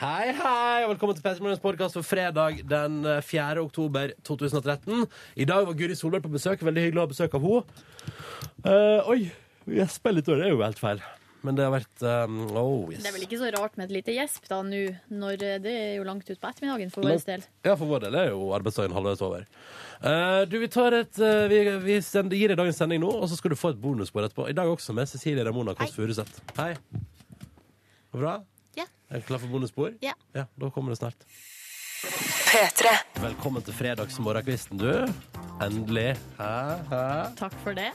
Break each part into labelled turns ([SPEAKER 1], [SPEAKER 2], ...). [SPEAKER 1] Hei, hei, og velkommen til Petter Morgens podkast for fredag den eh, 4. oktober 2013. I dag var Guri Solberg på besøk. Veldig hyggelig å ha besøk av henne. Eh, oi, gjesper litt. og Det er jo helt feil. Men det har vært um, Oh, yes.
[SPEAKER 2] Det er vel ikke så rart med et lite gjesp da nå, når eh, det er jo langt ut på ettermiddagen for vår del.
[SPEAKER 1] Ja, for vår del er jo arbeidsdagen halvveis over. Eh, du, Vi tar et, eh, vi, vi sender, gir deg dagens sending nå, og så skal du få et bonusbord etterpå. I dag også med Cecilie Ramona Kåss Furuseth. Hei. Går det Bra?
[SPEAKER 2] Ja.
[SPEAKER 1] Er du klar for bonusbord?
[SPEAKER 2] Ja.
[SPEAKER 1] ja. Da kommer det snart. Velkommen til fredagsmorgenkvisten, du. Endelig. Hæ? Hæ? Mm.
[SPEAKER 2] Takk for det.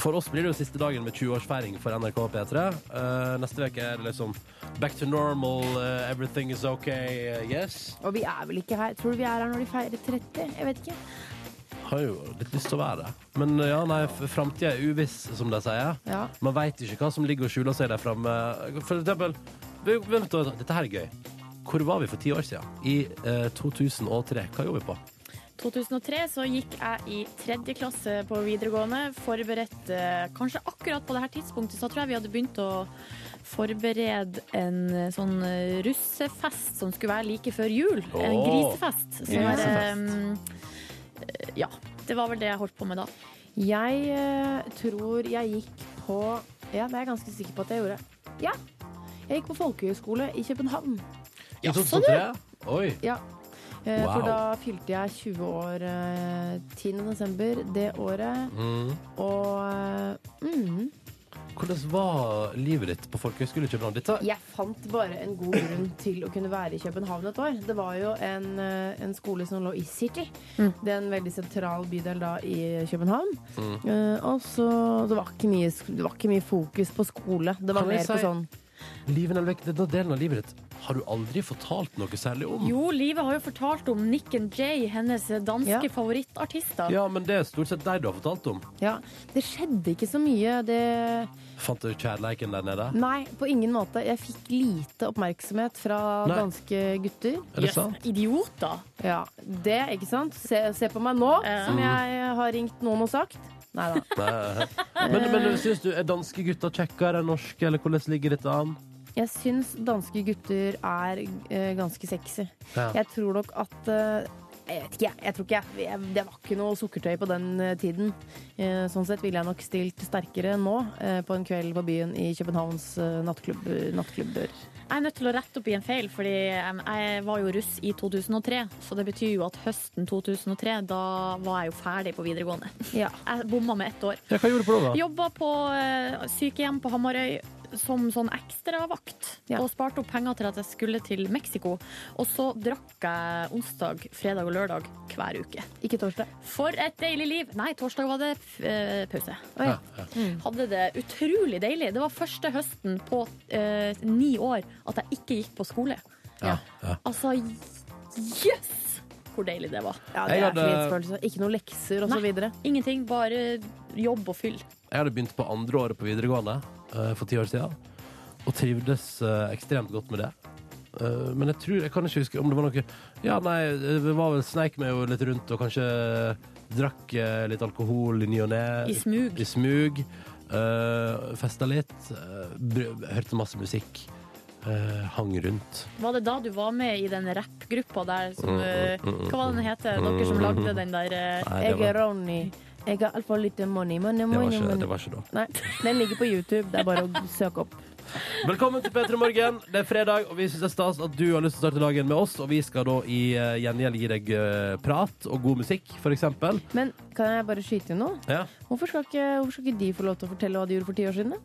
[SPEAKER 1] For oss blir det jo siste dagen med 20-årsfeiring for NRK P3. Eh, neste uke er det liksom back to normal, eh, everything is okay, eh, yes.
[SPEAKER 3] Og vi er vel ikke her. Tror du vi er her når de feirer 30? Jeg vet ikke.
[SPEAKER 1] har jo litt lyst til å være det. Men eh, ja, nei, framtida er uviss, som de sier.
[SPEAKER 3] Ja.
[SPEAKER 1] Man veit ikke hva som ligger og skjuler seg der framme. For eksempel vi- vent, da, Dette her er gøy. Hvor var vi for ti år siden? I eh, 2003. Hva gjorde vi på?
[SPEAKER 2] 2003 så gikk jeg i tredje klasse på videregående, forberedt eh, kanskje akkurat på det her tidspunktet, så tror jeg vi hadde begynt å forberede en eh, sånn eh, russefest som skulle være like før jul. En
[SPEAKER 1] Åh,
[SPEAKER 2] grisefest. Så, mm,
[SPEAKER 1] grisefest.
[SPEAKER 2] eh, ja, det var vel det jeg holdt på med da.
[SPEAKER 3] Jeg eh, tror jeg gikk på Ja, det er jeg ganske sikker på at jeg gjorde. Ja. Jeg gikk på folkehøyskole i København.
[SPEAKER 1] I 2003? Oi.
[SPEAKER 3] Ja. Eh,
[SPEAKER 1] Wow.
[SPEAKER 3] For da fylte jeg 20 år eh, 10. desember det året.
[SPEAKER 1] Mm.
[SPEAKER 3] Og eh, mm,
[SPEAKER 1] Hvordan var livet ditt på folkehøgskole i København? Dette
[SPEAKER 3] Jeg fant bare en god grunn til å kunne være i København et år. Det var jo en, eh, en skole som lå i City. Det er en veldig sentral bydel da i København.
[SPEAKER 1] Mm.
[SPEAKER 3] Eh, og så Det var ikke mye, sk- det var ikke mye fokus på skole. Det var
[SPEAKER 1] Kan jeg
[SPEAKER 3] mer på
[SPEAKER 1] si-
[SPEAKER 3] sånn
[SPEAKER 1] livet Nelvik, denne delen av livet ditt har du aldri fortalt noe særlig om.
[SPEAKER 2] Jo, Live har jo fortalt om Nick and Jay, hennes danske
[SPEAKER 3] Ja.
[SPEAKER 2] favorittartister.
[SPEAKER 1] Ja, men det er stort sett deg du har fortalt om.
[SPEAKER 3] Ja, det skjedde ikke så mye. Det
[SPEAKER 1] Fant du kjærleiken der nede?
[SPEAKER 3] Nei, på ingen måte. Jeg fikk lite oppmerksomhet fra
[SPEAKER 1] Nei.
[SPEAKER 3] danske gutter.
[SPEAKER 1] Er det sant?
[SPEAKER 2] Idioter.
[SPEAKER 3] Ja, det, ikke sant? Se, se på meg nå,
[SPEAKER 2] Ja.
[SPEAKER 3] som jeg har ringt noen og sagt. Nei da.
[SPEAKER 1] Nei. Men, men syns du er danske gutter kjekkere enn norske, eller hvordan ligger dette an?
[SPEAKER 3] Jeg syns danske gutter er eh, ganske sexy. Jeg tror nok at eh, Jeg vet ikke, jeg. jeg tror ikke jeg, jeg, det var ikke noe sukkertøy på den eh, tiden. Eh, sånn sett ville jeg nok stilt sterkere nå, eh, på en kveld på byen i Københavns eh, nattklubb, nattklubber.
[SPEAKER 2] Jeg er nødt til å rette opp i en feil, fordi em, jeg var jo russ i 2003. Så det betyr jo at høsten 2003, da var jeg jo ferdig på videregående.
[SPEAKER 3] Ja.
[SPEAKER 2] Jeg bomma med ett år.
[SPEAKER 1] hva gjorde du på det, da?
[SPEAKER 2] Jobba på eh, sykehjem på Hamarøy som sånn ekstravakt.
[SPEAKER 3] Ja.
[SPEAKER 2] Og sparte opp penger til at jeg skulle til Mexico. Og så drakk jeg onsdag, fredag og lørdag hver uke.
[SPEAKER 3] Ikke torsdag.
[SPEAKER 2] For et deilig liv! Nei, torsdag var det eh, pause.
[SPEAKER 3] Å, ja.
[SPEAKER 2] Hadde det utrolig deilig. Det var første høsten på eh, ni år at jeg ikke gikk på skole.
[SPEAKER 1] Ja, ja.
[SPEAKER 2] Altså, jøss! Yes! Hvor deilig det var.
[SPEAKER 3] ja, det
[SPEAKER 1] Jeg
[SPEAKER 3] er
[SPEAKER 1] hadde-
[SPEAKER 3] frihetsfølelse. Ikke noen lekser og
[SPEAKER 2] Nei.
[SPEAKER 3] så videre.
[SPEAKER 2] Ingenting, bare jobb og fyll.
[SPEAKER 1] Jeg hadde begynt på andre året på videregående eh, for ti år siden, og trivdes eh, ekstremt godt med det. Eh, men jeg tror, jeg kan ikke huske om det var noe Ja, nei, det var vel sneik meg jo litt rundt og kanskje drakk eh, litt alkohol i ny og ne.
[SPEAKER 2] I smug.
[SPEAKER 1] I smug. eh, festa litt. eh, br- hørte masse musikk. eh, hang rundt.
[SPEAKER 2] Var det da du var med i den rappgruppa der
[SPEAKER 1] Mm,
[SPEAKER 2] som eh, Hva var den het? Dere som lagde den der eh,
[SPEAKER 1] Nei, det
[SPEAKER 3] Jeg
[SPEAKER 1] var,
[SPEAKER 3] er Ronny. Jeg har altfor lite money. money,
[SPEAKER 1] det var,
[SPEAKER 3] money,
[SPEAKER 1] ikke,
[SPEAKER 3] money.
[SPEAKER 1] det var ikke da.
[SPEAKER 3] Nei, Den ligger på YouTube. Det er bare å søke opp.
[SPEAKER 1] Velkommen til P3 Morgen. Det er fredag, og vi syns det er stas at du har lyst til å starte dagen med oss. Og vi skal da i eh, gjengjeld gi deg eh, prat og god musikk, f.eks.
[SPEAKER 3] Men kan jeg bare skyte inn noe?
[SPEAKER 1] Ja.
[SPEAKER 3] Hvorfor skal, ikke, hvorfor skal ikke de få lov til å fortelle hva de gjorde for ti år siden? da?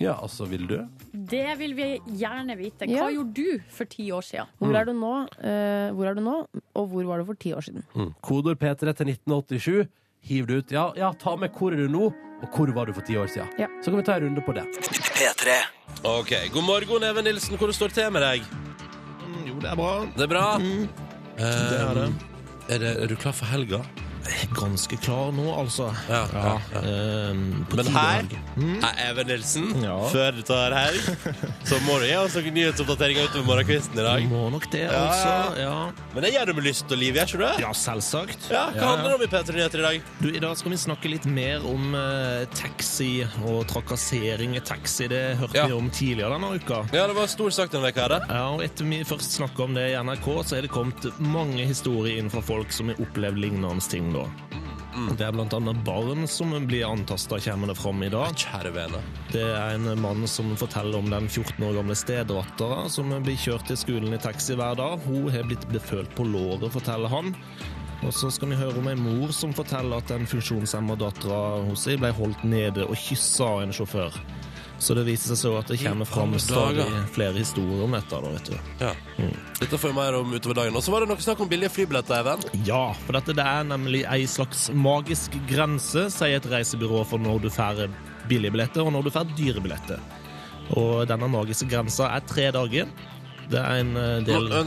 [SPEAKER 1] ja, altså, vil du?
[SPEAKER 2] Det vil vi gjerne vite. Hva
[SPEAKER 3] Ja.
[SPEAKER 2] gjorde du for ti år siden?
[SPEAKER 1] Mm.
[SPEAKER 3] Hvor, er du nå, eh, hvor er du nå, og hvor var du for ti år siden?
[SPEAKER 1] Mm. Kodord P3 til 1987. Hiv det ut. Ja, ja, ta med 'Hvor er du nå?' og 'Hvor var du for ti år siden?'
[SPEAKER 3] Ja.
[SPEAKER 1] Så kan vi ta en runde på det. OK. God morgen, Even Nilsen. Hvordan står det til med deg? Mm.
[SPEAKER 4] Jo, det er bra.
[SPEAKER 1] Det er bra? Eh,
[SPEAKER 4] Det er det.
[SPEAKER 1] Er, det, er du klar for helga?
[SPEAKER 4] ganske klar nå, altså.
[SPEAKER 1] Ja.
[SPEAKER 4] Eh, på
[SPEAKER 1] Men
[SPEAKER 4] tide
[SPEAKER 1] her
[SPEAKER 4] helg.
[SPEAKER 1] er Even Nilsen.
[SPEAKER 4] Ja.
[SPEAKER 1] Før det tar helg, så må du gi oss noen nyhetsoppdateringer utover morgenkvisten i
[SPEAKER 4] Vi
[SPEAKER 1] dag.
[SPEAKER 4] må nok det, altså. Ja,
[SPEAKER 1] Men det gjør du med lyst og liv, gjør ikke du det?
[SPEAKER 4] ja selvsagt.
[SPEAKER 1] Ja, Hva
[SPEAKER 4] Ja,
[SPEAKER 1] handler det om i P3 Nyheter i dag?
[SPEAKER 4] Du, I dag skal vi snakke litt mer om eh, taxi og trakassering i taxi. Det hørte
[SPEAKER 1] Ja.
[SPEAKER 4] vi om tidligere denne uka.
[SPEAKER 1] Ja, Det var stor sak denne uka. her, da.
[SPEAKER 4] Ja, og Etter vi først snakka om det i NRK, så er det kommet mange historier inn fra folk som har opplevd lignende ting. da.
[SPEAKER 1] Mm.
[SPEAKER 4] Det er bl.a. barn som blir antasta, kommer det fram i dag.
[SPEAKER 1] Kjære vene.
[SPEAKER 4] Det er en mann som forteller om den 14 år gamle stedattera som blir kjørt til skolen i taxi hver dag. Hun har blitt befølt på låret, forteller han. Og så skal vi høre om ei mor som forteller at den funksjonshemma dattera hos seg ble holdt nede og kyssa av en sjåfør. Så det viser seg så at det kommer fram
[SPEAKER 1] alle
[SPEAKER 4] stadig
[SPEAKER 1] dager.
[SPEAKER 4] flere historier om dette. da, vet du.
[SPEAKER 1] Ja. Dette får vi mer om utover dagen. Og så var det noe snakk om billige flybilletter, Even.
[SPEAKER 4] Ja, for dette det er nemlig ei slags magisk grense, sier et reisebyrå, for når du får billige billetter, og når du får dyre billetter. Og denne magiske grensa er tre dager. Det er en eh,
[SPEAKER 1] Nå,
[SPEAKER 4] del
[SPEAKER 1] nå,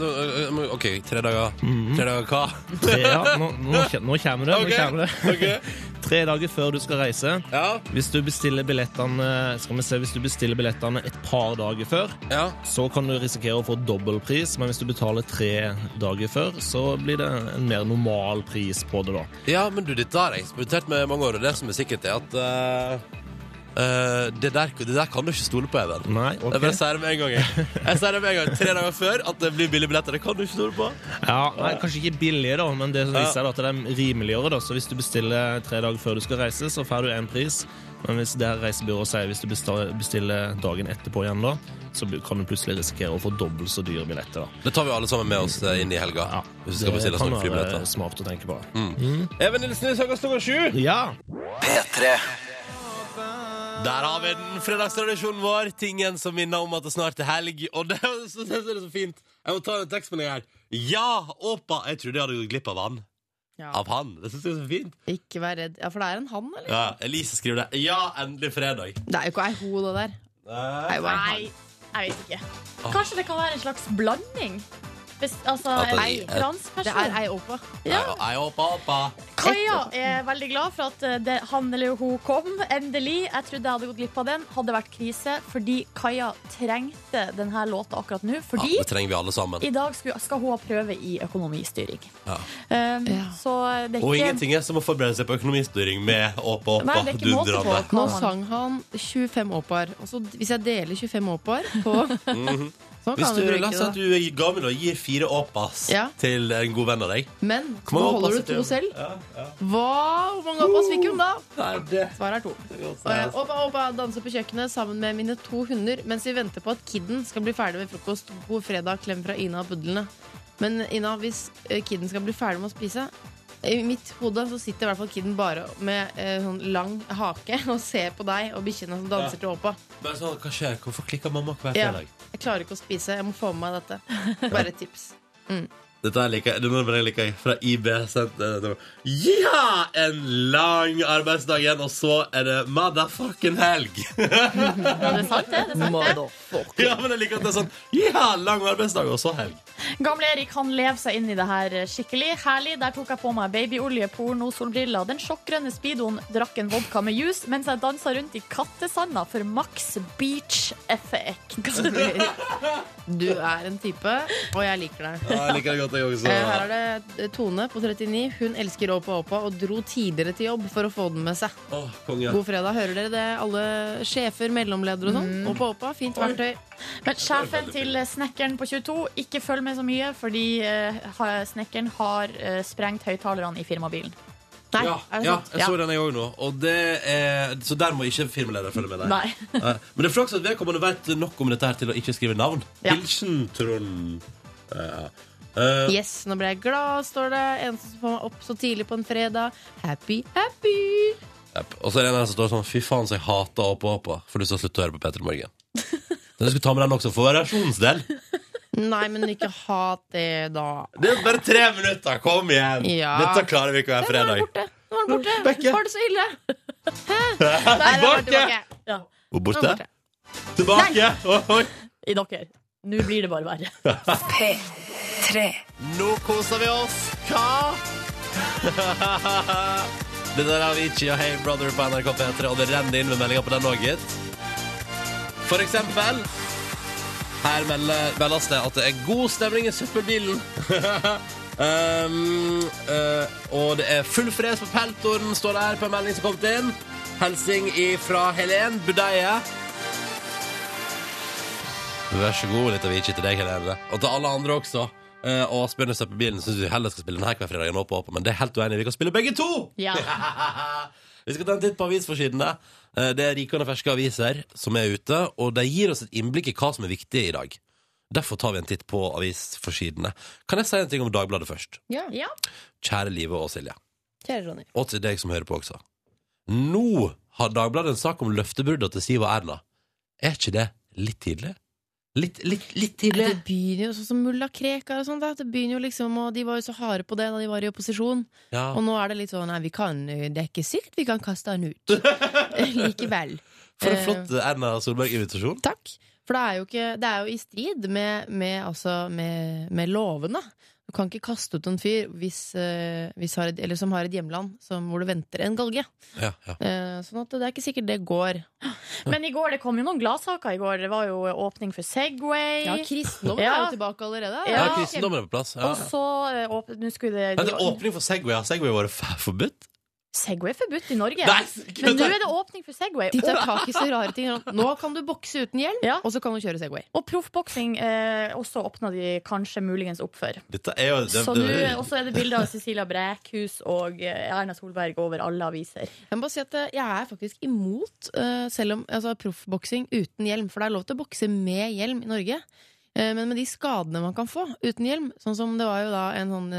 [SPEAKER 1] nå, OK, tre dager. Tre dager hva?
[SPEAKER 4] tre, ja, nå, nå, kje- nå kommer det.
[SPEAKER 1] Ok,
[SPEAKER 4] Nå kommer det.
[SPEAKER 1] ok.
[SPEAKER 4] Tre dager før du skal reise.
[SPEAKER 1] Ja,
[SPEAKER 4] Hvis du bestiller billettene Skal vi se, hvis du bestiller billettene et par dager før,
[SPEAKER 1] ja.
[SPEAKER 4] så kan du risikere å få dobbel pris, men hvis du betaler tre dager før, så blir det en mer normal pris på det, da.
[SPEAKER 1] Ja, men du, dette har jeg eksperimentert med i mange år, og det som er sikkert, er at eh, eh, det, der, det der kan du ikke stole på, Even.
[SPEAKER 4] Nei, ok.
[SPEAKER 1] Jeg bare sier det med en gang. Jeg, jeg sier det med en gang Tre dager før at det blir billige billetter. Det kan du ikke stole på.
[SPEAKER 4] Ja, nei, Kanskje ikke billige, da, men det viser seg da at det er rimeligere. da, Så Hvis du bestiller tre dager før du skal reise, så får du én pris. Men hvis det her reisebyrået sier hvis du besta- bestiller dagen etterpå igjen, da, så bu- kan du plutselig risikere å få dobbelt så dyre billetter. da.
[SPEAKER 1] Det tar vi alle sammen med oss eh, inn i helga.
[SPEAKER 4] Ja,
[SPEAKER 1] hvis vi skal bestille
[SPEAKER 4] kan
[SPEAKER 1] sånne Mm.
[SPEAKER 4] være
[SPEAKER 1] flybilletter.
[SPEAKER 4] smart å tenke på.
[SPEAKER 1] Even Nilsen, vi snakkes klokka sju.
[SPEAKER 4] Ja!
[SPEAKER 5] P3
[SPEAKER 1] Der har vi den fredagstradisjonen vår. Tingen som minner om at det snart er helg. Og det, så, det er så fint. Jeg må ta en tekstmelding her. Ja, åpa! Jeg trodde jeg hadde gått glipp av han.
[SPEAKER 3] Ja.
[SPEAKER 1] Av han. Det synes jeg er så fint.
[SPEAKER 3] Ikke vær redd. Ja, for det er en han, eller?
[SPEAKER 1] Ja, Elise skriver det. Ja, endelig fredag.
[SPEAKER 3] Det er jo ikke ei ho, det der. Det er jo ei han.
[SPEAKER 2] Nei, jeg vet ikke. Kanskje det kan være en slags blanding? Hvis, altså,
[SPEAKER 1] At det-
[SPEAKER 2] en fransk
[SPEAKER 3] Det er
[SPEAKER 2] person.
[SPEAKER 3] ei oppa.
[SPEAKER 1] Ja.
[SPEAKER 2] Ja.
[SPEAKER 1] Jeg håper, åpa.
[SPEAKER 2] Kaja er veldig glad for at eh, det, han eller hun kom. Endelig. Jeg trodde jeg hadde gått glipp av den. Hadde vært krise, fordi Kaja trengte denne låta akkurat nå.
[SPEAKER 1] Ja,
[SPEAKER 2] Fordi
[SPEAKER 1] det trenger vi alle sammen.
[SPEAKER 2] i dag skulle, skal hun ha prøve i økonomistyring.
[SPEAKER 1] Ja.
[SPEAKER 2] Um,
[SPEAKER 3] Ja.
[SPEAKER 2] Så det er
[SPEAKER 1] Og
[SPEAKER 2] ikke
[SPEAKER 1] ingenting er som å forberede seg på økonomistyring med åpa,
[SPEAKER 2] Nei,
[SPEAKER 1] åpa,
[SPEAKER 2] det er ikke måte på.
[SPEAKER 1] dundrende.
[SPEAKER 3] Nå sang han 25 oppaer. Og så hvis jeg deler 25 oppaer på Sånn
[SPEAKER 1] Hvis
[SPEAKER 3] kan
[SPEAKER 1] du,
[SPEAKER 3] vi
[SPEAKER 1] la
[SPEAKER 3] bruke
[SPEAKER 1] oss si
[SPEAKER 3] det.
[SPEAKER 1] at du er gammel og gir fire åpas
[SPEAKER 3] Ja.
[SPEAKER 1] til en god venn av deg.
[SPEAKER 3] da. Men
[SPEAKER 1] Kom
[SPEAKER 3] nå
[SPEAKER 1] an,
[SPEAKER 3] holder
[SPEAKER 1] oppa,
[SPEAKER 3] du to
[SPEAKER 1] sitter
[SPEAKER 3] selv. Hva? Hvor mange oppaer fikk hun da?
[SPEAKER 1] Nei, det
[SPEAKER 3] Svaret er to. Så jeg, Oppa, oppa, danser på kjøkkenet sammen med mine to hunder mens vi venter på at kidden skal bli ferdig med frokost. God fredag, klem fra Ina og budlene. Men Ina, hvis eh, kidden skal bli ferdig med å spise I mitt hode så sitter i hvert fall kidden bare med eh, sånn lang hake og ser på deg og bikkjene som danser til oppa.
[SPEAKER 1] Bare sånn, hva skjer? Hvorfor klikker mamma hver
[SPEAKER 3] Ja.
[SPEAKER 1] fredag?
[SPEAKER 3] Jeg klarer ikke å spise. Jeg må få med meg dette. Bare et tips.
[SPEAKER 1] Dette her liker jeg. Denne nummeret liker jeg. Fra IB. sendt, eh, det var, Ja! En lang arbeidsdag igjen, og så er det motherfucking helg!
[SPEAKER 2] Ja, det er sant, det. det, er sant, det.
[SPEAKER 1] ja, men jeg liker at det er sånn Ja! Lang arbeidsdag, og så helg.
[SPEAKER 2] Gamle Erik han lever seg inn i det her eh, skikkelig. Herlig. Der tok jeg på meg babyolje, porno, solbriller, den sjokkgrønne speedoen, drakk en vodka med juice mens jeg dansa rundt i kattesanda for Max Beach-effekt.
[SPEAKER 3] Du er en type, og jeg liker deg.
[SPEAKER 1] Ja, jeg liker det godt, jeg også.
[SPEAKER 3] Eh, Her er det Tone på 39. Hun elsker Åpa Åpa og dro tidligere til jobb for å få den med seg.
[SPEAKER 1] Åh, konge.
[SPEAKER 3] God fredag. Hører dere det, alle sjefer, mellomledere og sånn?
[SPEAKER 1] Mm.
[SPEAKER 3] Åpa Åpa, fint verktøy.
[SPEAKER 2] Men sjefen til snekkeren på 22, ikke følg med så mye, fordi eh, ha- snekkeren har eh, sprengt høyttalerne i firmabilen.
[SPEAKER 3] Nei,
[SPEAKER 1] Ja,
[SPEAKER 3] er det
[SPEAKER 1] ja,
[SPEAKER 3] sant?
[SPEAKER 1] jeg så den jeg òg nå. Og det er, så der må ikke firmaleder følge med.
[SPEAKER 2] Nei.
[SPEAKER 1] Nei. Men det er flaks at vedkommende vet nok om dette her til å ikke skrive navn.
[SPEAKER 2] Ja.
[SPEAKER 1] Hilsen Trond. Ja. Eh,
[SPEAKER 3] Yes, nå ble jeg glad, står det. En som får meg opp så tidlig på en fredag. Happy, happy.
[SPEAKER 1] Yep. Og så er det en her som står sånn Fy faen, så jeg hater Åpa Åpa. For du skal slutte å høre på Peter Morgen. Så jeg skulle ta med den også, for variasjonens del.
[SPEAKER 3] Nei, men ikke hat det, da.
[SPEAKER 1] Det er bare tre minutter! Kom igjen!
[SPEAKER 3] Ja.
[SPEAKER 1] Dette klarer vi ikke hver
[SPEAKER 3] Nå er den
[SPEAKER 1] fredag.
[SPEAKER 3] borte. Nå er den borte. Var det så ille? Hæ? Nei, den var
[SPEAKER 1] Borte!
[SPEAKER 3] tilbake.
[SPEAKER 1] Og
[SPEAKER 3] Nå
[SPEAKER 1] borte.
[SPEAKER 3] er den borte.
[SPEAKER 1] Tilbake! Oi, oi.
[SPEAKER 2] I dere. Nå blir det bare verre.
[SPEAKER 1] Nå koser vi oss. Hva? Det der har vi ikke og Hey Brother på NRK P3, og det renner inn med meldinger på den òg, gitt. For eksempel Her melder- meldes det at det er god stemning i søppelbilen. um, eh, og det er full fres på peltoren, står det her på en melding som kom inn. Hilsing fra Helen Budeie. Vær så god, litt av ikke til deg, Helene. Og til alle andre også. Eh, og Asbjørn i søppelbilen syns vi heller skal spille denne hver fredag enn Åpå Åpå, men det er helt uenig. Vi kan spille begge to!
[SPEAKER 2] Ja.
[SPEAKER 1] vi skal ta en titt på avisforsidene. Eh, det er rikende ferske aviser som er ute, og de gir oss et innblikk i hva som er viktig i dag. Derfor tar vi en titt på avisforsidene. Kan jeg si en ting om Dagbladet først?
[SPEAKER 3] Ja.
[SPEAKER 2] ja.
[SPEAKER 1] Kjære Live og Silje.
[SPEAKER 3] Kjære Ronny.
[SPEAKER 1] Og til deg som hører på også. Nå har Dagbladet en sak om løftebruddene til Siv og Erna. Er ikke det litt tidlig? Litt, litt, litt tidlig?
[SPEAKER 3] Det begynner jo sånn som mulla Krekar og sånt. da. Det begynner jo liksom, og De var jo så harde på det da de var i opposisjon.
[SPEAKER 1] Ja.
[SPEAKER 3] Og nå er det litt sånn nei, vi kan, det er ikke sikkert vi kan kaste han ut. Likevel.
[SPEAKER 1] For en
[SPEAKER 3] Eh,
[SPEAKER 1] flott Erna Solberg-invitasjon.
[SPEAKER 3] Takk. For det er jo, ikke, det er jo i strid med, med, altså, med, med lovene. Du kan ikke kaste ut en fyr hvis, eh, hvis har et, eller som har et hjemland som, hvor det venter en galge.
[SPEAKER 1] Ja, ja.
[SPEAKER 3] Eh, sånn at det er ikke sikkert det går.
[SPEAKER 2] Men i går, det kom jo noen gladsaker i går. Det var jo eh, åpning for Segway.
[SPEAKER 3] Ja, kristendommen
[SPEAKER 2] Ja.
[SPEAKER 3] er jo tilbake allerede.
[SPEAKER 1] ja,
[SPEAKER 2] Ja.
[SPEAKER 1] kristendommen er på plass. Ja.
[SPEAKER 2] Og så eh, åp Nå skulle
[SPEAKER 1] Men det
[SPEAKER 2] det
[SPEAKER 1] er åpning for Segway. Har Segway vært f- forbudt?
[SPEAKER 2] Segway er forbudt i Norge.
[SPEAKER 1] Nei,
[SPEAKER 2] Men nå er det åpning for Segway.
[SPEAKER 3] De tar tak i så rare ting. Nå kan du bokse uten hjelm,
[SPEAKER 2] Ja.
[SPEAKER 3] og så kan du kjøre Segway.
[SPEAKER 2] Og proffboksing eh, også åpna de kanskje muligens opp for.
[SPEAKER 1] Dette er jo det,
[SPEAKER 2] Så nå eh,
[SPEAKER 1] det,
[SPEAKER 2] og så er det bilder av Cecilia Brækhus og eh, Erna Solberg over alle aviser.
[SPEAKER 3] Jeg må bare si at eh, jeg er faktisk imot eh, Selv om altså, proffboksing uten hjelm For det er lov til å bokse med hjelm i Norge Eh, Men med de skadene man kan få uten hjelm Sånn som det var jo da en sånn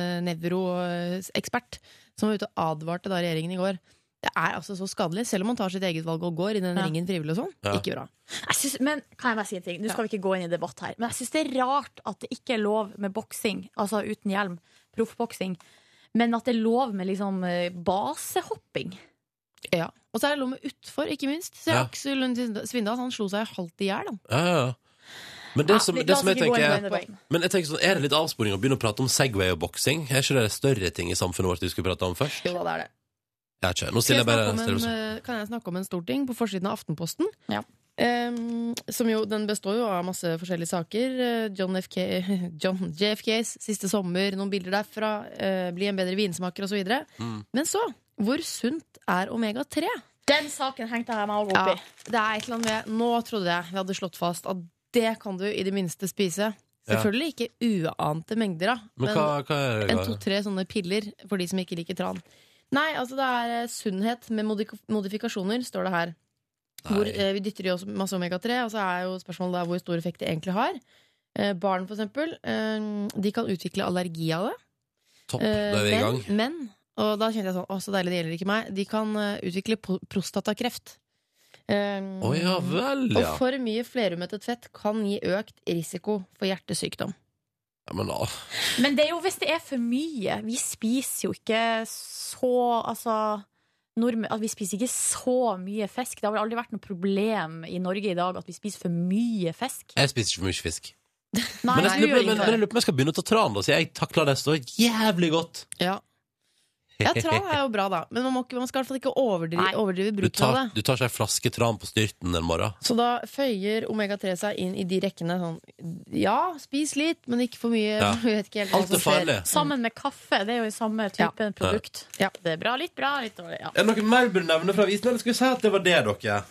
[SPEAKER 3] nevroekspert Som var ute og advarte da regjeringen i går Det er altså så skadelig Selv om man tar sitt eget valg og går i den
[SPEAKER 2] Ja.
[SPEAKER 3] ringen frivillig og sånn
[SPEAKER 1] Ja.
[SPEAKER 3] Ikke bra
[SPEAKER 2] Jeg synes, men kan jeg bare si en ting? Nå skal vi ikke gå inn i debatt her, men jeg syns det er rart at det ikke er lov med boksing, altså uten hjelm, proffboksing, men at det er lov med liksom eh, basehopping.
[SPEAKER 3] ja. Og så er det lov med utfor, ikke minst Så
[SPEAKER 1] Ja.
[SPEAKER 3] Aksel Lund Svindal, han slo seg halvt i hjel han.
[SPEAKER 1] ja, ja. Men det som,
[SPEAKER 2] Ja,
[SPEAKER 1] det som jeg
[SPEAKER 2] la oss ikke gå
[SPEAKER 1] tenker
[SPEAKER 2] inn i den debatten.
[SPEAKER 1] Men jeg tenker sånn, er det litt avsporing å begynne å prate om Segway og boksing? Er ikke det større ting i samfunnet vårt vi skulle prate om først?
[SPEAKER 3] Jo, da, det er det
[SPEAKER 1] Jeg vet ikke. Nå
[SPEAKER 3] Skal
[SPEAKER 1] stiller
[SPEAKER 3] jeg
[SPEAKER 1] jeg bare
[SPEAKER 3] snakke om
[SPEAKER 1] stiller
[SPEAKER 3] en,
[SPEAKER 1] spørsmål.
[SPEAKER 3] eh, Kan jeg snakke om en stor ting på forsiden av Aftenposten?
[SPEAKER 2] Ja.
[SPEAKER 3] Em, som jo, Den består jo av masse forskjellige saker. Eh, John, FK, John JFKs 'Siste sommer', noen bilder derfra. eh, bli en bedre vinsmaker osv.
[SPEAKER 1] Mm.
[SPEAKER 3] Men så hvor sunt er omega-3?
[SPEAKER 2] Den saken hengte jeg meg også opp
[SPEAKER 3] Ja,
[SPEAKER 2] i.
[SPEAKER 3] det er et eller annet med Nå trodde jeg vi hadde slått fast at det kan du i det minste spise.
[SPEAKER 1] Ja.
[SPEAKER 3] Selvfølgelig ikke uante mengder, da.
[SPEAKER 1] Men hva, hva er det?
[SPEAKER 3] En to-tre sånne piller for de som ikke liker tran. Nei, altså det er eh, sunnhet med modif modifikasjoner, står det her. Hvor
[SPEAKER 1] Nei.
[SPEAKER 3] eh, Vi dytter i oss masse omega-3, og så er jo spørsmålet da hvor stor effekt det egentlig har. Eh, barn, for eksempel, eh, de kan utvikle allergi av det.
[SPEAKER 1] Topp,
[SPEAKER 3] Eh,
[SPEAKER 1] da er vi i gang.
[SPEAKER 3] men, men, og da kjente jeg sånn, å så deilig, det gjelder ikke meg, de kan eh, utvikle po- prostatakreft. Eh,
[SPEAKER 1] Å ja vel,
[SPEAKER 3] Og
[SPEAKER 1] ja.
[SPEAKER 3] for mye flerumettet fett kan gi økt risiko for hjertesykdom.
[SPEAKER 1] ja men, å,
[SPEAKER 2] Men det er jo hvis det er for mye. Vi spiser jo ikke så Altså nordmenn at Vi spiser ikke så mye fisk. Det har vel aldri vært noe problem i Norge i dag at vi spiser for mye fisk.
[SPEAKER 1] jeg spiser ikke for mye fisk.
[SPEAKER 2] Nei,
[SPEAKER 1] Men jeg, lurer på-
[SPEAKER 2] du gjør
[SPEAKER 1] men,
[SPEAKER 2] ikke
[SPEAKER 1] men jeg
[SPEAKER 2] det.
[SPEAKER 1] lurer på om jeg skal begynne å ta tran, da, så jeg takler det så jævlig godt.
[SPEAKER 3] Ja. ja, tran er jo bra, da. Men man, må ikke, man skal i hvert fall ikke overdrive,
[SPEAKER 2] Nei.
[SPEAKER 3] overdrive
[SPEAKER 1] Du
[SPEAKER 3] bruken av
[SPEAKER 1] tar,
[SPEAKER 3] det.
[SPEAKER 1] du tar ikke ei flaske tran på styrten en morgen.
[SPEAKER 3] Så da føyer omega-3 seg inn i de rekkene sånn Ja, spis litt, men ikke for mye.
[SPEAKER 1] Ja.
[SPEAKER 3] Jeg vet ikke helt hva
[SPEAKER 1] Alt
[SPEAKER 3] som
[SPEAKER 1] er farlig.
[SPEAKER 3] skjer.
[SPEAKER 2] Sammen med kaffe. Det er jo samme type produkt.
[SPEAKER 3] Ja.
[SPEAKER 2] Det er bra, litt bra, litt dårlig. Ja.
[SPEAKER 1] Er det noe mer du burde nevne fra avisen, eller skal vi si at det var det, dere?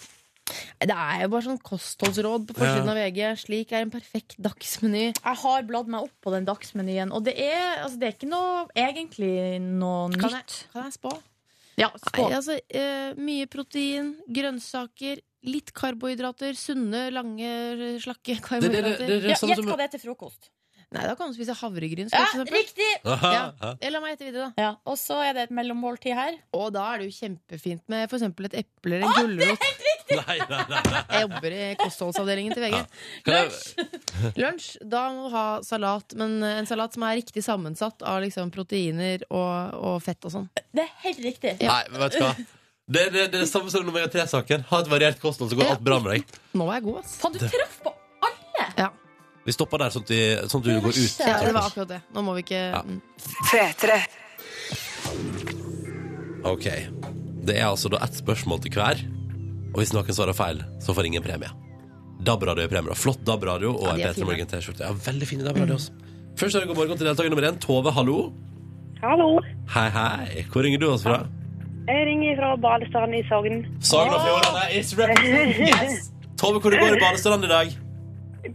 [SPEAKER 3] Det er jo bare sånn kostholdsråd på forsiden
[SPEAKER 1] Ja.
[SPEAKER 3] av VG. Slik er en perfekt dagsmeny.
[SPEAKER 2] Jeg har bladd meg opp på den dagsmenyen, og det er, altså, det er ikke noe egentlig noe
[SPEAKER 3] Kan jeg,
[SPEAKER 2] nytt.
[SPEAKER 3] kan jeg spå?
[SPEAKER 2] Ja,
[SPEAKER 3] Nei,
[SPEAKER 2] skål.
[SPEAKER 3] altså, eh, mye protein, grønnsaker, litt karbohydrater. Sunne, lange,
[SPEAKER 1] Det,
[SPEAKER 3] slakke
[SPEAKER 1] det, det,
[SPEAKER 3] karbohydrater.
[SPEAKER 1] det, det,
[SPEAKER 2] Ja,
[SPEAKER 1] er sånn
[SPEAKER 2] Gjett
[SPEAKER 1] som
[SPEAKER 2] hva det er til frokost.
[SPEAKER 3] Nei, da kan du spise havregryn.
[SPEAKER 2] Ja,
[SPEAKER 3] Skal for eksempel.
[SPEAKER 2] riktig!
[SPEAKER 1] Aha.
[SPEAKER 3] Eller la meg gjette videre, da.
[SPEAKER 2] Ja, og så er det et mellommåltid her.
[SPEAKER 3] Og da er det jo kjempefint med for eksempel et eple eller en gulrot.
[SPEAKER 1] Nei, nei, nei. nei.
[SPEAKER 3] Jeg jobber i kostholdsavdelingen til VG.
[SPEAKER 1] Kan jeg,
[SPEAKER 3] Lunsj, da må du ha salat, men en salat som er riktig sammensatt av liksom proteiner og, og fett og sånn.
[SPEAKER 2] Det er helt riktig.
[SPEAKER 3] Ja.
[SPEAKER 1] Nei, vet du hva? Det, det, det er det samme som nummer tre-saken. Ha et variert kosthold, så går alt bra med deg.
[SPEAKER 3] Nå er jeg god, ass.
[SPEAKER 2] Faen, du traff på alle!
[SPEAKER 3] Ja,
[SPEAKER 1] Vi stopper der, sånn at, vi, sånn at du går ut.
[SPEAKER 3] ja det var akkurat det. Nå må vi ikke
[SPEAKER 1] Ja.
[SPEAKER 3] mm.
[SPEAKER 1] OK. Det er altså da ett spørsmål til hver, og hvis noen svarer feil, så får ingen premie. DAB-radio er premie. da. Flott DAB-radio og
[SPEAKER 3] de
[SPEAKER 1] ei
[SPEAKER 3] er
[SPEAKER 1] P3
[SPEAKER 3] fine.
[SPEAKER 1] Morgen-T-skjorte. Ja, veldig fine DAB-radio altså. også. Først er det god morgen til deltaker nummer én, Tove. Hallo.
[SPEAKER 5] Hallo.
[SPEAKER 1] Hei, hei. Hvor ringer du oss fra?
[SPEAKER 5] Jeg ringer fra Balestrand i Sogn.
[SPEAKER 1] Sogn og Fjordane is representing. Yes! Tove, hvordan går det i Balestrand i dag?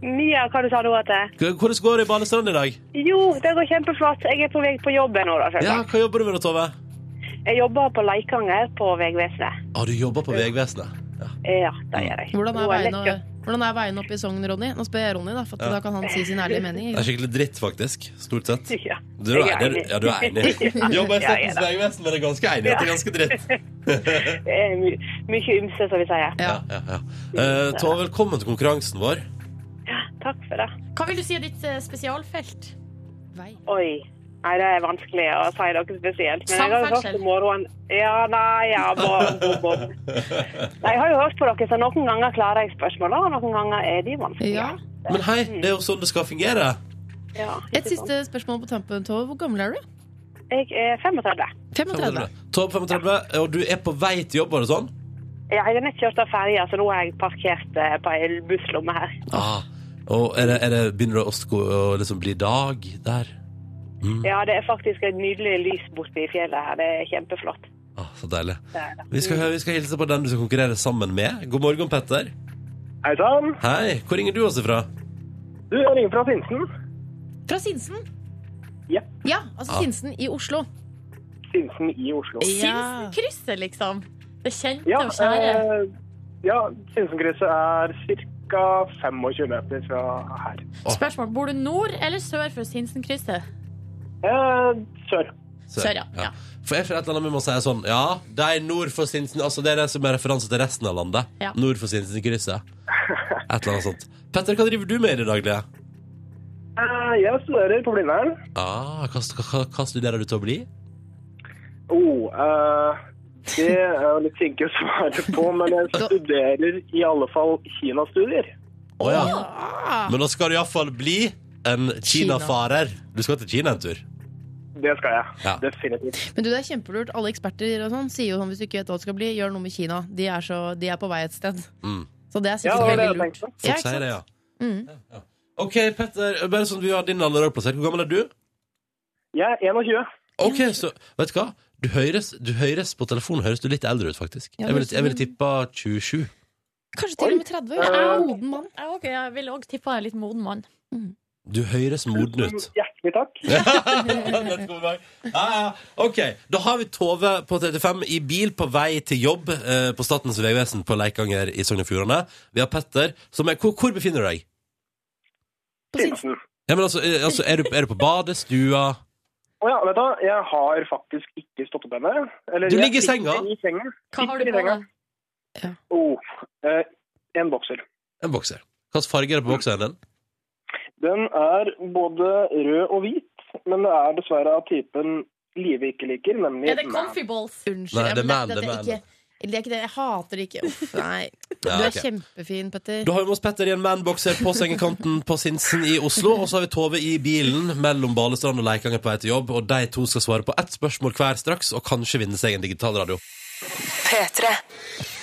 [SPEAKER 5] Mia, hva du sa du at det er?
[SPEAKER 1] Hvordan går det i Balestrand i dag?
[SPEAKER 5] Jo, det går kjempeflott. Jeg er på vei på jobben nå, da.
[SPEAKER 1] Ja,
[SPEAKER 5] selvsagt.
[SPEAKER 1] Hva jobber du med da, Tove?
[SPEAKER 5] Jeg jobber på Leikanger på Vegvesenet.
[SPEAKER 1] Ah, du jobber på Vegvesenet. Ja.
[SPEAKER 5] Ja, det gjør jeg.
[SPEAKER 3] Hvordan er
[SPEAKER 5] Nå
[SPEAKER 3] veien,
[SPEAKER 5] lekka-
[SPEAKER 3] å- hvordan er veien opp i Sogn, Ronny? Nå spør jeg Ronny, da, for at da kan han si sin ærlige mening.
[SPEAKER 1] Det er skikkelig dritt, faktisk. Stort sett.
[SPEAKER 5] Ja,
[SPEAKER 1] Du er
[SPEAKER 5] jeg er
[SPEAKER 1] enig.
[SPEAKER 5] enig.
[SPEAKER 1] Ja, du er enig. Du jobber i
[SPEAKER 5] Ja, jeg er
[SPEAKER 1] Statens vegvesen, men det er ganske enig. Det er ganske dritt.
[SPEAKER 5] Det er my mye ymse, som vi sier.
[SPEAKER 1] Ja, ja, ja. Eh, Tove, velkommen til konkurransen vår.
[SPEAKER 5] Takk for det.
[SPEAKER 2] Hva vil du si er ditt eh, spesialfelt? Vei.
[SPEAKER 5] Oi. Nei, det er vanskelig å si noe spesielt. Men jeg har jo
[SPEAKER 2] Samferdsel.
[SPEAKER 5] hørt på morgenen Ja, nei, ja, bom, bom, bom. Nei, Jeg har jo hørt på dere, så noen ganger klarer jeg spørsmålene, og noen ganger er de vanskelige.
[SPEAKER 3] Ja.
[SPEAKER 1] Men hei, det er jo sånn det skal fungere.
[SPEAKER 5] Ja,
[SPEAKER 3] Et siste spørsmål på tampen, Tove. Hvor gammel er du?
[SPEAKER 5] Jeg er 35.
[SPEAKER 3] 35.
[SPEAKER 1] Tove 35, og du er på vei til jobb, var det sånn?
[SPEAKER 5] Ja, jeg har nett kjørt av ferja, så nå har jeg parkert eh, på ei busslomme her.
[SPEAKER 1] Ah, og er det, er det, begynner det å sko- å liksom bli dag der?
[SPEAKER 5] Ja, det er faktisk et nydelig lys borte i fjellet her. Det er kjempeflott.
[SPEAKER 1] Ah, så deilig.
[SPEAKER 5] Det er det.
[SPEAKER 1] Vi skal, hø- vi skal hilse på den du skal konkurrere sammen med. God morgen, Petter.
[SPEAKER 6] Hei sann.
[SPEAKER 1] Hei, hvor ringer du oss ifra?
[SPEAKER 6] Du, jeg ringer fra Sinsen.
[SPEAKER 3] Fra Sinsen?
[SPEAKER 6] Ja.
[SPEAKER 3] Ja, altså
[SPEAKER 1] Ja.
[SPEAKER 3] Sinsen i Oslo.
[SPEAKER 6] Sinsen i Oslo.
[SPEAKER 3] Ja.
[SPEAKER 2] Sinsenkrysset, liksom. Det kjente
[SPEAKER 6] Ja,
[SPEAKER 2] og kjære.
[SPEAKER 6] eh, ja Sinsenkrysset er ca. 25 meter fra her.
[SPEAKER 2] Spørsmål. Bor du nord eller sør for Sinsenkrysset?
[SPEAKER 6] Eh, sør.
[SPEAKER 2] Sør, ja. Ja.
[SPEAKER 1] For jeg føler et eller annet med å si sånn Ja, de nord for Sinsen Altså det er det som er referanse til resten av landet.
[SPEAKER 2] Ja.
[SPEAKER 1] Nord for Sinsenkrysset. Et eller annet sånt. Petter, hva driver du med i det daglige?
[SPEAKER 6] Eh, jeg studerer på Blindern.
[SPEAKER 1] Ah, hva, hva, hva studerer du til å bli?
[SPEAKER 6] Oh, eh, det er jo litt kinkig å svare på, men jeg studerer i alle fall kinastudier.
[SPEAKER 1] Å ja. Men da skal du iallfall bli en kinafarer. Du skal til Kina en tur.
[SPEAKER 6] Det skal jeg.
[SPEAKER 1] Ja.
[SPEAKER 6] Definitivt.
[SPEAKER 3] Men du, det er kjempelurt. Alle eksperter og sånn sier jo sånn hvis du ikke vet hva det skal bli, gjør noe med Kina. De er, så, de er på vei et sted.
[SPEAKER 1] Mm.
[SPEAKER 3] Så det er
[SPEAKER 6] Ja, det
[SPEAKER 3] sikkert
[SPEAKER 6] var det
[SPEAKER 3] veldig
[SPEAKER 6] jeg
[SPEAKER 3] lurt.
[SPEAKER 6] tenkte.
[SPEAKER 3] Ja,
[SPEAKER 1] Folk
[SPEAKER 3] ikke
[SPEAKER 1] sier
[SPEAKER 3] sant?
[SPEAKER 1] det, ja.
[SPEAKER 3] Mm.
[SPEAKER 1] ja. OK, Petter. Bare sånn at vi har din alder plassert. Hvor gammel er du?
[SPEAKER 6] Jeg er 21.
[SPEAKER 1] Ok, så vet du hva? Du høres, du høres på telefonen høres du litt eldre ut, faktisk. Jeg
[SPEAKER 3] Ja, sånn. men-
[SPEAKER 1] ville jeg ville tippa 27.
[SPEAKER 3] Kanskje til og med 30. Jeg er en moden mann.
[SPEAKER 2] Jeg, også- jeg vil òg tippe jeg er litt moden mann.
[SPEAKER 1] Du høres moden ut.
[SPEAKER 6] Hjertelig takk.
[SPEAKER 1] Let's go back. ja, ja. Ok, da har vi Tove på 35 i bil på vei til jobb eh, på Statens vegvesen på Leikanger i Sogn og Fjordane. Vi har Petter, som er Hvor, hvor befinner du deg?
[SPEAKER 6] Sinsen.
[SPEAKER 1] Ja, men altså, eh, altså er, du, er du på badet, stua
[SPEAKER 6] Å ja, vet du, hva? jeg har faktisk ikke stått opp ennå. Eller,
[SPEAKER 1] Du
[SPEAKER 6] jeg
[SPEAKER 1] ligger i senga.
[SPEAKER 6] sitter I senga.
[SPEAKER 2] Hva har du
[SPEAKER 6] Sitter i
[SPEAKER 2] på
[SPEAKER 6] senga.
[SPEAKER 2] deg?
[SPEAKER 6] Oh, eh, en bokser.
[SPEAKER 1] En bokser. Hvilken farge er det på bokseren din?
[SPEAKER 6] Den er både rød og hvit, men det er dessverre av typen Live ikke liker, nemlig
[SPEAKER 2] Er det comfy balls?
[SPEAKER 3] Unnskyld.
[SPEAKER 1] Nei,
[SPEAKER 3] ja,
[SPEAKER 1] det er
[SPEAKER 3] men
[SPEAKER 1] man, det er
[SPEAKER 3] dette
[SPEAKER 1] man.
[SPEAKER 3] ikke- det er ikke det. Jeg hater det ikke. Uff, nei. Du
[SPEAKER 1] Ja,
[SPEAKER 3] er
[SPEAKER 1] ok.
[SPEAKER 3] kjempefin, Petter.
[SPEAKER 1] Da har vi med oss Petter i en manbokser på sengekanten på Sinsen i Oslo. Og så har vi Tove i bilen mellom Balestrand og Leikanger på vei til jobb. Og de to skal svare på ett spørsmål hver straks, og kanskje vinne seg en digital radio.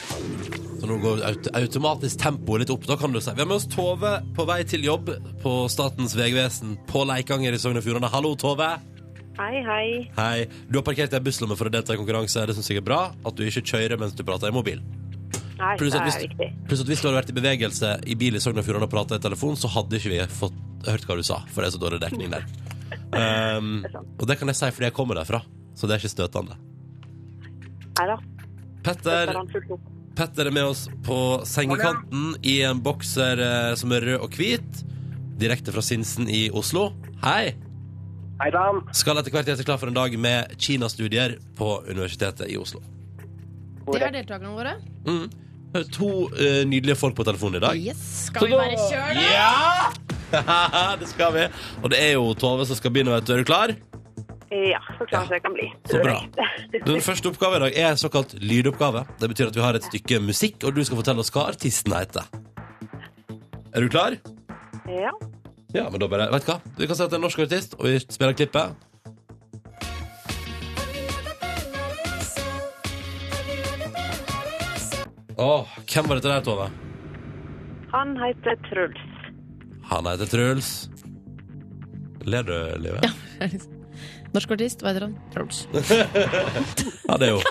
[SPEAKER 1] Så nå går aut automatisk tempoet litt opp. Da kan du si Vi har med oss Tove på vei til jobb på Statens vegvesen på Leikanger i Sogn og Fjordane. Hallo, Tove.
[SPEAKER 5] Hei, hei.
[SPEAKER 1] Hei. Du har parkert deg i busslomme for å delta i konkurranse. Det syns jeg er bra. At du ikke kjører mens du prater i mobil.
[SPEAKER 5] Nei,
[SPEAKER 1] Pluss
[SPEAKER 5] det
[SPEAKER 1] at
[SPEAKER 5] er
[SPEAKER 1] hvis-
[SPEAKER 5] viktig.
[SPEAKER 1] Pluss at hvis du hadde vært i bevegelse i bil i Sogn og Fjordane og prata i telefon, så hadde ikke vi fått hørt hva du sa, for det er så dårlig dekning der. Um, og det kan jeg si fordi jeg kommer derfra, så det er ikke støtende.
[SPEAKER 5] Nei da. det
[SPEAKER 1] Petter,
[SPEAKER 5] skal han fullt opp.
[SPEAKER 1] Petter er med oss på sengekanten i en bokser eh, som er rød og hvit, direkte fra Sinsen i Oslo. Hei!
[SPEAKER 6] Hei sann.
[SPEAKER 1] Skal etter hvert gjøre seg klar for en dag med kinastudier på Universitetet i Oslo.
[SPEAKER 3] Det er deltakerne våre.
[SPEAKER 1] Mm. To eh, nydelige folk på telefonen i dag.
[SPEAKER 3] Yes.
[SPEAKER 2] Skal vi bare kjøre det?
[SPEAKER 1] Ja! det skal vi. Og det er jo Tove som skal begynne. Vet du. Er du klar?
[SPEAKER 5] Ja, så klart det kan bli.
[SPEAKER 1] Så bra. Den første oppgaven i dag er såkalt lydoppgave. Det betyr at vi har et stykke musikk, og du skal fortelle oss hva artisten heter. Er du klar?
[SPEAKER 5] Ja.
[SPEAKER 1] Ja, men da bare Vet du hva? Vi kan si at det er en norsk artist, og vi spiller klippet. Åh, hvem var dette der, Tove?
[SPEAKER 5] Han heter Truls.
[SPEAKER 1] Han heter Truls. Ler du, Live? Ja.
[SPEAKER 2] Norsk artist, hva heter han? Truls.
[SPEAKER 1] det er jo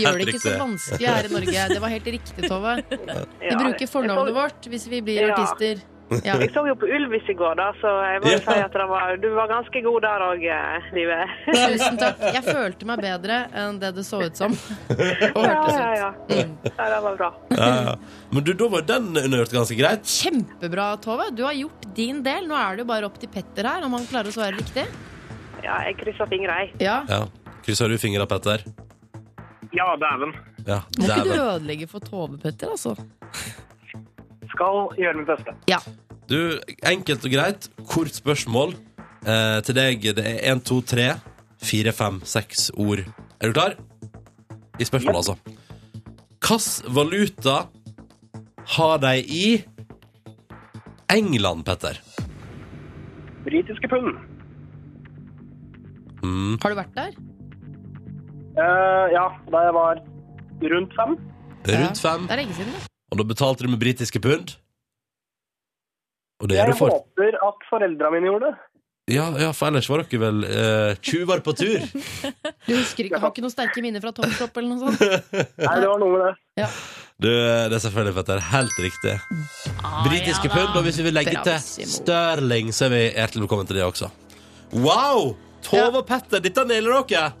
[SPEAKER 3] gjør det
[SPEAKER 1] helt
[SPEAKER 3] ikke så
[SPEAKER 1] riktig.
[SPEAKER 3] vanskelig her i Norge. Det var helt riktig, Tove. Vi
[SPEAKER 5] Ja,
[SPEAKER 3] bruker fornavnet
[SPEAKER 5] jeg så-
[SPEAKER 3] vårt hvis vi blir
[SPEAKER 5] Ja.
[SPEAKER 3] artister. Ja.
[SPEAKER 5] Jeg så jo på Ulvis i går, da, så jeg må jo
[SPEAKER 1] Ja.
[SPEAKER 5] si at det var, du var ganske god der òg, Live.
[SPEAKER 3] Tusen takk. Jeg følte meg bedre enn det det så ut som. Og
[SPEAKER 5] Ja,
[SPEAKER 3] hørtes
[SPEAKER 5] ja,
[SPEAKER 3] ut.
[SPEAKER 5] ja. ja. Det var bra.
[SPEAKER 1] Ja, ja. Men du, da var den undergjort ganske greit.
[SPEAKER 3] Kjempebra, Tove. Du har gjort din del. Nå er det jo bare opp til Petter her, om han klarer å svare riktig.
[SPEAKER 5] Ja, jeg krysser fingre, jeg.
[SPEAKER 3] Ja.
[SPEAKER 1] Ja. Krysser du fingra, Petter?
[SPEAKER 6] Ja, dæven.
[SPEAKER 1] Ja.
[SPEAKER 2] Må ikke du
[SPEAKER 1] dæven.
[SPEAKER 2] ødelegge for Tove, Petter, altså?
[SPEAKER 6] Skal gjøre mitt beste.
[SPEAKER 1] Du, enkelt og greit, kort spørsmål eh, til deg. Det er 1, 2, 3, 4, 5, 6 ord. Er du klar? I spørsmålet, altså. Hvilken valuta har de i England, Petter?
[SPEAKER 6] Britiske pund.
[SPEAKER 1] Mm.
[SPEAKER 3] Har du vært der?
[SPEAKER 6] Eh, ja, da jeg var rundt fem.
[SPEAKER 1] Rundt fem.
[SPEAKER 3] Det er lenge siden, det.
[SPEAKER 1] Og da betalte du med britiske pund. Og det gjør
[SPEAKER 6] Jeg
[SPEAKER 1] du for.
[SPEAKER 6] håper at foreldra mine gjorde det.
[SPEAKER 1] Ja, ja, for ellers var dere vel eh, tjuver på tur.
[SPEAKER 3] Du husker ikke, har ikke noen sterke minner fra Toppkropp eller noe sånt?
[SPEAKER 6] Nei, det var noe med det.
[SPEAKER 1] Du, det er selvfølgelig Petter. Helt riktig. Britiske pund. Og hvis vi vil legge til
[SPEAKER 3] Bravissimo.
[SPEAKER 1] sterling, så er vi hjertelig velkommen til det også. Wow! Tove og Petter, dette nailer dere!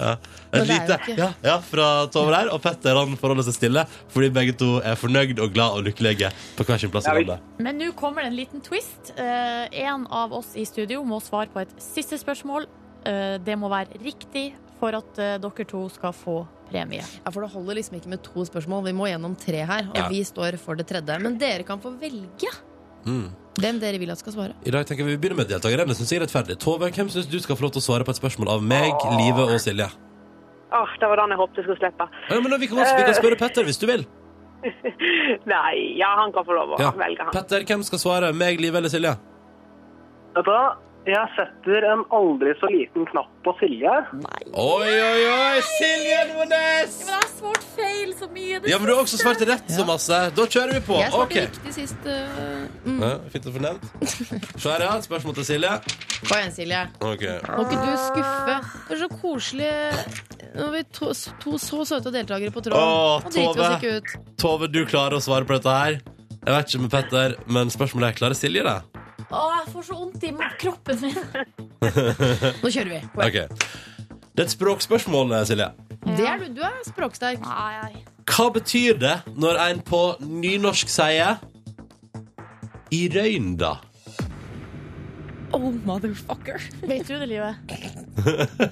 [SPEAKER 1] Ja. Et
[SPEAKER 3] Men det er
[SPEAKER 1] lite
[SPEAKER 3] jo ikke-
[SPEAKER 1] ja, ja, fra Tove der, og Petter han forholder seg stille fordi begge to er fornøyd og glad og lykkelige på hver sin plass. i
[SPEAKER 6] Ja, vi-
[SPEAKER 1] landet.
[SPEAKER 2] Men nå kommer det en liten twist. Eh, en av oss i studio må svare på et siste spørsmål. Eh, det må være riktig for at eh, dere to skal få premie.
[SPEAKER 3] Ja, For det holder liksom ikke med to spørsmål. Vi må gjennom tre her, og
[SPEAKER 1] Ja.
[SPEAKER 3] vi står for det tredje. Men dere kan få velge
[SPEAKER 1] Mm.
[SPEAKER 3] hvem dere vil at skal svare.
[SPEAKER 1] I dag tenker vi vi begynner med deltakerne. Det synes jeg er rettferdig. Tove, hvem syns du skal få lov til å svare på et spørsmål av meg, Live og Silje?
[SPEAKER 5] Åh, det var den jeg håpte jeg skulle slippe.
[SPEAKER 1] Ja, men da, vi, kan også, vi kan spørre Petter hvis du vil.
[SPEAKER 5] Nei, ja, han kan få lov å
[SPEAKER 1] Ja.
[SPEAKER 5] velge, han.
[SPEAKER 1] Petter, hvem skal svare? Meg, Live eller Silje?
[SPEAKER 6] Vet du hva? Jeg setter en aldri så liten knapp på Silje.
[SPEAKER 1] Oi, oi, oi! Silje Nordnes!
[SPEAKER 2] Men jeg har svart feil så mye.
[SPEAKER 1] Ja, men du har også svart rett så masse. Da kjører vi på.
[SPEAKER 3] Jeg svarte
[SPEAKER 1] Ok.
[SPEAKER 3] riktig sist. øh, mm.
[SPEAKER 1] Ja, fint å få nevnt. Så her, ja. Et spørsmål til Silje.
[SPEAKER 3] Kom igjen, Silje.
[SPEAKER 1] Ok.
[SPEAKER 3] Må ikke du skuffe? Det er så koselig når vi to, to så søte deltakere på tråden.
[SPEAKER 1] Åh,
[SPEAKER 3] Nå driter vi oss
[SPEAKER 1] Tove.
[SPEAKER 3] ikke ut.
[SPEAKER 1] Tove, du klarer å svare på dette her. Jeg vet ikke med Petter, men spørsmålet er klarer Silje det?
[SPEAKER 2] Å, jeg får så vondt i kroppen min.
[SPEAKER 3] Nå kjører vi. Kom igjen.
[SPEAKER 1] Ok. Det er et språkspørsmål, Silje.
[SPEAKER 3] Det er du. Du er språksterk.
[SPEAKER 2] Nei, nei.
[SPEAKER 1] Hva betyr det når en på nynorsk sier i røynda?
[SPEAKER 2] Oh, motherfucker. Vet du det, livet?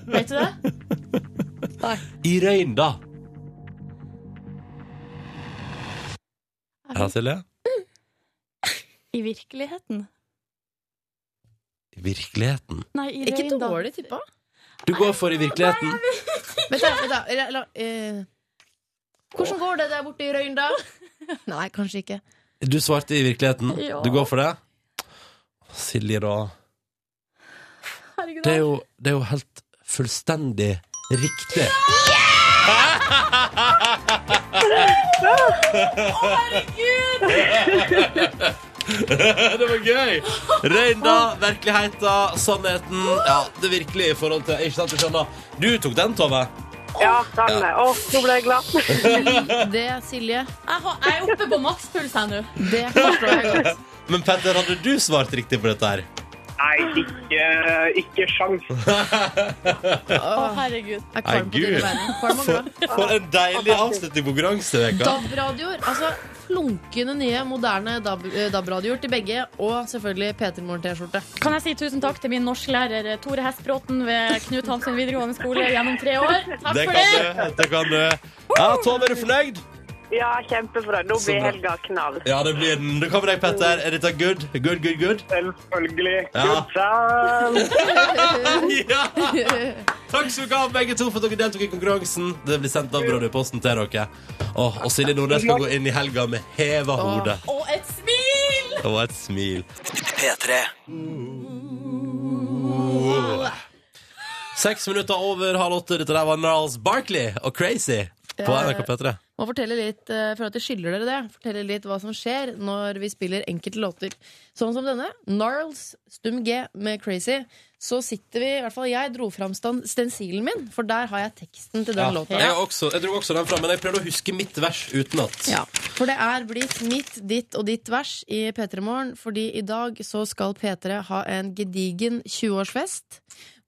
[SPEAKER 2] Vet du det?
[SPEAKER 1] I røynda. Ja, Silje?
[SPEAKER 2] I virkeligheten.
[SPEAKER 1] I virkeligheten.
[SPEAKER 2] Nei, i
[SPEAKER 3] Ikke
[SPEAKER 2] røynda.
[SPEAKER 3] dårlig tippa.
[SPEAKER 1] Du går for i virkeligheten.
[SPEAKER 3] Vent, da. Vent da. Eller, eller, eh, hvordan går det der borte i Røynda? Nei, kanskje ikke.
[SPEAKER 1] Du svarte i virkeligheten.
[SPEAKER 2] Ja.
[SPEAKER 1] Du går for det? Silje, da.
[SPEAKER 2] Herregud,
[SPEAKER 1] Det er jo, det er jo helt fullstendig riktig. det var gøy! Røynda, virkeligheten, sannheten. Ja, det virkelige i forhold til Ikke sant, du skjønner? Du tok den, Tove.
[SPEAKER 5] Ja, den er. Åh, nå ble jeg glad.
[SPEAKER 3] Det, Silje,
[SPEAKER 2] Jeg, har, jeg er oppe på makspuls her nå.
[SPEAKER 3] det forstår jeg godt.
[SPEAKER 1] Men Petter, hadde du svart riktig på dette her?
[SPEAKER 6] Nei, ikke, ikke sjans.
[SPEAKER 2] Å, herregud.
[SPEAKER 3] Jeg er
[SPEAKER 1] Nei,
[SPEAKER 3] kvalm på dine
[SPEAKER 1] Gud.
[SPEAKER 3] vegne. Kvalm og glad.
[SPEAKER 1] For en deilig avslutning på konkurranseveka.
[SPEAKER 3] DAB-radioer. Altså flunkende nye, moderne DAB- eh, DAB-radioer til begge. Og selvfølgelig P3 Morgen-T-skjorte.
[SPEAKER 2] Kan jeg si tusen takk til min norsklærer Tore Hestbråten ved Knut Hamsun videregående skole gjennom tre år. Takk
[SPEAKER 1] Det
[SPEAKER 2] for
[SPEAKER 1] kan
[SPEAKER 2] det!
[SPEAKER 1] du. Det kan du. Ja, Tove, er du fornøyd?
[SPEAKER 5] Ja, kjempebra. Nå
[SPEAKER 1] Så
[SPEAKER 7] Sånn
[SPEAKER 5] blir
[SPEAKER 1] bra.
[SPEAKER 5] helga knall.
[SPEAKER 1] Ja, det blir den. Du kommer deg, Petter. Er dette good? Good, good, good?
[SPEAKER 6] Selvfølgelig.
[SPEAKER 1] Ja.
[SPEAKER 6] Good times.
[SPEAKER 1] Ja! Takk skal dere ha, begge to, for at dere deltok i konkurransen. Det blir sendt av Radioposten til dere. Åh, og Silje Nordnes skal gå inn i helga med heva hode
[SPEAKER 2] Og et smil!
[SPEAKER 1] og et smil.
[SPEAKER 8] P3.
[SPEAKER 1] Seks minutter over halv åtte. Dette der var Narls Barkley og Crazy på
[SPEAKER 3] Ja,
[SPEAKER 1] NRK P3.
[SPEAKER 3] Må fortelle litt, eh, for at jeg skylder dere det, fortelle litt hva som skjer når vi spiller enkelte låter. Sånn som denne, Gnarls, Stum G med Crazy. Så sitter vi, i hvert fall jeg, dro fram stan- stensilen min, for der har jeg teksten til den
[SPEAKER 1] Ja.
[SPEAKER 3] låta.
[SPEAKER 1] Jeg, har også, jeg dro også den fram, men jeg prøvde å huske mitt vers utenat.
[SPEAKER 3] Ja, for det er blitt mitt, ditt og ditt vers i P3 Morgen, fordi i dag så skal P3 ha en gedigen 20-årsfest.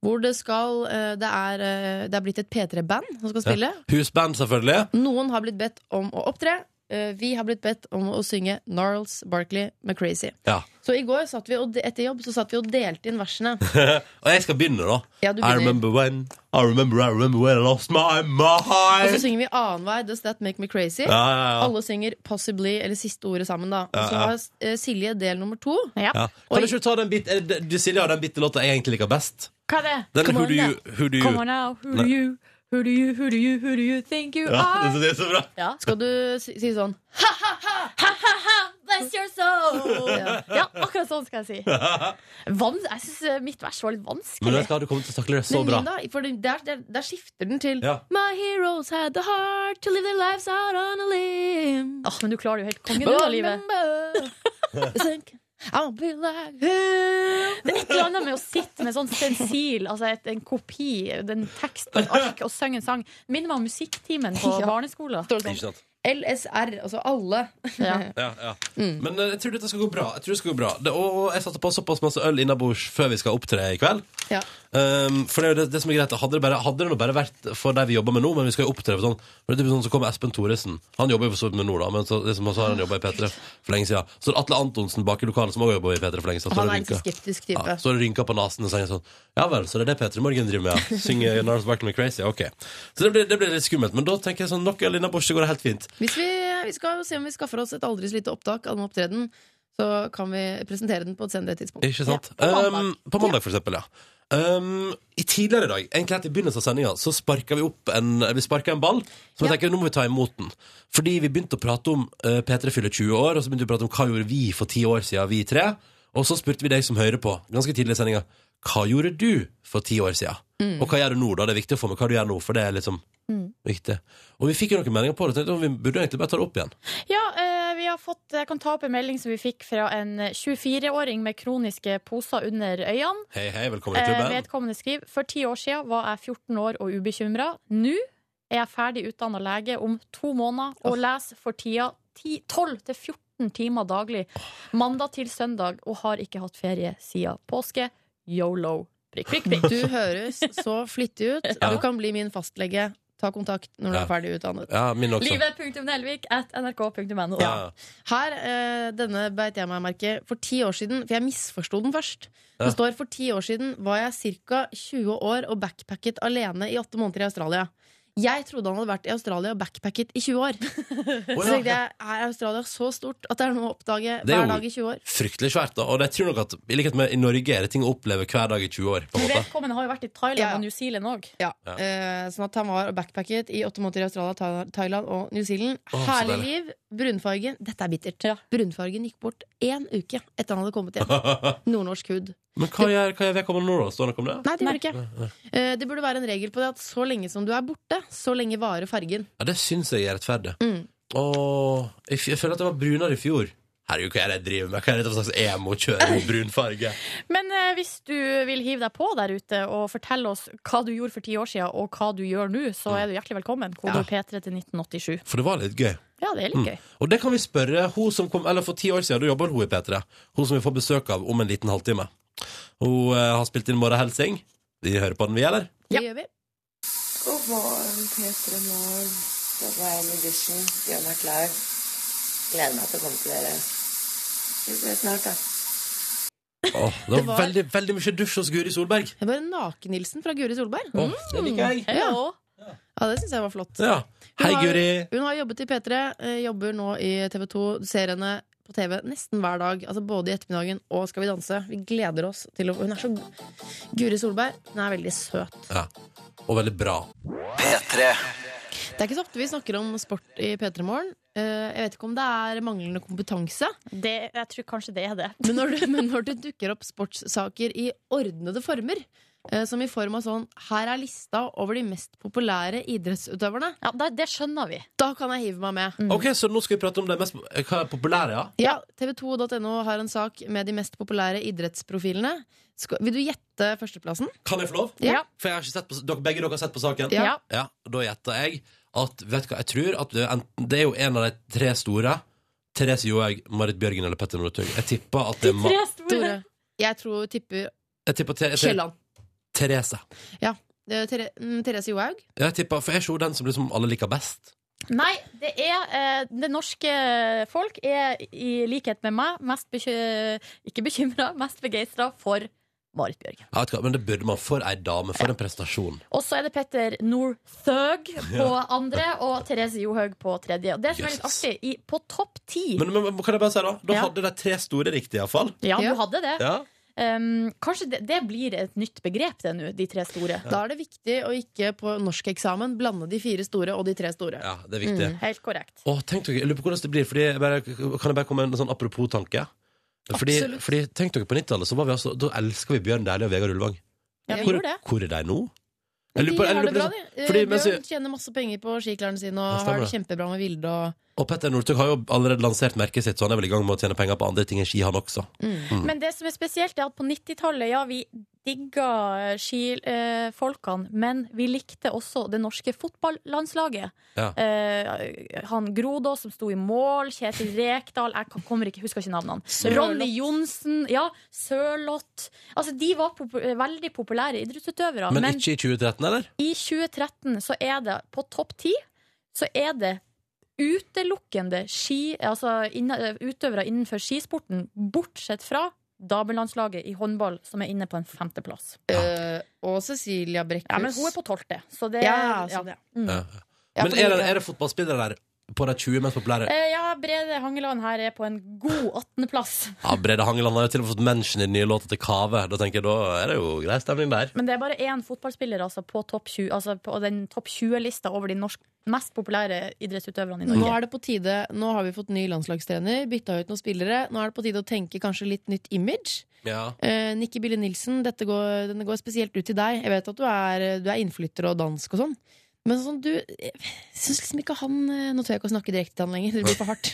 [SPEAKER 3] Hvor det skal eh, Det er, eh, det er blitt et P3-band som skal spille.
[SPEAKER 1] Husband, selvfølgelig.
[SPEAKER 3] Noen har blitt bedt om å opptre. Eh, Vi har blitt bedt om å synge Gnarls Barkley med Crazy.
[SPEAKER 1] Ja.
[SPEAKER 3] Så i går satt vi og, etter jobb så satt vi og delte inn versene.
[SPEAKER 1] Og jeg skal begynne, da.
[SPEAKER 3] Ja,
[SPEAKER 1] I
[SPEAKER 3] du begynner.
[SPEAKER 1] remember when I remember, I remember when I lost my
[SPEAKER 3] Og så
[SPEAKER 1] mind.
[SPEAKER 3] synger vi annenhver Does That Make Me Crazy?
[SPEAKER 1] Ja, ja, ja.
[SPEAKER 3] Alle synger Possibly, eller siste ordet sammen, da. Og så
[SPEAKER 1] Ja, ja.
[SPEAKER 3] har eh, Silje del nummer to.
[SPEAKER 2] Ja.
[SPEAKER 1] Ja. Kan ikke du ta den bit, er det- du Silje har den bitte låta jeg egentlig liker best?
[SPEAKER 2] Hva er det?
[SPEAKER 1] Den
[SPEAKER 2] Come
[SPEAKER 1] Who
[SPEAKER 2] on
[SPEAKER 1] Do You,
[SPEAKER 2] now.
[SPEAKER 1] who do
[SPEAKER 2] Come
[SPEAKER 1] you.
[SPEAKER 2] on now. Who
[SPEAKER 1] Nei.
[SPEAKER 2] do you, who do you, who do you, who do you think you
[SPEAKER 1] Ja,
[SPEAKER 2] Ah, are?
[SPEAKER 1] det, det er så bra.
[SPEAKER 2] Ja.
[SPEAKER 3] Skal du si, si sånn
[SPEAKER 2] Bless your soul! Ja, akkurat sånn skal jeg si. Vans jeg syns mitt vers var litt
[SPEAKER 1] Men
[SPEAKER 2] vanskelig.
[SPEAKER 1] vet du hva, du kommer til å takle det så
[SPEAKER 3] Men
[SPEAKER 1] bra.
[SPEAKER 3] min da, for den- der, der, der skifter den til
[SPEAKER 1] Ja.
[SPEAKER 3] My heroes had the heart to live their lives out on a limb.
[SPEAKER 2] Åh, men du klarer det jo helt kongen, du, da, livet.
[SPEAKER 3] Remember, think I'll be like him.
[SPEAKER 2] Det er et eller annet med å sitte med sånn stensil, altså et, en kopi, en tekst på et ark, og synge en sang. Minner meg om musikktimen på
[SPEAKER 3] Ja.
[SPEAKER 2] barneskolen.
[SPEAKER 3] Står det
[SPEAKER 1] Ikke
[SPEAKER 3] sånn.
[SPEAKER 1] sant?
[SPEAKER 3] LSR, altså alle.
[SPEAKER 2] Ja.
[SPEAKER 1] Ja, ja.
[SPEAKER 3] Mm.
[SPEAKER 1] Men eh, jeg tror dette skal gå bra. Jeg tror det skal gå bra det, og, og jeg satte på såpass masse øl innabords før vi skal opptre i kveld.
[SPEAKER 3] Ja.
[SPEAKER 1] Um, for det er jo det, det som er greit Hadde det, bare, hadde det nå bare vært for de vi jobber med nå, men vi skal jo opptre for sånn for det er typ sånn Så kommer Espen Thoresen. Han jobber jo for så vidt med nå, da, men så, liksom, så har han jobba i P3 for lenge siden. Så er det Atle Antonsen bak i lokalet som òg jobber i P3 for lenge siden. Så
[SPEAKER 3] Han
[SPEAKER 1] har
[SPEAKER 3] er
[SPEAKER 1] det
[SPEAKER 3] en
[SPEAKER 1] rynka.
[SPEAKER 3] skeptisk type.
[SPEAKER 1] Ja, så har det rynka på nesen og sier sånn Ja vel, så det er det P3 Morgen driver med, ja. Synger Nars Barkley Crazy. Ok. Så det blir, det blir litt skummelt. Men da tenker jeg sånn Nok øl innabords, så går det helt fint.
[SPEAKER 3] Hvis vi, vi skal se om vi skaffer oss et aldri så lite opptak av den opptredenen, så kan vi presentere den på et senere tidspunkt.
[SPEAKER 1] Ikke sant?
[SPEAKER 3] Ja, på mandag.
[SPEAKER 1] um, på mandag, for eksempel, ja. Um, I tidligere i dag, egentlig helt i begynnelsen av sendinga, så sparka vi opp en, vi sparket en ball. Så jeg
[SPEAKER 3] Ja.
[SPEAKER 1] tenker, nå må vi ta imot den. Fordi vi begynte å prate om eh, P3 fyller 20 år, og så begynte vi å prate om hva gjorde vi for ti år siden, vi tre. Og så spurte vi deg som hører på, ganske tidlig i sendinga, hva gjorde du for ti år siden? Og hva gjør du nå, da? Det er viktig å få med hva du gjør nå, for det er liksom viktig. Og vi fikk jo noen meldinger på det, tenkte jeg, vi burde egentlig bare ta det opp igjen.
[SPEAKER 2] Ja, eh, vi har fått, jeg kan ta opp en melding som vi fikk fra en 24-åring med kroniske poser under øynene.
[SPEAKER 1] Hei, hei, velkommen i
[SPEAKER 2] Eh,
[SPEAKER 1] klubben.
[SPEAKER 2] vedkommende skriver For ti år siden var jeg 14 år og ubekymra. Nå er jeg ferdig utdanna lege om to måneder og leser for tida 10 12-14 timer daglig mandag til søndag og har ikke hatt ferie siden påske. Yolo. Prikk, prikk, prikk.
[SPEAKER 3] Du høres så flittig ut.
[SPEAKER 1] Ja.
[SPEAKER 3] Du kan bli min fastlege. Ta kontakt når du
[SPEAKER 1] Ja.
[SPEAKER 3] er ferdig utdannet.
[SPEAKER 1] Ja, min også.
[SPEAKER 2] Livet.nelvik at nrk.no.
[SPEAKER 1] Ja.
[SPEAKER 3] Her, eh, denne beit jeg meg merke for ti år siden, for jeg misforsto den først.
[SPEAKER 1] Ja.
[SPEAKER 3] Det står for ti år siden var jeg ca. 20 år og backpacket alene i åtte måneder i Australia. Jeg trodde han hadde vært i Australia og backpacket i 20 år.
[SPEAKER 1] Å,
[SPEAKER 3] Så
[SPEAKER 1] ja.
[SPEAKER 3] tenkte jeg, er Australia så stort at det er noe å oppdage
[SPEAKER 1] Det er jo-
[SPEAKER 3] hver dag i 20 år?
[SPEAKER 1] fryktelig svært. da Og jeg tror nok at i likhet med i Norge er det ting å oppleve hver dag i 20 år. på en måte
[SPEAKER 2] Vedkommende har jo vært i Thailand
[SPEAKER 3] Ja.
[SPEAKER 2] og New Zealand òg.
[SPEAKER 3] Ja,
[SPEAKER 1] Ja.
[SPEAKER 3] eh, Sånn at han var og backpacket i åtte måneder i Australia, Tha- Thailand og New Zealand.
[SPEAKER 1] Å, så
[SPEAKER 3] Herlig
[SPEAKER 1] deilig.
[SPEAKER 3] liv. Brunfargen Dette er bittert. Brunfargen gikk bort én uke etter han hadde kommet hjem. Nordnorsk hud.
[SPEAKER 1] Men hva gjør, hva gjør vedkommende nå, da? Står det noe om det?
[SPEAKER 3] Nei, det gjorde ikke. Eh, det burde være en regel på det at så lenge som du er borte, så lenge varer fargen.
[SPEAKER 1] Ja, Det syns jeg er rettferdig.
[SPEAKER 3] Mm.
[SPEAKER 1] Åh, jeg, f- jeg føler at jeg var brunere i fjor. Herregud, hva er det jeg driver med? Hva er det for slags emo-kjøring med brun farge?
[SPEAKER 2] Men eh, hvis du vil hive deg på der ute og fortelle oss hva du gjorde for ti år siden, og hva du gjør nå,
[SPEAKER 1] Mm.
[SPEAKER 2] så er du hjertelig velkommen. Kodord P3 til 1987.
[SPEAKER 1] For det var litt gøy. Mm.
[SPEAKER 2] Ja, det er litt gøy.
[SPEAKER 1] Og det kan vi spørre hun som kom Eller for ti år siden, da jobber hun i P3. Hun som vi får besøk av om en liten halvtime. Hun eh, har spilt inn Mora Helsing. Vi hører på den, vi, eller?
[SPEAKER 3] Det gjør vi.
[SPEAKER 8] God morgen, P3 Morgen. Dette er Ellen Edition. Gjør meg klar. Gleder meg til å komme til dere. Vi ses snart, da.
[SPEAKER 1] Åh, det, var
[SPEAKER 3] Det var-
[SPEAKER 1] veldig, veldig mye dusj hos Guri Solberg.
[SPEAKER 3] Det var en naken-Nilsen fra Guri Solberg.
[SPEAKER 1] Åh, det liker jeg.
[SPEAKER 3] Ja. Ja, det syns jeg var flott.
[SPEAKER 1] Ja. Hei,
[SPEAKER 3] Mm. Hun har-
[SPEAKER 1] Guri.
[SPEAKER 3] Hun har jobbet i P3, eh, jobber nå i TV2. Du ser henne på TV nesten hver dag, altså både i ettermiddagen og Skal vi danse. Vi gleder oss til å Hun er så god. Guri Solberg, hun er veldig søt.
[SPEAKER 1] Ja. Og veldig bra.
[SPEAKER 3] Det er ikke så ofte vi snakker om sport i P3 Morgen. Eh, Jeg vet ikke om det er manglende kompetanse,
[SPEAKER 2] Det, jeg tror kanskje det er det.
[SPEAKER 3] men når, det, men når det dukker opp sportssaker i ordnede former, eh, som i form av sånn Her er lista over de mest populære idrettsutøverne.
[SPEAKER 2] Ja, da, det skjønner vi.
[SPEAKER 3] Da kan jeg hive meg med.
[SPEAKER 1] Ok, Så nå skal vi prate om det mest eh, hva er populære, ja?
[SPEAKER 3] Ja, TV2.no har en sak med de mest populære idrettsprofilene. Skal, vil du gjette førsteplassen?
[SPEAKER 1] Kan jeg få lov?
[SPEAKER 3] Ja.
[SPEAKER 1] For jeg har ikke sett på, dere, begge dere har sett på saken?
[SPEAKER 3] Ja.
[SPEAKER 1] Ja, Da gjetter jeg at Vet du hva, jeg tror at det, er enten, det er jo en av de tre store. Therese Johaug, Marit Bjørgen eller Petter Northug. Jeg tipper at det er Ma
[SPEAKER 2] Tre store.
[SPEAKER 3] Tore? Jeg tror tipper
[SPEAKER 1] Jeg tipper Ther- Ther-
[SPEAKER 3] Kielland.
[SPEAKER 1] Therese.
[SPEAKER 3] Eh, Ther- mm, Therese Johaug.
[SPEAKER 1] Jeg tipper, For jeg ser jo den som liksom alle liker best.
[SPEAKER 2] Nei, det er eh, Det norske folk er i likhet med meg mest beky ikke bekymra, mest begeistra for Marit Bjørgen.
[SPEAKER 1] Jeg vet ikke, men det burde man for ei dame. For en prestasjon.
[SPEAKER 2] Og så er det Petter Northug på andre og Therese Johaug på tredje. Og det som er litt
[SPEAKER 1] Jesus.
[SPEAKER 2] artig, i, på topp ti
[SPEAKER 1] Men, men men kan jeg bare si da Da
[SPEAKER 2] Ja.
[SPEAKER 1] hadde de tre store riktig, iallfall.
[SPEAKER 2] Ja, du
[SPEAKER 3] Ja.
[SPEAKER 2] hadde det.
[SPEAKER 1] Ja.
[SPEAKER 2] Um, kanskje det, det blir et nytt begrep, det nå, de tre store.
[SPEAKER 3] Da er det viktig å ikke på norskeksamen blande de fire store og de tre store.
[SPEAKER 1] ja, det er viktig.
[SPEAKER 2] Helt korrekt.
[SPEAKER 1] Åh, tenk dere, jeg lurer på hvordan det blir fordi jeg bare, Kan jeg bare komme med en sånn apropos-tanke? Fordi,
[SPEAKER 3] Absolutt.
[SPEAKER 1] fordi tenk dere på 90-tallet så var vi altså, Da elska vi Bjørn Dæhlie og Vegard Ulvang
[SPEAKER 2] Ja, vi
[SPEAKER 1] hvor,
[SPEAKER 2] gjorde det.
[SPEAKER 1] hvor er de nå? Jeg
[SPEAKER 3] De
[SPEAKER 1] lurer på- jeg
[SPEAKER 3] har
[SPEAKER 1] lurer
[SPEAKER 3] det bra,
[SPEAKER 1] på- liksom-
[SPEAKER 3] de. Eh,
[SPEAKER 1] fordi mens vi-
[SPEAKER 3] Bjørn tjener masse penger på skiklærne sine
[SPEAKER 1] Ja,
[SPEAKER 3] og
[SPEAKER 1] stemmer
[SPEAKER 3] har det kjempebra med Vilde og
[SPEAKER 1] Og Petter Northug har jo allerede lansert merket sitt Så han er vel i gang med å tjene penger på andre ting enn ski han også Mm.
[SPEAKER 2] Men det som er spesielt, er at på 90-tallet, ja, vi digga skifolkene, men vi likte også det norske fotballandslaget.
[SPEAKER 1] Ja.
[SPEAKER 2] Eh, han Grodås som sto i mål, Kjetil Rekdal Jeg kan- kommer ikke, husker ikke navnene.
[SPEAKER 1] Sørloth.
[SPEAKER 2] Ronny Johnsen, ja, Sørloth. Altså, de var popu- veldig populære idrettsutøvere.
[SPEAKER 1] Men,
[SPEAKER 2] men
[SPEAKER 1] ikke i 2013, eller?
[SPEAKER 2] I 2013 så er det på topp 10 så er det utelukkende ski, altså inna- utøvere innenfor skisporten, bortsett fra damelandslaget i håndball, som er inne på en femteplass.
[SPEAKER 3] Eh, og Cecilia Brekkhus.
[SPEAKER 2] Ja, men hun er på tolvte, så det
[SPEAKER 3] Ja, så det.
[SPEAKER 2] Mm.
[SPEAKER 1] Ja.
[SPEAKER 3] Ja,
[SPEAKER 1] Men
[SPEAKER 3] fordi-
[SPEAKER 1] er det, er det fotballspillere der på de 20 mest populære?
[SPEAKER 2] Eh, ja, Brede Hangeland her er på en god åttendeplass.
[SPEAKER 1] Ja, Brede Hangeland har jo til og med fått mention i den nye låta til Kave Da tenker jeg, da er det jo grei stemning der
[SPEAKER 2] Men det er bare én fotballspiller altså, på, topp 20, altså, på den topp 20-lista over de norsk, mest populære idrettsutøverne i
[SPEAKER 3] Nå
[SPEAKER 2] Norge.
[SPEAKER 3] er det på tide Nå har vi fått ny landslagstrener, bytta ut noen spillere. Nå er det på tide å tenke kanskje litt nytt image.
[SPEAKER 1] Ja,
[SPEAKER 3] Eh, Nikki Bille Nilsen, dette går, denne går spesielt ut til deg. Jeg vet at du er, du er innflytter og dansk og sånn. Men sånn, du jeg syns liksom ikke han eh, Nå tør jeg ikke å snakke direkte til han lenger, det blir for hardt.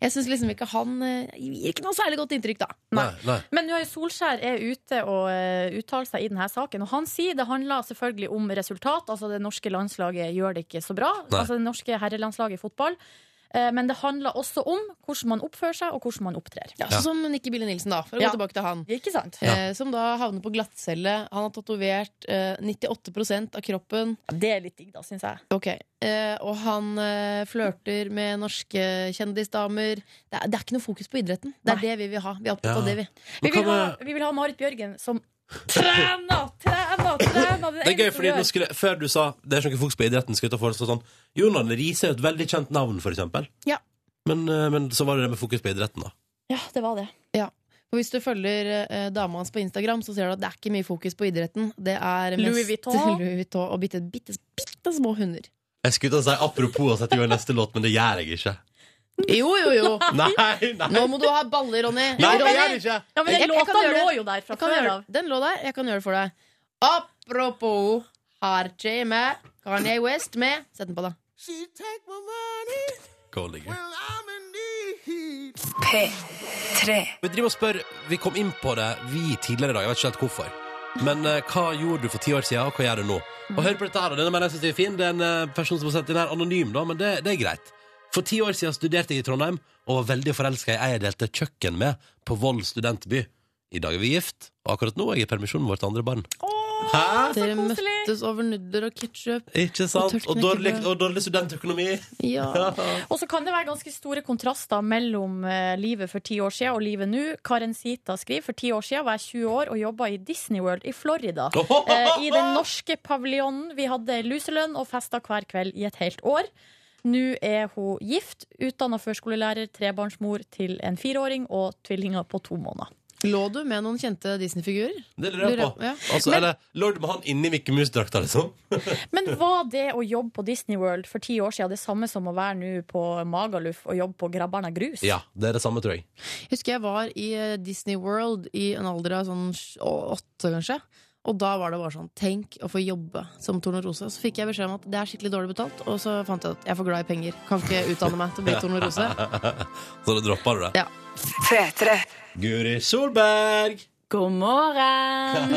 [SPEAKER 3] jeg syns liksom ikke han eh, gir ikke noe særlig godt inntrykk, da.
[SPEAKER 1] nei, nei
[SPEAKER 2] Men nå er jo Solskjær er ute og eh, uttaler seg i denne saken, og han sier det handler selvfølgelig om resultat. Altså Det norske landslaget gjør det ikke så bra.
[SPEAKER 1] Nei.
[SPEAKER 2] Altså Det norske herrelandslaget i fotball. Eh, Men det handler også om hvordan man oppfører seg, og hvordan man opptrer.
[SPEAKER 3] Ja, sånn som Nikki Bille Nilsen, da, for å
[SPEAKER 2] Ja.
[SPEAKER 3] gå tilbake til han.
[SPEAKER 2] Ikke sant?
[SPEAKER 3] Eh, som da havner på glattcelle. Han har tatovert eh, 98 av kroppen.
[SPEAKER 2] Det er litt digg, da, syns jeg.
[SPEAKER 3] Ok, eh, Og han eh, flørter med norske kjendisdamer. Det er, det er ikke noe fokus på idretten. Det er
[SPEAKER 2] Nei.
[SPEAKER 3] det vi vil ha. Vi er opptatt
[SPEAKER 1] Ja.
[SPEAKER 3] av det, vi.
[SPEAKER 2] Vi
[SPEAKER 1] Men
[SPEAKER 2] vil,
[SPEAKER 1] hva
[SPEAKER 2] ha,
[SPEAKER 1] med-
[SPEAKER 2] vi vil ha Marit Bjørgen som trener, trener, trener!
[SPEAKER 1] Det er gøy, fordi nå skulle, Før du sa det er ikke noe fokus på idretten, skulle jeg ta foreslå sånn Jonan Riise er jo et veldig kjent navn, for eksempel.
[SPEAKER 3] Ja.
[SPEAKER 1] Men, eh, men så var det det med fokus på idretten, da.
[SPEAKER 2] Ja, det var det.
[SPEAKER 3] For hvis du følger eh, dama hans på Instagram, så ser du at det er ikke mye fokus på idretten. Det er mest
[SPEAKER 2] Louis Vuitton.
[SPEAKER 3] Louis Vuitton og bitte, bitte, bitte små hunder.
[SPEAKER 1] Jeg skulle til å si apropos å sette i gang neste låt, men det gjør jeg ikke.
[SPEAKER 3] Jo, jo, jo!
[SPEAKER 1] Nei, nei,
[SPEAKER 3] Nå må du ha baller, Ronny.
[SPEAKER 1] nei det
[SPEAKER 3] Ronny,
[SPEAKER 1] gjør jeg ikke!
[SPEAKER 2] Ja, men den
[SPEAKER 3] Jeg- jeg kan
[SPEAKER 2] låta
[SPEAKER 3] gjøre det.
[SPEAKER 2] lå jo der fra
[SPEAKER 3] jeg kan
[SPEAKER 2] før
[SPEAKER 3] gjøre,
[SPEAKER 2] av.
[SPEAKER 3] den lå der. Jeg kan gjøre det for deg. Apropos Harchi med Kanye West med Sett den på, da.
[SPEAKER 1] Goldig gøy.
[SPEAKER 8] P3
[SPEAKER 1] Vi driver og spør Vi kom inn på det vi tidligere i dag, jeg vet ikke helt hvorfor. Men eh, hva gjorde du for ti år siden, og hva gjør du nå? Og hør på dette her, da. Denne mener jeg synes er fin. Det er en eh, person som har sendt inn her, anonym, da, men det, det er greit. For ti år siden studerte jeg i Trondheim og var veldig forelska i ei jeg delte kjøkken med på Voll studentby. I dag er vi gift, og akkurat nå er jeg i permisjon med vårt andre barn. Hæ?
[SPEAKER 3] Dere
[SPEAKER 2] koselig.
[SPEAKER 3] møttes over nudler og ketsjup.
[SPEAKER 1] Ikke sant?
[SPEAKER 3] tørt
[SPEAKER 1] Og dårlig,
[SPEAKER 3] knekkebrød.
[SPEAKER 1] og dårlig studentøkonomi.
[SPEAKER 3] Ja.
[SPEAKER 2] Og så kan det være ganske store kontraster mellom eh, livet for ti år siden og livet nå. Karen Sita skriver for ti år siden var jeg 20 år og jobba i Disney World i Florida. Eh, I den norske paviljonen. Vi hadde luselønn og festa hver kveld i et helt år. Nå er hun gift, utdanna førskolelærer, trebarnsmor til en fireåring og tvillinger på to måneder.
[SPEAKER 3] Lå du med noen kjente Disney-figurer?
[SPEAKER 1] Det lurer jeg på.
[SPEAKER 3] Ja.
[SPEAKER 1] Altså, eller, lå du med han inni Mikke Mus-drakta, liksom?
[SPEAKER 2] Men var det å jobbe på Disney World for ti år siden det samme som å være nå på Magaluf og jobbe på Grabbarna Grus?
[SPEAKER 1] Ja, det er det samme, tror jeg.
[SPEAKER 3] Husker jeg var i eh, Disney World i en alder av sånn sj- å- åtte, kanskje. Og da var det bare sånn Tenk å få jobbe som tornerose. Så fikk jeg beskjed om at det er skikkelig dårlig betalt, og så fant jeg at jeg er for glad i penger. Kan ikke utdanne meg til å bli tornerose.
[SPEAKER 1] Så da droppa du det?
[SPEAKER 3] Ja.
[SPEAKER 1] Guri Solberg!
[SPEAKER 9] God morgen!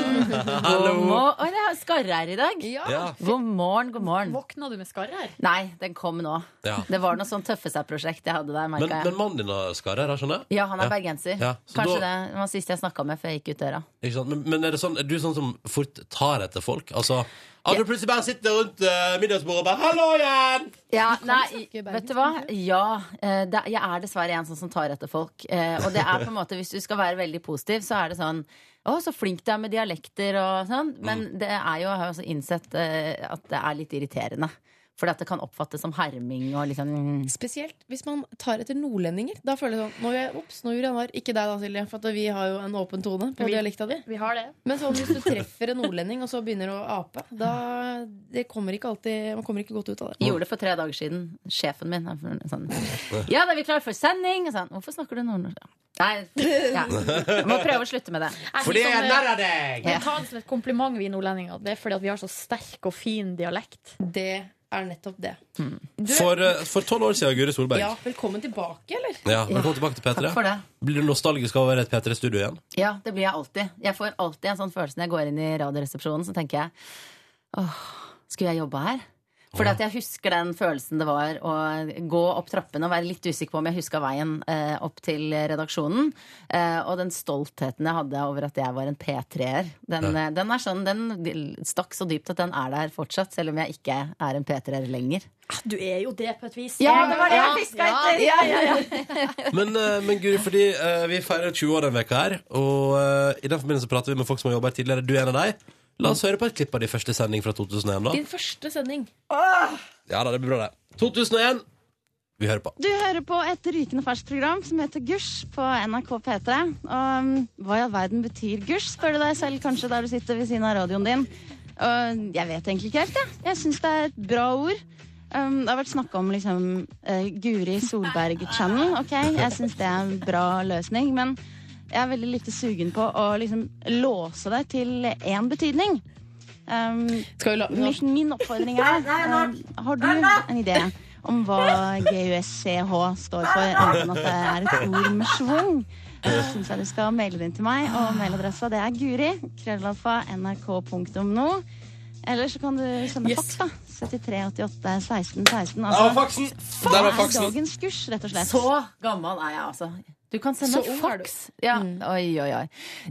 [SPEAKER 1] Hallo.
[SPEAKER 9] God mor Oi, det er skarre her i dag.
[SPEAKER 1] Ja.
[SPEAKER 9] God morgen, god morgen.
[SPEAKER 2] Våkna du med skarre her?
[SPEAKER 9] Nei, den kom nå.
[SPEAKER 1] Ja.
[SPEAKER 9] Det var noe sånn tøffe seg-prosjekt jeg hadde der.
[SPEAKER 1] Men,
[SPEAKER 9] merket
[SPEAKER 1] men
[SPEAKER 9] jeg.
[SPEAKER 1] mannen din har skarre her, skjønner jeg?
[SPEAKER 9] Ja, han er
[SPEAKER 1] Ja.
[SPEAKER 9] bergenser.
[SPEAKER 1] Ja, så
[SPEAKER 9] Kanskje
[SPEAKER 1] da-
[SPEAKER 9] det var siste jeg snakka med før jeg gikk ut døra.
[SPEAKER 1] Ikke sant? Men, men er, det sånn, er du sånn som fort tar etter folk? Altså, at du plutselig bare sitter rundt eh, middagsbordet og bare 'Hallo igjen!'
[SPEAKER 9] Ja, nei,
[SPEAKER 3] snakke bergensk,
[SPEAKER 9] vet du hva? Ja, eh, det, jeg er dessverre en sånn som tar etter folk. Eh, Og det er på en måte, hvis du skal være veldig positiv, så er det sånn å, så flink du er med dialekter og sånn. Men
[SPEAKER 1] Mm.
[SPEAKER 9] det er jo, jeg har jo også innsett eh, at det er litt irriterende. Fordi at det kan oppfattes som herming og liksom mm.
[SPEAKER 3] Spesielt hvis man tar etter nordlendinger. Da føler jeg sånn Nå gjør jeg Ops, nå gjorde jeg narr. Ikke deg da, Silje, for at vi har jo en åpen tone på
[SPEAKER 2] Vi-
[SPEAKER 3] dialekta di.
[SPEAKER 2] Vi har det.
[SPEAKER 3] Men sånn hvis du treffer en nordlending, og så begynner å ape, da det kommer ikke alltid Man kommer ikke godt ut av det.
[SPEAKER 9] Gjorde det for tre dager siden. Sjefen min. er Sånn. Ja, da er vi klare for sending! Og Sånn, Hvorfor snakker du nordnorsk? Nei, ja. Jeg må prøve å slutte med det.
[SPEAKER 2] Jeg sier sånn, eh,
[SPEAKER 1] av deg!
[SPEAKER 2] vi tar det som et kompliment, vi nordlendinger. Det er fordi at vi har så sterk og fin dialekt.
[SPEAKER 3] Det er nettopp det.
[SPEAKER 1] For eh, for tolv år siden, Guri Solberg.
[SPEAKER 3] Ja, velkommen tilbake, eller?
[SPEAKER 1] Ja, velkommen tilbake til
[SPEAKER 9] Takk
[SPEAKER 1] P3.
[SPEAKER 9] for det.
[SPEAKER 1] Blir du nostalgisk av å være i et P3-studio igjen?
[SPEAKER 9] Ja, det blir jeg alltid. Jeg får alltid en sånn følelse når jeg går inn i Radioresepsjonen, så tenker jeg åh, skulle jeg jobba her? Fordi at jeg husker den følelsen det var å gå opp trappene og være litt usikker på om jeg huska veien eh, opp til redaksjonen. Eh, og den stoltheten jeg hadde over at jeg var en P3-er, den, eh, den er sånn, den stakk så dypt at den er der fortsatt, selv om jeg ikke er en P3-er lenger.
[SPEAKER 2] Du er jo det, på et vis. Ja,
[SPEAKER 9] Ja, ja, ja.
[SPEAKER 1] Men, eh, men Guri, fordi eh, vi feirer 20 år denne veka her, og eh, i den forbindelse prater vi med folk som har jobba her tidligere. Du er en av deg. La oss høre på et klipp av din første sending fra 2001, da.
[SPEAKER 3] Din første sending.
[SPEAKER 1] Ja da, det blir bra, det. 2001! Vi hører på.
[SPEAKER 10] Du hører på et rykende ferskt program som heter Gusj på NRK P3. Og um, hva i all verden betyr gusj, spør du deg selv kanskje der du sitter ved siden av radioen din. Og jeg vet egentlig ikke helt, jeg. Jeg syns det er et bra ord. Um, det har vært snakka om liksom eh, Guri Solberg-channel. Ok, jeg syns det er en bra løsning. Men jeg er veldig lite sugen på å liksom låse deg til én betydning. Um,
[SPEAKER 3] Skal vi la
[SPEAKER 10] Min, min oppfordring er eh, Har du en idé om hva GUSCH står for, annet enn at det er et ord med schwung? Da syns jeg du skal maile den til meg. Og mailadressa det er guri. Krøllalfa nrk.no. Eller så kan du sende
[SPEAKER 2] Yes.
[SPEAKER 10] faks, da. 7388 16 16. Altså,
[SPEAKER 1] faksen! Der var
[SPEAKER 10] det er
[SPEAKER 1] faksen!
[SPEAKER 10] dagens kurs, rett og slett.
[SPEAKER 9] Så gammel er jeg, altså. Du kan sende
[SPEAKER 3] Så ung er du.
[SPEAKER 9] fax. Ja. Oi, oi, oi.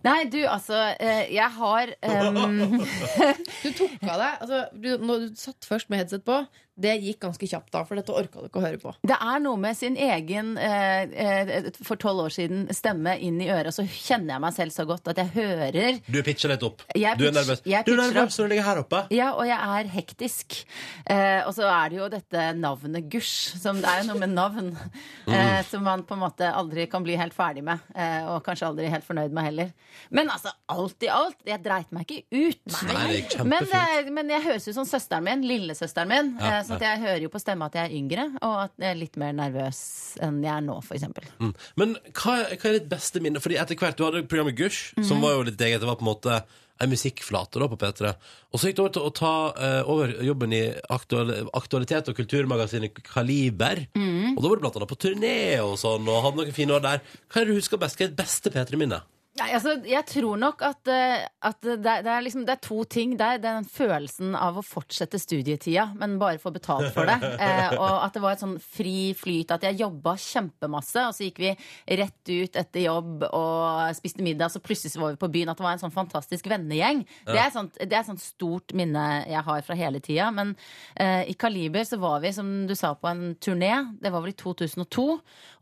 [SPEAKER 9] Nei, du, altså. eh, Jeg har em,
[SPEAKER 3] Du tok av deg altså, du, når du satt først med headset på. Det gikk ganske kjapt da, for dette orka du ikke å høre på.
[SPEAKER 9] Det er noe med sin egen eh, eh, for tolv år siden stemme inn i øret, og så kjenner jeg meg selv så godt at jeg hører.
[SPEAKER 1] Du pitcher litt opp.
[SPEAKER 9] Jeg
[SPEAKER 1] du er
[SPEAKER 9] pitch-
[SPEAKER 1] nervøs.
[SPEAKER 9] jeg
[SPEAKER 1] Du er
[SPEAKER 9] pitcher opp.
[SPEAKER 1] nervøs når du ligger her oppe.
[SPEAKER 9] Ja, og jeg er hektisk. Eh, og så er det jo dette navnet Gusj, som det er jo noe med navn
[SPEAKER 1] Mm.
[SPEAKER 9] eh, som man på en måte aldri kan bli helt ferdig med. Eh, og kanskje aldri helt fornøyd med heller. Men altså, alt i alt, jeg dreit meg ikke ut.
[SPEAKER 1] Nei, det gikk
[SPEAKER 9] Men,
[SPEAKER 1] kjempefint.
[SPEAKER 9] eh, men jeg høres ut som søsteren min, lillesøsteren min.
[SPEAKER 1] Ja,
[SPEAKER 9] eh, så at jeg hører jo på stemma at jeg er yngre, og at jeg er litt mer nervøs enn jeg er nå, for eksempel.
[SPEAKER 1] Mm. Men hva, er- hva er ditt beste minne? Fordi etter hvert, Du hadde programmet Gush,
[SPEAKER 9] Mhm.
[SPEAKER 1] som var jo litt eget. Det var på en måte en musikkflate da på P3. Og så gikk det over til å ta eh, over jobben i aktual, aktualitet- og kulturmagasinet Kaliber.
[SPEAKER 9] Mhm.
[SPEAKER 1] Og da var du blant annet på turné og sånn, og hadde noen fine år der. Hva er det du husker best? Hva er ditt beste P3-minne?
[SPEAKER 9] Nei, altså, jeg tror nok at, eh, at det, det, er liksom, det er to ting. Det er den følelsen av å fortsette studietida, men bare få betalt for det. Eh, og at det var et sånn fri flyt. At jeg jobba kjempemasse, og så gikk vi rett ut etter jobb og spiste middag, så plutselig så var vi på byen. At det var en sånn fantastisk vennegjeng. Det er sånt- det er et sånt stort minne jeg har fra hele tida. Men eh, i Kaliber så var vi, som du sa, på en turné. Det var vel i 2002.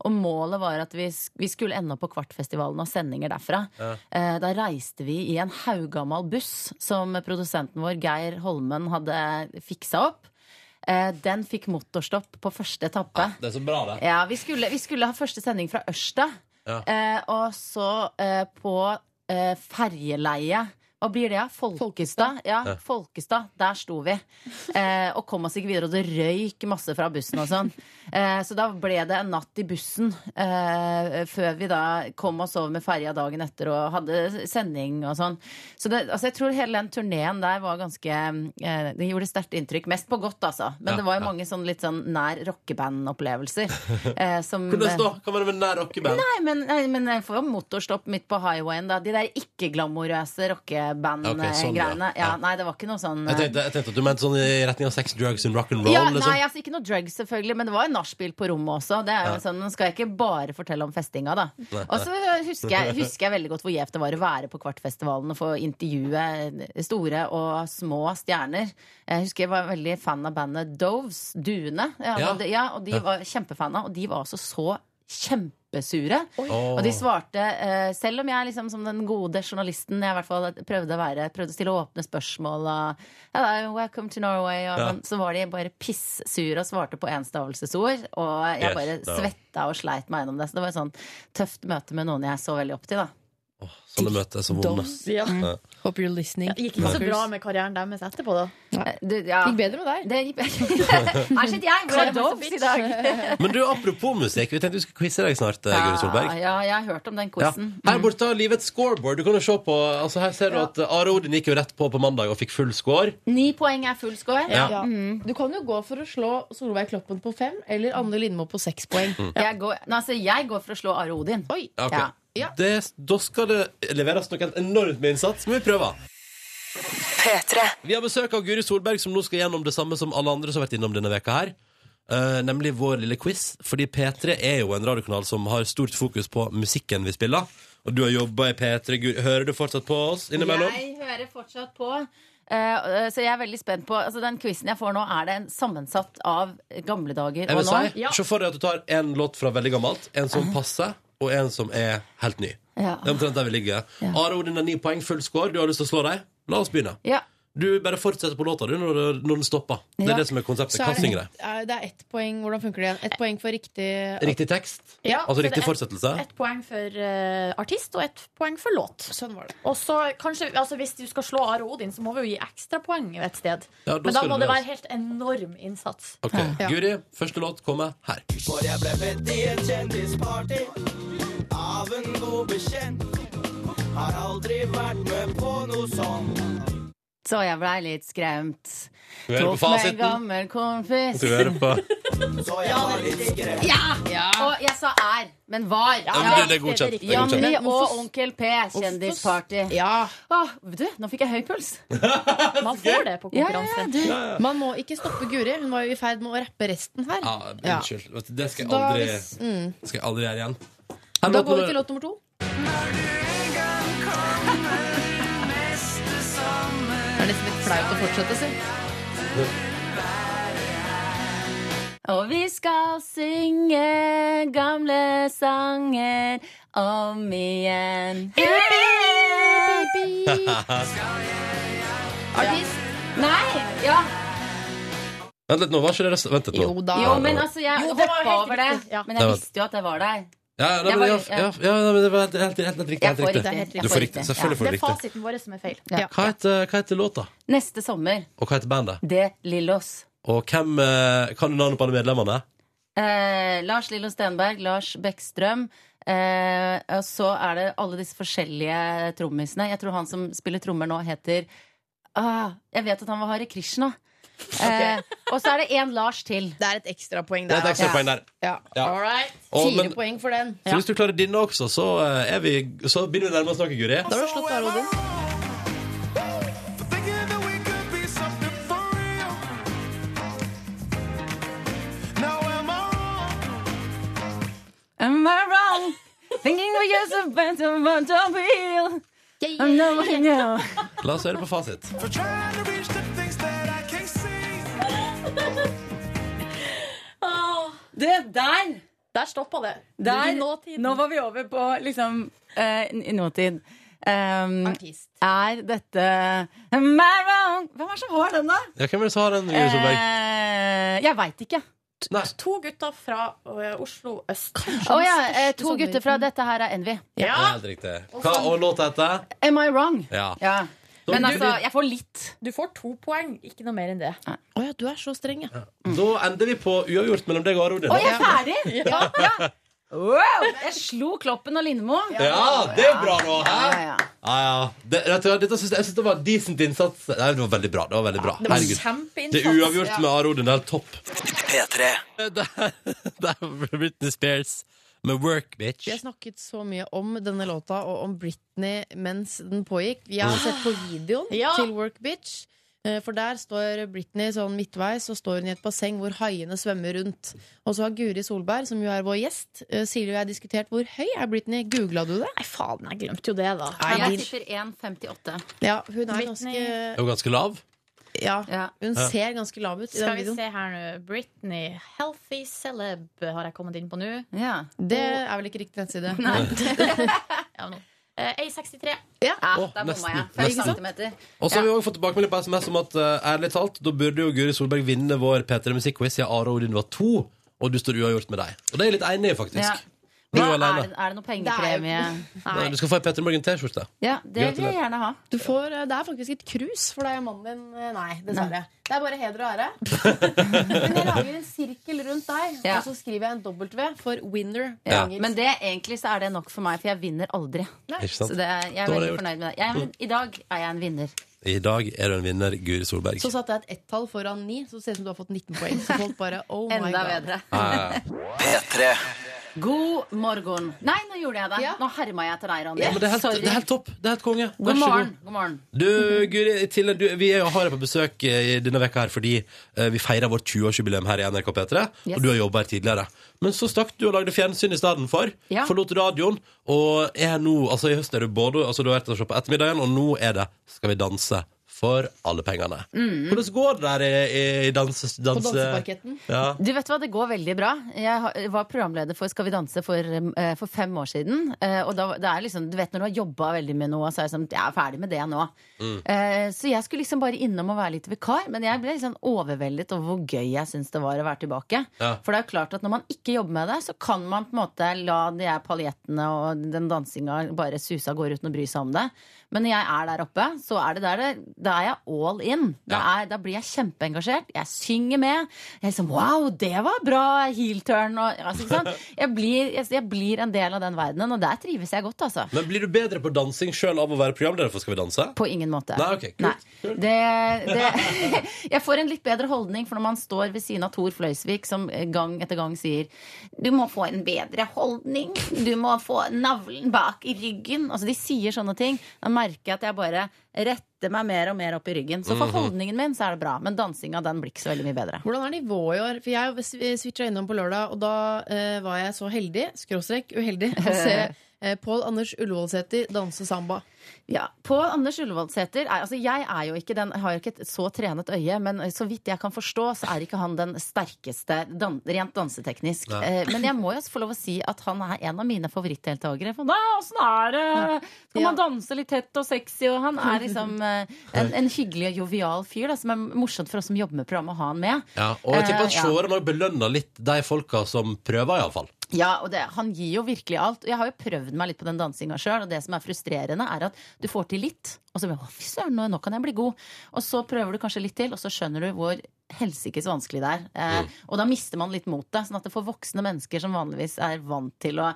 [SPEAKER 9] Og målet var at vi, sk- vi skulle ende opp på Kvartfestivalen og sendinger derfra. Eh, Da reiste vi i en haugammal buss som produsenten vår Geir Holmen hadde fiksa opp. Eh, Den fikk motorstopp på første etappe.
[SPEAKER 1] Det er så bra, det.
[SPEAKER 9] Ja, vi skulle, vi skulle ha første sending fra Ørsta.
[SPEAKER 1] Ja.
[SPEAKER 9] Eh, og så eh, på eh, ferjeleie Og blir det, ja? Folkestad. Ja,
[SPEAKER 1] Ja.
[SPEAKER 9] Folkestad. Der sto vi. Eh, og kom oss ikke videre, og det røyk masse fra bussen og sånn. Eh, så da ble det en natt i bussen eh, før vi da kom oss over med ferja dagen etter og hadde sending og sånn. Så det, altså, jeg tror hele den turneen der var ganske eh, Det gjorde sterkt inntrykk. Mest på godt, altså. Men
[SPEAKER 1] Ja,
[SPEAKER 9] det var
[SPEAKER 1] ja.
[SPEAKER 9] jo mange sånn litt sånn nær rockeband-opplevelser. Eh, som
[SPEAKER 1] Hvordan da? Hva var det med nær rockeband?
[SPEAKER 9] Nei, men, nei, men jeg får jo motorstopp midt på highwayen, da. De der
[SPEAKER 1] Ok, sånn,
[SPEAKER 9] ikke-glamorøse
[SPEAKER 1] ja.
[SPEAKER 9] rockeband-greiene. ja.
[SPEAKER 1] Ja.
[SPEAKER 9] Nei, det var ikke noe sånn
[SPEAKER 1] Jeg tenkte, jeg tenkte at du mente sånn i retning av sex, drugs and rock and roll.
[SPEAKER 9] ja,
[SPEAKER 1] liksom.
[SPEAKER 9] nei, altså Ikke noe drugs, selvfølgelig, men det var jo nachspiel på rommet også. Det er jo
[SPEAKER 1] Ja.
[SPEAKER 9] sånn, Nå skal jeg ikke bare fortelle om festinga, da.
[SPEAKER 1] Nei,
[SPEAKER 9] Og så husker jeg, husker jeg veldig godt hvor gjevt det var å være på Kvartfestivalen og få intervjue eh, store og små stjerner. Jeg husker jeg var veldig fan av bandet Doves, Duene. Ja,
[SPEAKER 1] Ja.
[SPEAKER 9] og de- ja, og de var kjempefan av, og de var altså så kjempesure. Og de svarte, eh, selv om jeg liksom som den gode journalisten jeg i hvert fall prøvde å være, prøvde å stille åpne spørsmål og Hello, welcome to Norway, og
[SPEAKER 1] Ja.
[SPEAKER 9] sånn, så var de bare pissure og svarte på enstavelsesord. Og jeg
[SPEAKER 1] Yes,
[SPEAKER 9] bare
[SPEAKER 1] da.
[SPEAKER 9] svetta og sleit meg gjennom det. Så det var et sånn tøft møte med noen jeg så veldig opp til, da.
[SPEAKER 1] Sånne møter er så vonde. ass.
[SPEAKER 2] Ja.
[SPEAKER 3] Mm. Hope you're listening.
[SPEAKER 2] Gikk ikke så bra med karrieren deres etterpå, da.
[SPEAKER 9] Eh, Du, ja.
[SPEAKER 3] Gikk bedre med deg.
[SPEAKER 9] Det gikk Her sitter jeg, hvor er Doves i dag?
[SPEAKER 1] Men du, apropos musikk, vi tenkte vi skulle quize deg snart, eh, Guri Solberg.
[SPEAKER 9] Ja, ja, jeg har hørt om den
[SPEAKER 1] Ja.
[SPEAKER 9] quizen.
[SPEAKER 1] Her borte har livet et scoreboard. Du kan jo se på, altså her ser du at eh, Are Odin gikk jo rett på på mandag og fikk full score.
[SPEAKER 9] Ni poeng er full score.
[SPEAKER 1] Ja.
[SPEAKER 3] Ja. Du kan jo gå for å slå Solveig Kloppen på fem eller Anne Lindmo på seks poeng.
[SPEAKER 9] Jeg, går, nei, altså, jeg går for å slå Are Odin.
[SPEAKER 3] Oi.
[SPEAKER 1] Ja, ok.
[SPEAKER 9] Ja.
[SPEAKER 3] Ja.
[SPEAKER 1] Det, da skal det leveres noe enormt med innsats, men vi prøver. Vi har besøk av Guri Solberg, som nå skal gjennom det samme som alle andre som har vært innom denne veka her. Eh, nemlig vår lille quiz. Fordi P3 er jo en radiokanal som har stort fokus på musikken vi spiller. Og du har jobba i P3. Guri. Hører du fortsatt på oss innimellom?
[SPEAKER 9] Jeg hører fortsatt på. eh, så jeg er veldig spent på altså Den quizen jeg får nå, er det en sammensatt av gamle dager
[SPEAKER 1] Jeg
[SPEAKER 9] og
[SPEAKER 1] vil
[SPEAKER 9] nå?
[SPEAKER 1] si, Se for deg at du tar en låt fra veldig gammelt, en som passer, og en som er helt ny.
[SPEAKER 9] Ja.
[SPEAKER 1] Det er omtrent der vi ligger. Are Odin har ni poeng, full score. Du har lyst til å slå dem? La oss begynne.
[SPEAKER 9] Ja.
[SPEAKER 1] Du bare fortsetter på låta du når, når den stopper. Det
[SPEAKER 9] Ja.
[SPEAKER 1] er det som er konseptet.
[SPEAKER 3] Så
[SPEAKER 1] Hva
[SPEAKER 3] er det,
[SPEAKER 1] synger de?
[SPEAKER 3] ett,
[SPEAKER 2] eh,
[SPEAKER 3] er det er ett poeng. Hvordan funker det igjen? Ett poeng for riktig
[SPEAKER 1] Riktig tekst?
[SPEAKER 2] Ja, så
[SPEAKER 1] Altså
[SPEAKER 2] det er
[SPEAKER 1] riktig
[SPEAKER 2] ett-
[SPEAKER 1] fortsettelse?
[SPEAKER 2] Ett poeng for eh, artist og ett poeng for låt.
[SPEAKER 3] Sånn var det.
[SPEAKER 2] Og så kanskje, altså Hvis du skal slå Are Odin, så må vi jo gi ekstrapoeng et sted.
[SPEAKER 1] Ja, da
[SPEAKER 2] Men da
[SPEAKER 1] skal
[SPEAKER 2] må
[SPEAKER 1] du
[SPEAKER 2] det
[SPEAKER 1] det,
[SPEAKER 2] være helt enorm innsats.
[SPEAKER 1] Ok, Guri, første låt kommer her.
[SPEAKER 9] Så jeg blei litt skremt.
[SPEAKER 1] Du hører på
[SPEAKER 9] Tok meg en
[SPEAKER 1] fasiten.
[SPEAKER 9] gammel kompis.
[SPEAKER 1] Du hører på
[SPEAKER 9] Ja! Og jeg sa er, men var.
[SPEAKER 1] ja, men det, det er godkjent. Det er godkjent.
[SPEAKER 9] Janni og Onkel P, kjendisparty.
[SPEAKER 3] Ja.
[SPEAKER 9] Åh, du, nå fikk jeg høy puls.
[SPEAKER 2] Man får det på
[SPEAKER 9] Ja, ja, ja,
[SPEAKER 2] konkurranse.
[SPEAKER 9] du.
[SPEAKER 3] Man må ikke stoppe Guri. Hun var jo i ferd med å rappe resten her.
[SPEAKER 1] Ja,
[SPEAKER 3] Ja.
[SPEAKER 1] unnskyld. Vet du, Det skal jeg
[SPEAKER 3] Da,
[SPEAKER 1] aldri,
[SPEAKER 3] hvis, mm,
[SPEAKER 1] skal jeg aldri gjøre igjen.
[SPEAKER 3] da går vi til låt nummer to. Det er nesten litt flaut å fortsette, si.
[SPEAKER 9] Og vi skal synge gamle sanger om igjen. Artist? Nei! Ja.
[SPEAKER 1] Vent litt nå, var ikke det rest- Vent litt nå.
[SPEAKER 3] Jo da.
[SPEAKER 9] Jo, men altså, jeg
[SPEAKER 2] Ah. Jo, det var helt
[SPEAKER 9] hoppa over det.
[SPEAKER 2] riktig, ja.
[SPEAKER 9] Men jeg visste jo at det var der.
[SPEAKER 1] Ja, nei,
[SPEAKER 9] Jeg
[SPEAKER 1] men, ja,
[SPEAKER 9] bare-
[SPEAKER 1] ja, ja, nei, men det var helt, helt, helt, helt riktig.
[SPEAKER 9] Jeg
[SPEAKER 1] Helt
[SPEAKER 9] får
[SPEAKER 1] riktig. Du
[SPEAKER 9] riktig. Jeg
[SPEAKER 1] får riktig. Selvfølgelig
[SPEAKER 2] Det
[SPEAKER 1] får du
[SPEAKER 2] er
[SPEAKER 1] riktig.
[SPEAKER 2] fasiten vår som er feil.
[SPEAKER 1] Hva heter, hva heter låta?
[SPEAKER 9] Neste sommer,
[SPEAKER 1] Og hva heter bandet?
[SPEAKER 9] det Lillos.
[SPEAKER 1] Og hvem eh, kan du navnet på alle medlemmene?
[SPEAKER 9] Eh, Lars Lillo Stenberg, Lars Bekkstrøm. Eh, og så er det alle disse forskjellige trommisene. Jeg tror han som spiller trommer nå, heter ah, Jeg vet at han var Hare Krishna. Eh, og så er det én Lars til.
[SPEAKER 3] Det er et ekstrapoeng
[SPEAKER 1] Det er
[SPEAKER 3] der.
[SPEAKER 1] et ekstra
[SPEAKER 9] ja.
[SPEAKER 1] poeng der.
[SPEAKER 3] Ja.
[SPEAKER 1] Ja.
[SPEAKER 3] All right.
[SPEAKER 1] Å,
[SPEAKER 3] Fire
[SPEAKER 1] men-
[SPEAKER 3] poeng for den.
[SPEAKER 1] Så hvis du klarer dine også, så, eh, er vi, så begynner vi å nærme oss noe, Guri.
[SPEAKER 3] Da har du slått Are Odin.
[SPEAKER 9] Am I wrong? Thinking of you so bad, so bad, so real. I'm no one now.
[SPEAKER 1] La oss høre på fasit.
[SPEAKER 9] Det der!
[SPEAKER 2] Der stoppa det.
[SPEAKER 9] Der,
[SPEAKER 2] I nåtiden.
[SPEAKER 9] nå var vi over på liksom eh, i nåtid. Um,
[SPEAKER 3] Artist.
[SPEAKER 9] er dette Am I wrong? Hvem er det som har den, da?
[SPEAKER 1] Ja, hvem er det som har den, Guri Solberg?
[SPEAKER 9] Eh, jeg veit ikke.
[SPEAKER 1] Nei.
[SPEAKER 2] To gutter fra ø, Oslo øst.
[SPEAKER 9] Å ja, eh, to gutter fra Dette her er Envy.
[SPEAKER 1] Det er Helt riktig. Hva, og låta heter?
[SPEAKER 9] Am I wrong?
[SPEAKER 1] Ja.
[SPEAKER 9] Ja. Men altså, jeg får litt.
[SPEAKER 2] Du får to poeng, ikke noe mer enn det. Å
[SPEAKER 3] ja, du er så streng, ja.
[SPEAKER 1] Da ender vi på uavgjort mellom deg og Arodin.
[SPEAKER 9] Å, jeg er ferdig! Ja,
[SPEAKER 1] Ja.
[SPEAKER 9] ja. Wow! Jeg slo Kloppen og Lindmo.
[SPEAKER 1] Ja, det er bra nå, hæ?
[SPEAKER 9] Ja, ja, ja.
[SPEAKER 1] Ja, ja. Det, vet du hva, dette synes jeg, jeg synes det var decent innsats. Nei, det var veldig bra. Det var veldig bra.
[SPEAKER 2] det var
[SPEAKER 1] Herregud.
[SPEAKER 2] kjempeinnsats,
[SPEAKER 1] Det er uavgjort
[SPEAKER 2] ja.
[SPEAKER 1] med Arodin. Det er helt topp. Eh,
[SPEAKER 11] P3.
[SPEAKER 1] Der var Britney Spears med Work, bitch.
[SPEAKER 3] Vi har snakket så mye om denne låta og om Britney mens den pågikk. Jeg har
[SPEAKER 1] Mm.
[SPEAKER 3] sett på videoen
[SPEAKER 2] Ja.
[SPEAKER 3] til Work Bitch. eh, For der står Britney sånn midtveis og står hun i et basseng hvor haiene svømmer rundt. Og så har Guri Solberg, som jo er vår gjest, eh, Silje og jeg har diskutert hvor høy er Britney. Googla du det?
[SPEAKER 2] Nei, faen, jeg glemte jo det, da.
[SPEAKER 3] Nei,
[SPEAKER 9] Jeg
[SPEAKER 3] din-
[SPEAKER 9] tipper 1,58.
[SPEAKER 3] Ja, hun er
[SPEAKER 1] Det
[SPEAKER 3] ganske
[SPEAKER 1] var ganske lav.
[SPEAKER 3] Ja,
[SPEAKER 9] Ja.
[SPEAKER 3] hun
[SPEAKER 1] Ja.
[SPEAKER 3] ser ganske lav ut i
[SPEAKER 2] Skal
[SPEAKER 3] den
[SPEAKER 2] vi
[SPEAKER 3] videoen.
[SPEAKER 2] se her nå. Britney, healthy celeb, har jeg kommet inn på nå.
[SPEAKER 9] Ja.
[SPEAKER 3] Det er vel ikke riktig nettside.
[SPEAKER 2] Ja, nå. Eh, A63.
[SPEAKER 9] Ja,
[SPEAKER 1] Å,
[SPEAKER 9] der bomma
[SPEAKER 1] nesten,
[SPEAKER 9] jeg. 5
[SPEAKER 1] nesten.
[SPEAKER 9] centimeter.
[SPEAKER 1] Og så har vi også fått tilbakemelding på SMS om at eh, ærlig talt, da burde jo Guri Solberg vinne vår P3 Musikkquiz siden Are og Odin var to, og du står uavgjort med deg. Og det er jeg litt enig i, faktisk.
[SPEAKER 9] Ja.
[SPEAKER 1] Du
[SPEAKER 9] Hva,
[SPEAKER 1] er
[SPEAKER 9] er,
[SPEAKER 1] alene.
[SPEAKER 9] det, er det noe pengepremie?
[SPEAKER 1] Nei, Du skal få ei P3 Morgen T-skjorte.
[SPEAKER 9] Ja, det vil jeg
[SPEAKER 1] Gratulerer.
[SPEAKER 9] gjerne ha.
[SPEAKER 3] Du får, eh, det er faktisk et krus for deg og mannen din. Eh, Nei, dessverre. Det er bare heder og ære. Men jeg lager en sirkel rundt deg,
[SPEAKER 9] Ja.
[SPEAKER 3] og så skriver jeg en W for winner. på
[SPEAKER 1] Ja.
[SPEAKER 3] engelsk.
[SPEAKER 9] Men det, egentlig så er det nok for meg, for jeg vinner aldri.
[SPEAKER 1] Ikke
[SPEAKER 9] Så
[SPEAKER 1] sant?
[SPEAKER 9] det, er- jeg
[SPEAKER 1] Da
[SPEAKER 9] er
[SPEAKER 1] var det gjort.
[SPEAKER 9] veldig
[SPEAKER 1] Mm.
[SPEAKER 9] fornøyd med det. Jeg, er- I dag er jeg en vinner.
[SPEAKER 1] I dag er du en vinner, Guri Solberg.
[SPEAKER 3] Så satte jeg et ett-tall foran ni, så ser det ut som du har fått 19 poeng. Så folk bare, oh my
[SPEAKER 9] Enda
[SPEAKER 3] god
[SPEAKER 9] bedre.
[SPEAKER 1] Ja,
[SPEAKER 11] P3.
[SPEAKER 9] God morgen. Nei, nå gjorde jeg det.
[SPEAKER 3] Ja.
[SPEAKER 9] Nå herma jeg til deg, Ronny.
[SPEAKER 1] men det er, helt,
[SPEAKER 9] Sorry.
[SPEAKER 1] det er helt topp. Det er helt konge. Vær
[SPEAKER 9] God
[SPEAKER 1] så
[SPEAKER 9] morgen. God morgen.
[SPEAKER 1] Du, Guri, i tillegg, du, vi er jo, har deg på besøk eh, i denne veka her fordi eh, vi feirer vårt 20-årsjubileum her i NRK P3,
[SPEAKER 9] Yes.
[SPEAKER 1] og du har jobba her tidligere. Men så stakk du og lagde fjernsyn i stedet for.
[SPEAKER 9] Ja.
[SPEAKER 1] Forlot radioen, og er nå Altså, i høst er du både Altså, du har vært og sett på ettermiddagen, og nå er det Skal vi danse for alle pengene.
[SPEAKER 9] Mm.
[SPEAKER 1] Hvordan går det der i, i danse...
[SPEAKER 3] På
[SPEAKER 1] danse
[SPEAKER 3] danseparketten.
[SPEAKER 1] ja.
[SPEAKER 9] Du vet hva, Det går veldig bra. Jeg har- var programleder for Skal vi danse for, eh, for fem år siden. eh, Og da, det er liksom, du vet Når du har jobba veldig med noe, så er jeg sånn, jeg er ferdig med det nå.
[SPEAKER 1] Mm.
[SPEAKER 9] Eh, Så jeg skulle liksom bare innom og være litt vikar. Men jeg ble liksom overveldet over hvor gøy jeg syns det var å være tilbake.
[SPEAKER 1] Ja.
[SPEAKER 9] For det er jo klart at når man ikke jobber med det, så kan man på en måte la de her paljettene og den dansinga bare suse av gårde uten å bry seg om det. Men når jeg er der oppe, så er det der det, da er jeg all in. Da, er, da blir jeg kjempeengasjert. Jeg synger med. Jeg er liksom Wow, det var bra! Heel turn og altså, ikke sant? Jeg blir, jeg, jeg blir en del av den verdenen, og der trives jeg godt, altså.
[SPEAKER 1] Men blir du bedre på dansing sjøl av å være programleder for Skal vi danse?
[SPEAKER 9] På ingen måte.
[SPEAKER 1] Nei, ok, kult, kult.
[SPEAKER 9] Det, det, jeg får en litt bedre holdning for når man står ved siden av Thor Fløysvik, som eh, gang etter gang sier Du må få en bedre holdning. Du må få navlen bak i ryggen. Altså, de sier sånne ting. Da merker jeg at jeg bare retter meg mer og mer opp i ryggen. Så
[SPEAKER 1] Mhm.
[SPEAKER 9] for holdningen min så er det bra. Men dansinga, den blir ikke så veldig mye bedre.
[SPEAKER 3] Hvordan er nivået i år? For jeg switcha innom på lørdag, og da eh, var jeg så heldig, skråstrek uheldig, å se eh, Pål Anders Ullevålsæter danse samba.
[SPEAKER 9] Ja, på Anders Ullevålsæter er- altså Jeg er jo ikke den, har jo ikke et så trenet øye, men eh, så vidt jeg kan forstå, så er ikke han den sterkeste dan, rent danseteknisk.
[SPEAKER 1] Nei.
[SPEAKER 9] Eh, men jeg må jo få lov å si at han er en av mine favorittdeltakere. For nei, åssen er det? Skal man danse litt tett og sexy? Og han er liksom eh, en, en hyggelig og jovial fyr da, som er morsomt for oss som jobber med programmet, å ha han med.
[SPEAKER 1] Ja, og jeg tipper at
[SPEAKER 9] Eh, ja.
[SPEAKER 1] seerne òg belønner litt de folka som prøver, iallfall.
[SPEAKER 9] Ja, og det, Han gir jo virkelig alt. Og jeg har jo prøvd meg litt på den dansinga sjøl. Og det som er frustrerende, er at du får til litt, og så blir det, «Å, fy søren, nå, nå kan jeg bli god. Og så prøver du kanskje litt til, og så skjønner du hvor helsikes vanskelig det er. Eh, og da mister man litt motet. Sånn at det for voksne mennesker som vanligvis er vant til å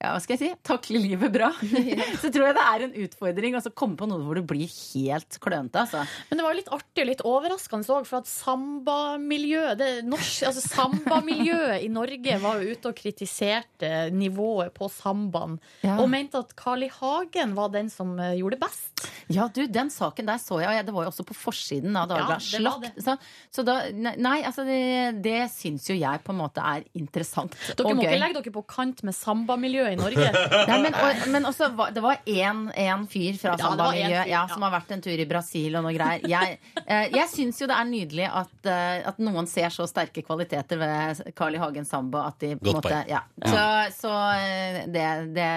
[SPEAKER 9] ja, hva skal jeg si? Takle livet bra. så tror jeg det er en utfordring å komme på noe hvor du blir helt klønete. Altså.
[SPEAKER 2] Men det var jo litt artig og litt overraskende òg, for at sambamiljøet det norsk- altså Sambamiljøet i Norge var jo ute og kritiserte nivået på sambaen.
[SPEAKER 9] Ja.
[SPEAKER 2] Og mente at Carl I. Hagen var den som eh, gjorde det best.
[SPEAKER 9] Ja, du, den saken der så jeg, og jeg- det var jo også på forsiden av Dagbladet.
[SPEAKER 2] Ja, det var
[SPEAKER 9] Slakt.
[SPEAKER 2] det.
[SPEAKER 9] Så, så da, nei, nei, altså det, det syns jo jeg på en måte er interessant
[SPEAKER 2] Dere
[SPEAKER 9] og
[SPEAKER 2] må
[SPEAKER 9] gøy.
[SPEAKER 2] ikke legge dere på kant med sambamiljøet i Norge.
[SPEAKER 9] Nei, men, og, men også, var- det var én, én fyr
[SPEAKER 2] Ja,
[SPEAKER 9] fra
[SPEAKER 2] det var
[SPEAKER 9] sambamiljøet
[SPEAKER 2] én fyr,
[SPEAKER 9] ja,
[SPEAKER 2] ja.
[SPEAKER 9] som har vært en tur i Brasil og noe greier. Jeg, eh, jeg syns jo det er nydelig at, eh, at noen ser så sterke kvaliteter ved Carl I. Hagen Samba at de på en
[SPEAKER 1] Godt
[SPEAKER 9] måte
[SPEAKER 1] poeng.
[SPEAKER 9] ja. Så, så eh, det, det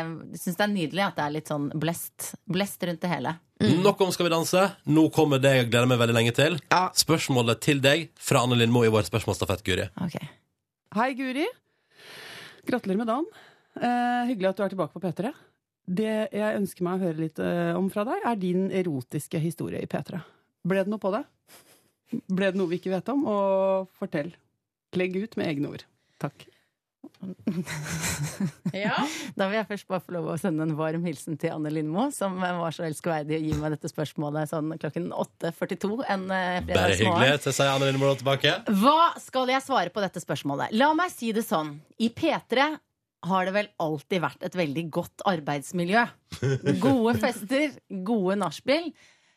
[SPEAKER 9] syns det er nydelig at det er litt sånn blest, blest rundt det hele.
[SPEAKER 1] Nok om Skal vi danse. Nå kommer det jeg gleder meg veldig lenge til.
[SPEAKER 3] Ja.
[SPEAKER 1] Spørsmålet til deg fra Anne Lindmo i vår spørsmålsstafett, Guri.
[SPEAKER 9] Ok.
[SPEAKER 12] Hei, Guri. Gratulerer med dagen. Eh, hyggelig at du er tilbake på P3.
[SPEAKER 11] Det jeg ønsker meg å høre litt eh, om fra deg, er din erotiske historie i P3. Ble det noe på det? Ble det noe vi ikke vet om? Og fortell. Legg ut med egne ord. Takk.
[SPEAKER 9] Da vil jeg først bare få lov å sende en varm hilsen til Anne Lindmo, som var så elskverdig å gi meg dette spørsmålet sånn klokken 8.42 en eh,
[SPEAKER 1] Bare hyggelig.
[SPEAKER 9] fredagsmorgen.
[SPEAKER 1] Så sier Anne Lindmo tilbake.
[SPEAKER 9] Hva skal jeg svare på dette spørsmålet? La meg si det sånn. I P3 har det vel alltid vært et veldig godt arbeidsmiljø. Gode fester, gode nachspiel.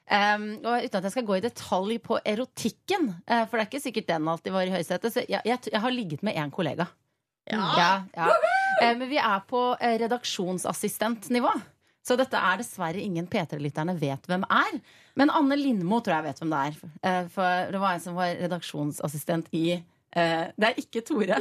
[SPEAKER 9] Ehm, og uten at jeg skal gå i detalj på erotikken, eh, for det er ikke sikkert den alltid var i høysetet, så jeg, jeg, t- jeg har ligget med én kollega. Ja, ja. Eh, Men vi er på eh, redaksjonsassistentnivå. Så dette er dessverre ingen P3-lytterne vet hvem er. Men Anne Lindmo tror jeg vet hvem det er. Eh, For det var en som var redaksjonsassistent i eh, Det er ikke Tore.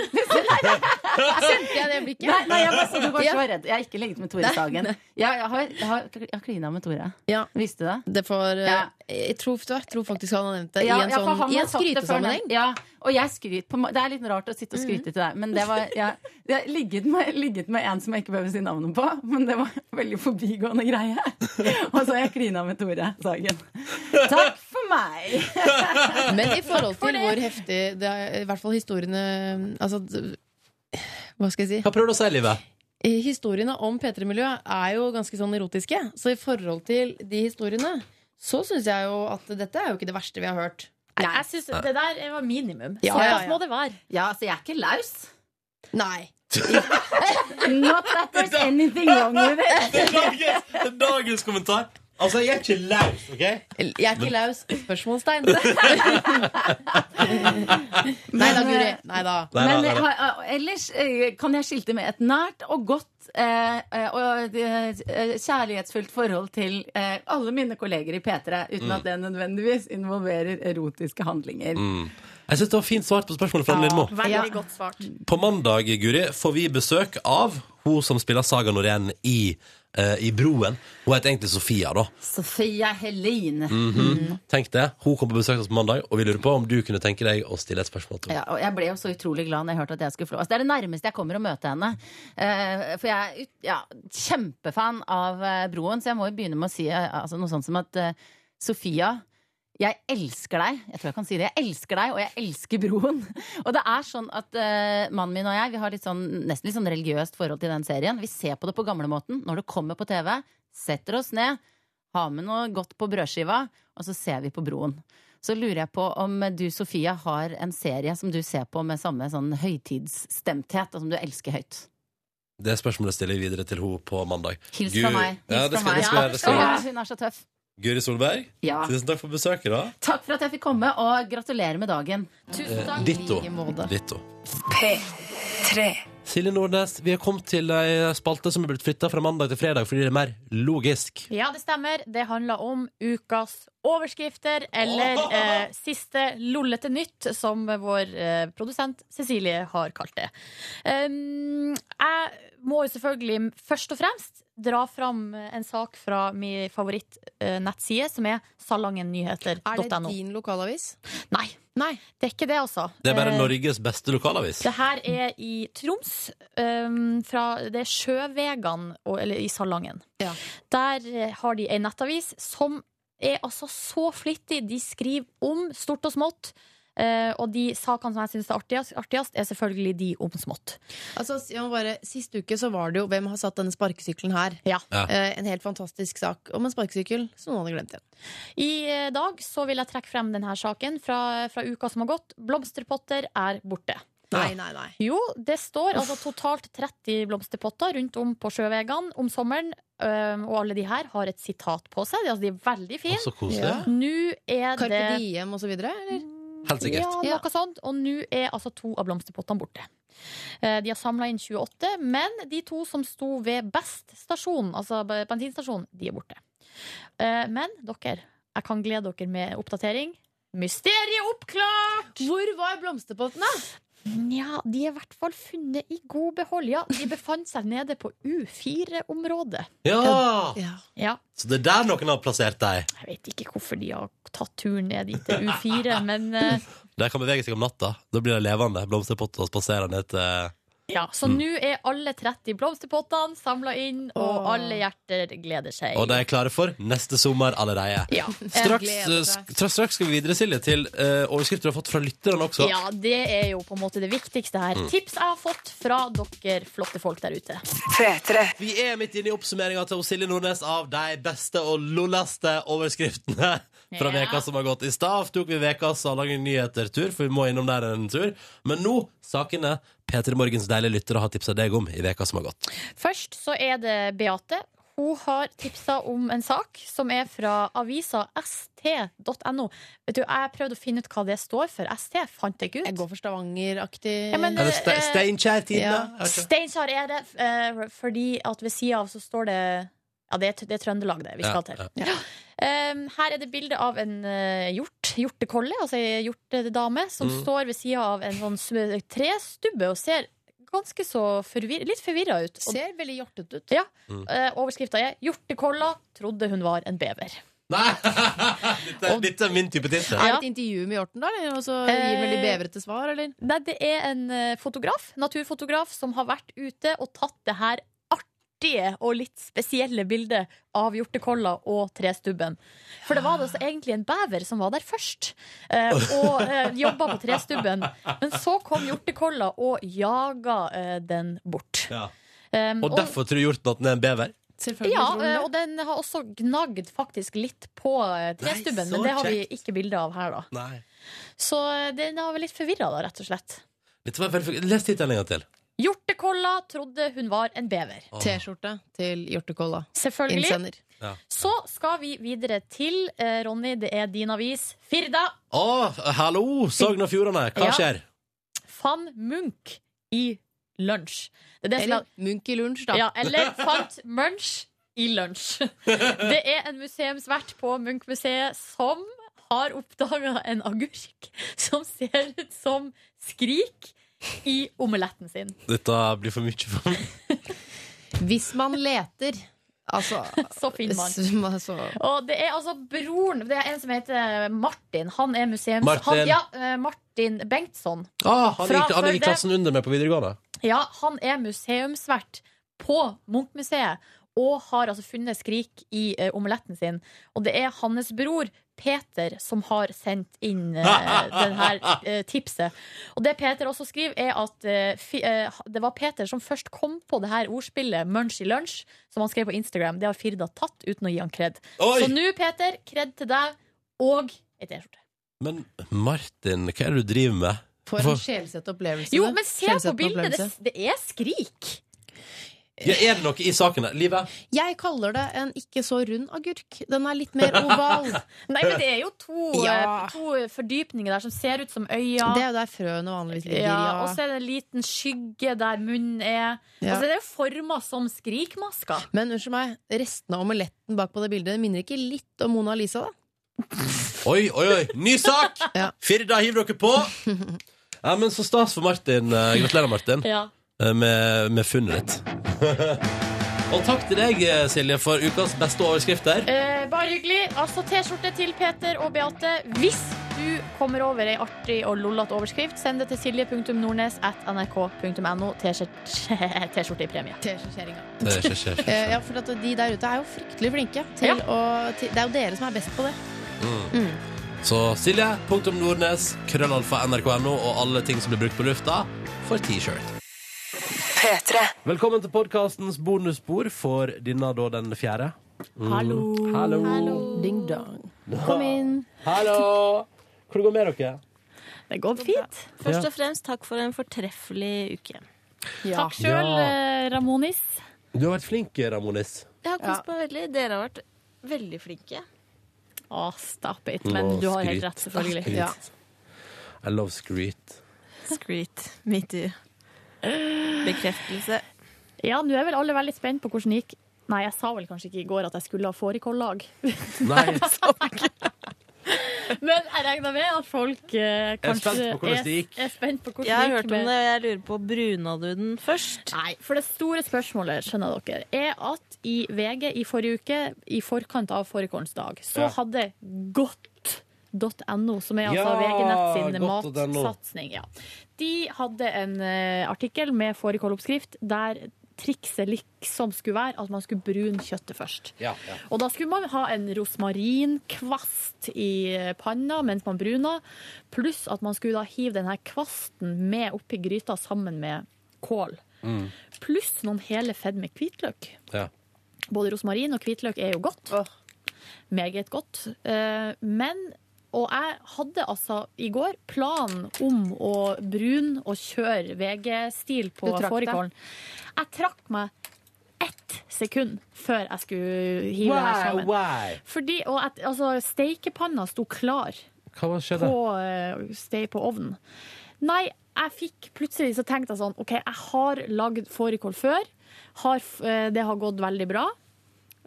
[SPEAKER 2] Kjente jeg det blikket?
[SPEAKER 9] Nei, nei, jeg bare, så du var
[SPEAKER 2] Ja.
[SPEAKER 9] så redd. Jeg har ikke ligget med Tore
[SPEAKER 2] Nei,
[SPEAKER 9] Sagen.
[SPEAKER 2] nei.
[SPEAKER 9] Jeg, jeg har, jeg har, jeg har klina med Tore.
[SPEAKER 2] Ja.
[SPEAKER 9] Visste du det?
[SPEAKER 2] Det får, eh,
[SPEAKER 9] Ja.
[SPEAKER 2] jeg, tror, jeg tror faktisk han har nevnt det i en,
[SPEAKER 9] for
[SPEAKER 2] sånn,
[SPEAKER 9] han
[SPEAKER 2] i
[SPEAKER 9] har
[SPEAKER 2] en
[SPEAKER 9] sagt det før,
[SPEAKER 2] skrytesammenheng.
[SPEAKER 9] men- Ja, og jeg skryter på ma- Det er litt rart å sitte og skryte til deg, men det var Jeg, jeg ligget, med, ligget med en som jeg ikke behøver si navnet på, men det var en veldig forbigående greie. Og så har jeg klina med Tore Sagen. Takk for meg!
[SPEAKER 3] Men i forhold til hvor heftig det er, I hvert fall historiene Altså, d- hva skal jeg si?
[SPEAKER 1] Hva prøver du å si, Livet?
[SPEAKER 3] Eh, Historiene om P3-miljø er jo ganske sånn erotiske. Så i forhold til de historiene, så syns jeg jo at dette er jo ikke det verste vi har hørt.
[SPEAKER 2] Nei, jeg synes Det der var minimum.
[SPEAKER 3] Ja,
[SPEAKER 2] Såpass
[SPEAKER 3] ja, ja.
[SPEAKER 2] må det være.
[SPEAKER 9] Ja, så jeg er ikke laus.
[SPEAKER 3] Nei.
[SPEAKER 9] Not that there's anything wrong with it.
[SPEAKER 1] Dagens, dagens kommentar. Altså, jeg er ikke laus, OK?
[SPEAKER 3] Jeg er ikke laus. Spørsmålstegn. Nei da, Guri. Nei
[SPEAKER 1] Nei,
[SPEAKER 3] da.
[SPEAKER 1] nei,
[SPEAKER 9] Men
[SPEAKER 1] nei, nei.
[SPEAKER 9] ha- ellers eh, kan jeg skilte med et nært og godt eh, eh, og eh, kjærlighetsfullt forhold til eh, alle mine kolleger i P3, uten
[SPEAKER 1] Mm.
[SPEAKER 9] at det nødvendigvis involverer erotiske handlinger.
[SPEAKER 1] Mm. Jeg syns det var fint svart på spørsmålet fra Anne Lindmo.
[SPEAKER 9] Ja.
[SPEAKER 2] godt svart.
[SPEAKER 1] På mandag Guri, får vi besøk av hun som spiller Saga Norén i, eh, i Broen. Hun heter egentlig Sofia, da.
[SPEAKER 9] Sofia Helene.
[SPEAKER 1] Mhm. Tenk det. Hun kom på besøk til oss på mandag, og vi lurer på om du kunne tenke deg å stille et spørsmål til henne.
[SPEAKER 9] Ja, og jeg ble jo så utrolig glad når jeg hørte at jeg skulle få lov. Altså, det er det nærmeste jeg kommer å møte henne. Eh, for jeg er ut- ja, kjempefan av eh, Broen, så jeg må jo begynne med å si eh, altså, noe sånt som at eh, Sofia jeg elsker deg. Jeg tror jeg kan si det. Jeg elsker deg, og jeg elsker broen. Og det er sånn at eh, mannen min og jeg Vi har litt sånn, nesten litt sånn religiøst forhold til den serien. Vi ser på det på gamlemåten. Når det kommer på TV, setter oss ned, har med noe godt på brødskiva, og så ser vi på broen. Så lurer jeg på om du, Sofia, har en serie som du ser på med samme sånn høytidsstemthet, og som du elsker høyt.
[SPEAKER 1] Det spørsmålet stiller vi videre til henne på mandag.
[SPEAKER 9] Hils
[SPEAKER 1] Guri-
[SPEAKER 9] fra meg. Hils
[SPEAKER 1] Ja, det
[SPEAKER 9] fra
[SPEAKER 1] skal,
[SPEAKER 9] meg.
[SPEAKER 1] det skal,
[SPEAKER 9] Ja,
[SPEAKER 1] det skal.
[SPEAKER 9] Å, Hun er så tøff.
[SPEAKER 1] Guri Solberg,
[SPEAKER 9] Ja.
[SPEAKER 1] tusen takk for besøket, da.
[SPEAKER 9] Takk for at jeg fikk komme, og gratulerer med dagen. Tusen
[SPEAKER 1] Eh, Ditto. Ditto. Silje Nordnes, vi er kommet til ei spalte som er blitt flytta fra mandag til fredag fordi det er mer logisk.
[SPEAKER 2] Ja, det stemmer. Det handler om ukas overskrifter, eller eh, siste lollete nytt, som vår eh, produsent Cecilie har kalt det. Um, jeg må jo selvfølgelig først og fremst dra fram en sak fra min favorittnettside, som er
[SPEAKER 3] Er det
[SPEAKER 2] salangennyheter.no.
[SPEAKER 3] din lokalavis?
[SPEAKER 2] Nei. det er ikke det, altså.
[SPEAKER 1] Det er bare
[SPEAKER 2] Eh,
[SPEAKER 1] Norges beste lokalavis.
[SPEAKER 2] det her er i Troms, um, fra det er Sjøvegan, og- eller i Salangen.
[SPEAKER 3] Ja.
[SPEAKER 2] Der eh, har de ei nettavis som er altså så flittig. De skriver om stort og smått. eh, og de sakene som jeg syns er artigst, artigst, er selvfølgelig de om smått.
[SPEAKER 3] Altså, jeg må bare, Sist uke så var det jo 'Hvem har satt denne sparkesykkelen her?'
[SPEAKER 2] Ja.
[SPEAKER 1] Ja.
[SPEAKER 3] Eh, en helt fantastisk sak om en sparkesykkel som noen hadde glemt igjen.
[SPEAKER 2] I eh, dag så vil jeg trekke frem denne saken fra, fra uka som har gått. Blomsterpotter er borte.
[SPEAKER 3] Nei, nei, nei.
[SPEAKER 2] Jo, det står altså totalt 30 blomsterpotter rundt om på sjøvegene om sommeren. øhm, og alle de her har et sitat på seg. De, altså, de er veldig
[SPEAKER 1] Å,
[SPEAKER 2] fine.
[SPEAKER 1] så koselig.
[SPEAKER 3] Ja.
[SPEAKER 2] Nå er
[SPEAKER 3] Carpe
[SPEAKER 2] det
[SPEAKER 3] diem og så videre? Eller?
[SPEAKER 1] Helt
[SPEAKER 2] ja,
[SPEAKER 1] sikkert.
[SPEAKER 2] noe sånt. Og nå er altså to av blomsterpottene borte. Eh, De har samla inn 28, men de to som sto ved Best stasjon, altså b- bensinstasjon, de er borte. Eh, Men dere, jeg kan glede dere med oppdatering. Mysteriet oppklart!
[SPEAKER 3] Hvor var blomsterpottene?
[SPEAKER 2] Nja, de er i hvert fall funnet i god behold. Ja, de befant seg nede på U4-området.
[SPEAKER 1] Ja!
[SPEAKER 3] Ja.
[SPEAKER 2] Ja,
[SPEAKER 1] Så det er der noen har plassert deg.
[SPEAKER 2] jeg vet ikke hvorfor de har tatt turen ned dit til U4, men eh,
[SPEAKER 1] De kan bevege seg om natta. Da blir de levende. Blomsterpotter spaserer ned til
[SPEAKER 2] Ja, Så
[SPEAKER 1] Mm.
[SPEAKER 2] nå er alle 30 blomsterpottene samla inn, og alle hjerter gleder seg.
[SPEAKER 1] Og de er klare for neste sommer allerede.
[SPEAKER 2] Ja.
[SPEAKER 1] Straks,
[SPEAKER 2] Jeg gleder meg.
[SPEAKER 1] eh, sk- straks skal vi videre, Silje, til eh, overskrifter du har fått fra lytterne også.
[SPEAKER 2] Ja, det er jo på en måte det viktigste her.
[SPEAKER 1] Mm.
[SPEAKER 2] Tips jeg har fått fra dere flotte folk der ute.
[SPEAKER 1] Vi er midt inne i oppsummeringa til Silje Nordnes av de beste og lolleste overskriftene fra
[SPEAKER 2] Ja.
[SPEAKER 1] veka som har gått. I stad tok vi vekas avlange nyheter-tur, for vi må innom der en tur. Men nå sakene P3 Morgens deilige lyttere har tipsa deg om i veka som har gått.
[SPEAKER 2] Først så er det Beate. Hun har tipsa om en sak som er fra avisa st.no. Vet du, Jeg prøvde å finne ut hva det står for. ST fant jeg ikke ut. Jeg går for Stavanger-aktig ja, men,
[SPEAKER 1] Er det Ste-
[SPEAKER 2] eh,
[SPEAKER 1] Steinkjer-tiden, da?
[SPEAKER 2] ja.
[SPEAKER 1] Jeg vet ikke.
[SPEAKER 2] Steinkjer er det, eh, fordi at ved sida av så står det Ja, det er, det er Trøndelag det vi
[SPEAKER 1] Ja,
[SPEAKER 2] skal til.
[SPEAKER 1] ja.
[SPEAKER 2] Um, her er det bilde av en eh, hjort, hjortekolle, altså ei hjortedame, som
[SPEAKER 1] Mm.
[SPEAKER 2] står ved sida av en sånn sm- trestubbe og ser ganske så forvir litt forvirra ut. ser veldig hjortete ut. Ja.
[SPEAKER 1] Mm.
[SPEAKER 2] Uh, Overskrifta er 'Hjortekolla trodde hun var en bever'.
[SPEAKER 1] Dette, dette er min type tittel.
[SPEAKER 3] Er det et intervju med hjorten, da? Eller? Og så gir den veldig
[SPEAKER 2] Eh,
[SPEAKER 3] bevrete svar, eller?
[SPEAKER 2] Nei, det er en eh, fotograf, naturfotograf, som har vært ute og tatt det her artige og litt spesielle bildet av hjortekolla og trestubben. For det var altså egentlig en bever som var der først, eh, og uh, jobba på trestubben. Men så kom hjortekolla og jaga eh, den bort.
[SPEAKER 1] Ja.
[SPEAKER 2] Um,
[SPEAKER 1] Og derfor tror hjorten at den er en bever?
[SPEAKER 2] ja, eh, og den har også gnagd faktisk litt på eh, trestubben,
[SPEAKER 1] så
[SPEAKER 2] men det har vi
[SPEAKER 1] kjekt.
[SPEAKER 2] ikke bilde av her, da.
[SPEAKER 1] Nei.
[SPEAKER 2] Så eh, den har vel litt forvirra, da, rett og slett.
[SPEAKER 1] Dette var veldig... Les tittelen en gang til.
[SPEAKER 2] Hjortekolla trodde hun var en bever.
[SPEAKER 3] T-skjorte til hjortekolla.
[SPEAKER 2] Selvfølgelig.
[SPEAKER 3] Innsender.
[SPEAKER 1] Ja.
[SPEAKER 2] Så skal vi videre til, eh, Ronny, det er din avis, Firda.
[SPEAKER 1] Å, hallo, Sogn og Fjordane. Hva
[SPEAKER 2] Ja.
[SPEAKER 1] skjer?
[SPEAKER 2] Fant Munch i lunsj. Det er det som
[SPEAKER 3] Eller
[SPEAKER 2] er-
[SPEAKER 3] Munch i lunsj, da.
[SPEAKER 2] Ja, eller fant Munch i lunsj. Det er en museumsvert på Munch-museet som har oppdaga en agurk som ser ut som skrik i omeletten sin.
[SPEAKER 1] Dette blir for mye for meg.
[SPEAKER 3] Hvis man leter, altså
[SPEAKER 2] Så finner man.
[SPEAKER 3] så- så-
[SPEAKER 2] Og det er altså broren Det er en som heter Martin. Han er museums...
[SPEAKER 1] Martin.
[SPEAKER 2] Han, ja, eh, Martin Bengtsson.
[SPEAKER 1] Ah, han,
[SPEAKER 2] Fra
[SPEAKER 1] gikk, han gikk i
[SPEAKER 2] Førde.
[SPEAKER 1] klassen under meg på videregående.
[SPEAKER 2] Ja, han er museumsvert på Munch-museet og har altså funnet Skrik i eh, omeletten sin. Og det er hans bror Peter som har sendt inn uh, den her eh, tipset. Og det Peter også skriver, er at eh, fi, eh, det var Peter som først kom på det her ordspillet Munch i lunsj, som han skrev på Instagram. Det har Firda tatt uten å gi han kred.
[SPEAKER 1] Oi!
[SPEAKER 2] Så nå, Peter, kred til deg og ei T-skjorte.
[SPEAKER 1] Men Martin, hva er det du driver med?
[SPEAKER 3] For en
[SPEAKER 1] Hvorfor-
[SPEAKER 3] sjelsett opplevelse.
[SPEAKER 2] Jo,
[SPEAKER 3] det.
[SPEAKER 2] men se på
[SPEAKER 3] Skjellsettende
[SPEAKER 2] bildet. Det,
[SPEAKER 3] opplevelse.
[SPEAKER 2] det er skrik.
[SPEAKER 1] ja, er det noe i saken der? Livet?
[SPEAKER 3] Jeg kaller det en ikke så rund agurk. Den er litt mer oval.
[SPEAKER 2] Nei, men det er jo to,
[SPEAKER 3] Ja.
[SPEAKER 2] eh, to fordypninger der som ser ut som øyne.
[SPEAKER 3] Det er jo der frøene vanligvis ligger.
[SPEAKER 2] ja, og så er det en liten skygge der munnen er.
[SPEAKER 3] Ja.
[SPEAKER 2] Altså, det er jo forma som skrikmasker.
[SPEAKER 3] Men unnskyld meg, restene av omeletten bak på det bildet minner ikke litt om Mona Lisa, da?
[SPEAKER 1] Oi, oi, oi! Ny sak!
[SPEAKER 3] Ja.
[SPEAKER 1] Firda, hiv dere på! Ja, men Så stas for Martin. Eh, Gratulerer, Martin,
[SPEAKER 2] Ja.
[SPEAKER 1] eh, med, med funnet ditt. Og takk til deg, eh, Silje, for ukas beste overskrifter.
[SPEAKER 2] Eh, bare hyggelig. Altså T-skjorte til Peter og Beate. Hvis du kommer over ei artig og lollete overskrift, send det til silje.nordnes at nrk.no. T-skjort- T-skjorte i premie.
[SPEAKER 1] Det skjer, skjer, skjer.
[SPEAKER 3] Eh, Ja, for at de der ute er jo fryktelig flinke til å til, Det er jo dere som er best på det.
[SPEAKER 1] Så Silje, punktum Nordnes, krøllalfa nrk.no og alle ting som blir brukt på lufta, for T-shirt. Velkommen til podkastens bonusspor for denne da den fjerde. Mm.
[SPEAKER 2] Hallo.
[SPEAKER 1] Hallo.
[SPEAKER 3] Ding dong.
[SPEAKER 2] Kom inn.
[SPEAKER 1] Hallo. Hvordan går det med dere?
[SPEAKER 2] Det går fint.
[SPEAKER 12] Først og fremst takk for en fortreffelig uke.
[SPEAKER 2] Takk sjøl,
[SPEAKER 1] Ja.
[SPEAKER 2] eh, Ramonis.
[SPEAKER 1] Du har vært flink, Ramonis.
[SPEAKER 12] Jeg har kost meg veldig. Dere har vært veldig flinke.
[SPEAKER 2] Å, stop it. Men
[SPEAKER 1] Å,
[SPEAKER 2] du har helt
[SPEAKER 1] skryt.
[SPEAKER 2] rett, selvfølgelig.
[SPEAKER 1] Skryt.
[SPEAKER 2] Ja.
[SPEAKER 1] I love screet.
[SPEAKER 12] Screet. Me too. Bekreftelse.
[SPEAKER 2] Ja, nå er vel alle veldig spent på hvordan det gikk. Nei, jeg sa vel kanskje ikke i går at jeg skulle ha fårikållag.
[SPEAKER 1] Nei,
[SPEAKER 2] Men jeg regner med at folk eh,
[SPEAKER 1] er
[SPEAKER 2] kanskje
[SPEAKER 1] spent på hvordan det gikk.
[SPEAKER 2] er spent på hvordan
[SPEAKER 12] Jeg har
[SPEAKER 2] det
[SPEAKER 12] hørt
[SPEAKER 2] gikk.
[SPEAKER 12] om
[SPEAKER 2] med-
[SPEAKER 12] det, og jeg lurer på bruna du den først?
[SPEAKER 2] Nei, for det store spørsmålet, skjønner dere, er at i VG i forrige uke, i forkant av fårikålens dag, så
[SPEAKER 1] Ja.
[SPEAKER 2] hadde godt.no, som er altså
[SPEAKER 1] Ja,
[SPEAKER 2] VG Nett sin
[SPEAKER 1] godt.no.
[SPEAKER 2] matsatsing, ja. De hadde en eh, artikkel med fårikåloppskrift der trikset liksom skulle være at man skulle brune kjøttet først.
[SPEAKER 1] Ja, ja.
[SPEAKER 2] Og da skulle man ha en rosmarinkvast i panna mens man bruna, pluss at man skulle da hive denne kvasten med oppi gryta sammen med kål.
[SPEAKER 1] Mm.
[SPEAKER 2] Pluss noen hele fedd med hvitløk.
[SPEAKER 1] Ja.
[SPEAKER 2] Både rosmarin og hvitløk er jo godt. Meget godt. Eh, Men Og jeg hadde altså i går planen om å brune og kjøre VG-stil på
[SPEAKER 9] Du trakk deg?
[SPEAKER 2] fårikålen. Jeg trakk meg ett sekund før jeg skulle hive det her
[SPEAKER 1] Why,
[SPEAKER 2] sammen.
[SPEAKER 1] why?
[SPEAKER 2] Fordi, og at, altså, steikepanna sto klar
[SPEAKER 1] Hva var skjedde?
[SPEAKER 2] på, eh, stei på ovnen. Nei, jeg fikk plutselig så tenkte jeg sånn, ok, jeg har lagd fårikål før. Har, f- eh, det har gått veldig bra.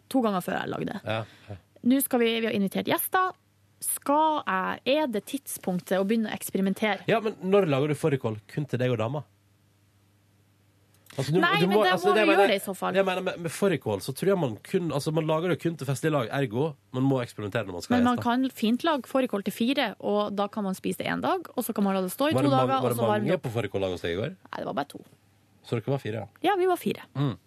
[SPEAKER 2] To ganger før jeg lagde det.
[SPEAKER 1] Ja.
[SPEAKER 2] Nå skal vi, vi har invitert gjester. Skal jeg, er det tidspunktet å begynne å eksperimentere?
[SPEAKER 1] ja, men når lager du fårikål? Kun til deg og dama? Altså,
[SPEAKER 2] Nei, men da må
[SPEAKER 1] jeg
[SPEAKER 2] vi
[SPEAKER 1] mener-
[SPEAKER 2] gjøre det i så fall.
[SPEAKER 1] Jeg mener, med, med fårikål så tror jeg man kun Altså, man lager det kun til festlig lag, ergo man må eksperimentere når man skal
[SPEAKER 2] Men
[SPEAKER 1] ha
[SPEAKER 2] man
[SPEAKER 1] gjester.
[SPEAKER 2] kan fint lage fårikål til fire, og da kan man spise det én dag, og så kan man la det stå i
[SPEAKER 1] Var
[SPEAKER 2] to
[SPEAKER 1] det, mange,
[SPEAKER 2] dager,
[SPEAKER 1] var
[SPEAKER 2] og
[SPEAKER 1] det
[SPEAKER 2] så varme det
[SPEAKER 1] mange
[SPEAKER 2] opp.
[SPEAKER 1] på fårikållag hos deg i går?
[SPEAKER 2] Nei, det var bare to.
[SPEAKER 1] Så dere var fire, ja.
[SPEAKER 2] Ja, vi var fire.
[SPEAKER 1] Mm.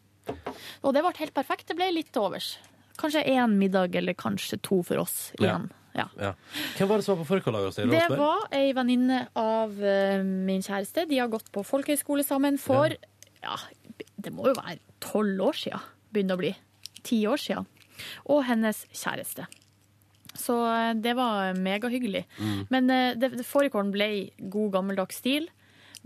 [SPEAKER 2] Og det ble helt perfekt. Det ble litt til overs. Kanskje én middag, eller kanskje to for oss igjen. Ja.
[SPEAKER 1] Ja. Hvem var det som var på fårikållag hos deg?
[SPEAKER 2] Det
[SPEAKER 1] Rosberg?
[SPEAKER 2] var ei venninne av eh, min kjæreste. De har gått på folkehøyskole sammen for ja, det må jo være tolv år siden. Begynner å bli. Ti år siden. Og hennes kjæreste. Så eh, det var megahyggelig.
[SPEAKER 9] Mm.
[SPEAKER 2] Men eh, det, det fårikålen ble i god gammeldags stil.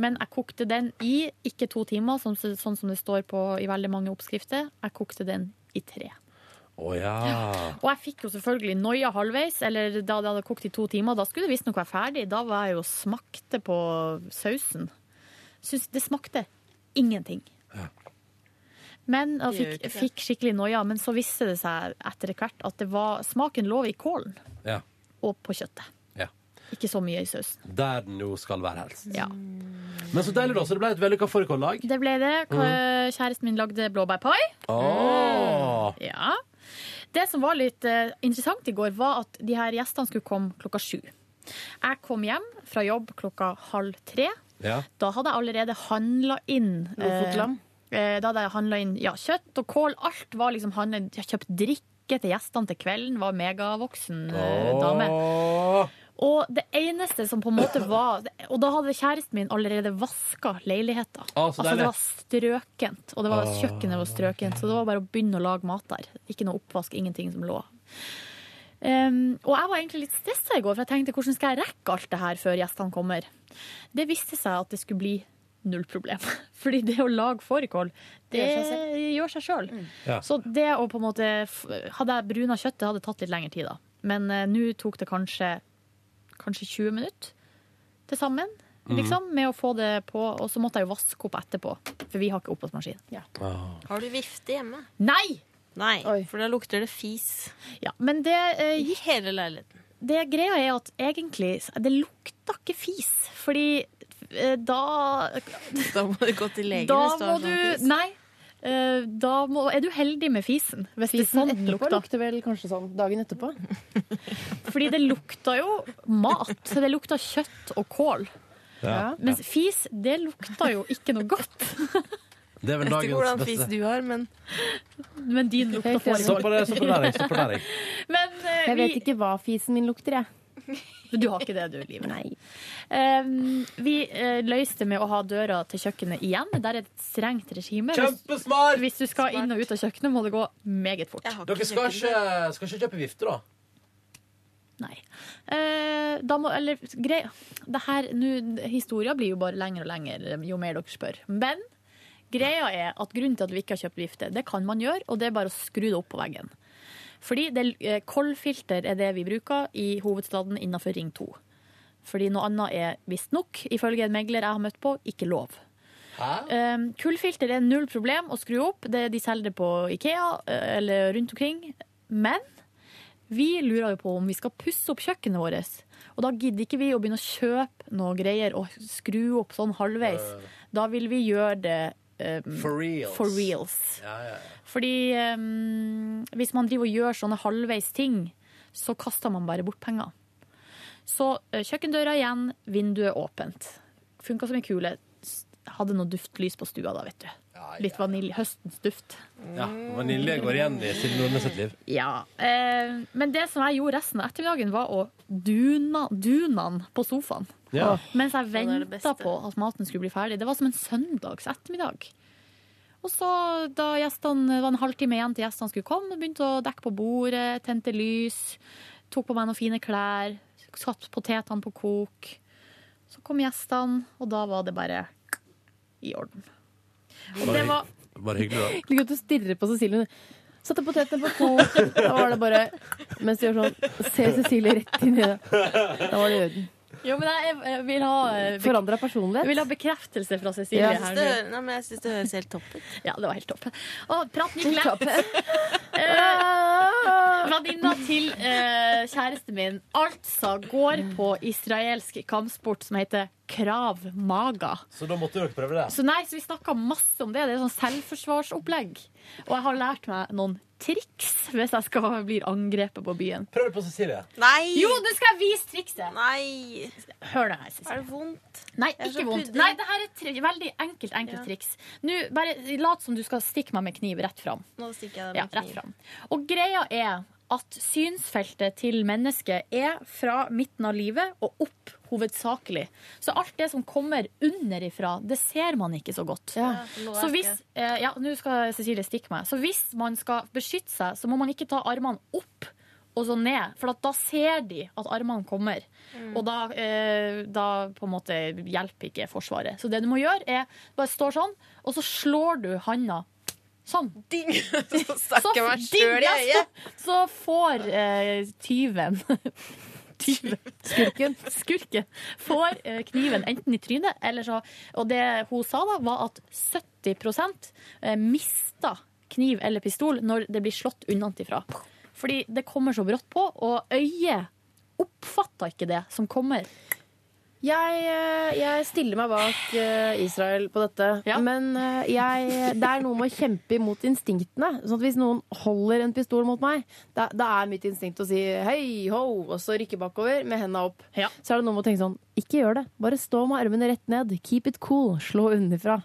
[SPEAKER 2] Men jeg kokte den i ikke to timer, sånn, sånn som det står på i veldig mange oppskrifter. Jeg kokte den i tre.
[SPEAKER 1] Å ja.
[SPEAKER 2] Og jeg fikk jo selvfølgelig noia halvveis, eller da det hadde kokt i to timer. Da skulle det visstnok være ferdig. Da var jeg jo og smakte på sausen. Syns det smakte ingenting. Men
[SPEAKER 9] Det
[SPEAKER 2] jeg
[SPEAKER 9] gjør
[SPEAKER 2] fikk,
[SPEAKER 9] ikke det.
[SPEAKER 2] fikk skikkelig noia, men så viste det seg etter hvert at det var, smaken lå i kålen
[SPEAKER 1] ja.
[SPEAKER 2] og på kjøttet.
[SPEAKER 1] Ja.
[SPEAKER 2] Ikke så mye i sausen.
[SPEAKER 1] Der den jo skal være helst.
[SPEAKER 2] Ja.
[SPEAKER 9] Mm.
[SPEAKER 1] Men så deilig, da. Så det ble et vellykka fårikållag.
[SPEAKER 2] Det ble det. K-
[SPEAKER 1] Mhm.
[SPEAKER 2] Kjæresten min lagde blåbærpai.
[SPEAKER 1] Åh.
[SPEAKER 2] Ja. Det som var litt eh, interessant i går, var at de her gjestene skulle komme klokka sju. Jeg kom hjem fra jobb klokka halv tre.
[SPEAKER 1] Ja.
[SPEAKER 2] Da hadde jeg allerede handla inn eh,
[SPEAKER 3] Lofotlam?
[SPEAKER 2] eh, Da hadde jeg handla inn ja, kjøtt og kål. Alt var liksom handlet. Jeg kjøpte drikke til gjestene til kvelden. Var megavoksen eh, dame. Og det eneste som på en måte var Og da hadde kjæresten min allerede vaska leiligheta.
[SPEAKER 1] Ah, så
[SPEAKER 2] altså, det
[SPEAKER 1] deilig.
[SPEAKER 2] var strøkent, og det var
[SPEAKER 1] Ah,
[SPEAKER 2] kjøkkenet var strøkent. Så det var bare å begynne å lage mat der. Ikke noe oppvask, ingenting som lå. Um, og jeg var egentlig litt stressa i går, for jeg tenkte hvordan skal jeg rekke alt det her før gjestene kommer? Det viste seg at det skulle bli null problem. Fordi det å lage fårikål, det
[SPEAKER 3] Det gjør seg selv. Mm.
[SPEAKER 2] gjør seg sjøl.
[SPEAKER 3] Ja.
[SPEAKER 2] Så det å på en måte f- Hadde jeg bruna kjøtt, det hadde tatt litt lengre tid, da. Men eh, nå tok det kanskje kanskje 20 minutter til sammen.
[SPEAKER 1] Mhm.
[SPEAKER 2] Liksom, med å få det på, og så måtte jeg jo vaske opp etterpå, for vi har ikke oppvaskmaskin.
[SPEAKER 1] Ah.
[SPEAKER 12] Har du vifte hjemme?
[SPEAKER 2] Nei!
[SPEAKER 12] Nei, for da lukter det fis.
[SPEAKER 2] Ja, men det eh,
[SPEAKER 12] I hele leiligheten.
[SPEAKER 2] Det greia er at egentlig så- det lukta ikke fis, fordi eh, da
[SPEAKER 12] Da må du gå til legen
[SPEAKER 2] Da
[SPEAKER 12] hvis du har
[SPEAKER 2] må
[SPEAKER 12] sånn
[SPEAKER 2] du
[SPEAKER 12] fis.
[SPEAKER 2] Nei. eh, Da må, er du heldig med fisen, hvis
[SPEAKER 3] Fisen
[SPEAKER 2] det er sånn den
[SPEAKER 3] etterpå
[SPEAKER 2] lukta.
[SPEAKER 3] lukter vel kanskje sånn dagen etterpå.
[SPEAKER 2] Fordi det lukta jo mat. Så det lukta kjøtt og kål.
[SPEAKER 1] Ja.
[SPEAKER 2] Mens fis, det lukta jo ikke noe godt.
[SPEAKER 1] Det er vel dagens beste.
[SPEAKER 12] har, men
[SPEAKER 2] Men din lukta får
[SPEAKER 1] Stopp på det, stopp på der, jeg, stopp på der, jeg.
[SPEAKER 2] Men eh,
[SPEAKER 3] Jeg
[SPEAKER 2] vi
[SPEAKER 3] vet ikke hva fisen min lukter, jeg.
[SPEAKER 2] Du har ikke det, du, Liv. Um, vi eh, løste det med å ha døra til kjøkkenet igjen. Der er det et strengt regime. Hvis-
[SPEAKER 1] Kjempesmart!
[SPEAKER 2] Hvis du skal inn og ut av kjøkkenet, må det gå meget fort.
[SPEAKER 1] Dere skal ikke, skal ikke kjøpe vifte, da?
[SPEAKER 2] Eh, da må, eller, grei, det her, nu, historia blir jo bare lengre og lengre jo mer dere spør. Men greia er at grunnen til at vi ikke har kjøpt vifte, det kan man gjøre, og det er bare å skru det opp på veggen. Fordi det, eh, koldfilter er det vi bruker i hovedstaden innenfor Ring 2. Fordi noe annet er visstnok, ifølge en megler jeg har møtt på, ikke lov. Um, kullfilter er null problem å skru opp. Det, de selger det på Ikea eh, eller rundt omkring. Men vi lurer jo på om vi skal pusse opp kjøkkenet vårt. Og da gidder ikke vi å begynne å kjøpe noe greier og skru opp sånn halvveis. Da vil vi gjøre det um,
[SPEAKER 1] For reals.
[SPEAKER 2] For reals.
[SPEAKER 1] Ja, ja,
[SPEAKER 2] Fordi um, hvis man driver og gjør sånne halvveis ting, så kaster man bare bort penger. Så eh, kjøkkendøra igjen, vinduet åpent. funka som en kule. S- Hadde noe duftlys på stua da, vet du. Litt vanilje. Høstens duft.
[SPEAKER 1] Ja, Vanilje går igjen i Silje Nordnes sitt liv.
[SPEAKER 2] Ja. Eh, men det som jeg gjorde resten av ettermiddagen, var å duna dunan på sofaen.
[SPEAKER 1] Ja.
[SPEAKER 2] Åh, Mens jeg venta på at maten skulle bli ferdig. Det var som en søndags ettermiddag. Og så, da gjestene, det var en halvtime igjen til gjestene skulle komme, begynte å dekke på bordet, tente lys, tok på meg noen fine klær, satt potetene på kok. Så kom gjestene, og da var det bare i orden. Og det var
[SPEAKER 13] Bare hyggelig,
[SPEAKER 3] Ligger ute og stirrer på Cecilie. Satte potetene på kok, da var det bare Mens de gjør sånn, ser Cecilie rett inn i det. Da var det i orden.
[SPEAKER 2] Jo, men jeg, jeg vil ha eh, bek-
[SPEAKER 3] Forandra personlighet.
[SPEAKER 2] Jeg vil ha bekreftelse fra Cecilie her
[SPEAKER 12] Jeg synes
[SPEAKER 2] nå.
[SPEAKER 12] det- Nei, men jeg syns det høres helt topp ut.
[SPEAKER 2] Ja, det var helt topp. Å, praten gikk lett. Eh, Venninna til eh, kjæresten min altså går på israelsk kampsport som heter krav maga.
[SPEAKER 1] Så da måtte dere prøve det.
[SPEAKER 2] Så nei, så vi snakka masse om det. Det er sånn selvforsvarsopplegg. Og jeg har lært meg noen triks hvis jeg skal bli angrepet på byen.
[SPEAKER 1] Prøv det på Cecilie.
[SPEAKER 12] Nei!
[SPEAKER 2] Jo, nå skal jeg vise trikset!
[SPEAKER 12] Nei!
[SPEAKER 2] Hør nå her, Cecilie.
[SPEAKER 12] Er det vondt?
[SPEAKER 2] Nei,
[SPEAKER 12] Jeg er
[SPEAKER 2] ikke
[SPEAKER 12] så
[SPEAKER 2] vondt.
[SPEAKER 12] pudding.
[SPEAKER 2] Nei, det her er et tri- veldig enkelt, enkelt
[SPEAKER 12] Ja.
[SPEAKER 2] triks. Nå, bare lat som du skal stikke meg med kniv rett fram.
[SPEAKER 12] Nå stikker jeg
[SPEAKER 2] Ja,
[SPEAKER 12] deg med
[SPEAKER 2] rett fram. Og greia er at synsfeltet til mennesket er fra midten av livet og opp hovedsakelig. Så alt det som kommer underifra, det ser man ikke så godt.
[SPEAKER 12] for nå er
[SPEAKER 2] Så
[SPEAKER 12] jeg
[SPEAKER 2] hvis, eh, ja, nå skal Cecilie stikke meg. Så hvis man skal beskytte seg, så må man ikke ta armene opp og så ned, for at da ser de at armene kommer.
[SPEAKER 12] Mm.
[SPEAKER 2] Og da, eh, da på en måte hjelper ikke Forsvaret. Så det du må gjøre, er bare står sånn, og så slår du handa sånn.
[SPEAKER 12] Ding! Så stakk jeg meg
[SPEAKER 2] ding,
[SPEAKER 12] sjøl i
[SPEAKER 2] ja,
[SPEAKER 12] øyet.
[SPEAKER 2] Så, så får eh, tyven Tyven. Skurken. Skurken får eh, kniven enten i trynet eller så Og det hun sa, da, var at 70 eh, mista kniv eller pistol når det blir slått unnafra. Fordi det kommer så brått på, og øyet oppfatter ikke det som kommer.
[SPEAKER 3] Jeg, eh, jeg stiller meg bak eh, Israel på dette. Men eh, jeg, det er noe med å kjempe imot instinktene. Sånn at Hvis noen holder en pistol mot meg, da, da er mitt instinkt å si hei, ho, og så rykke bakover med henda opp. Så er det noe med å tenke sånn ikke gjør det. Bare stå med armene rett ned. Keep it cool. Slå underfra.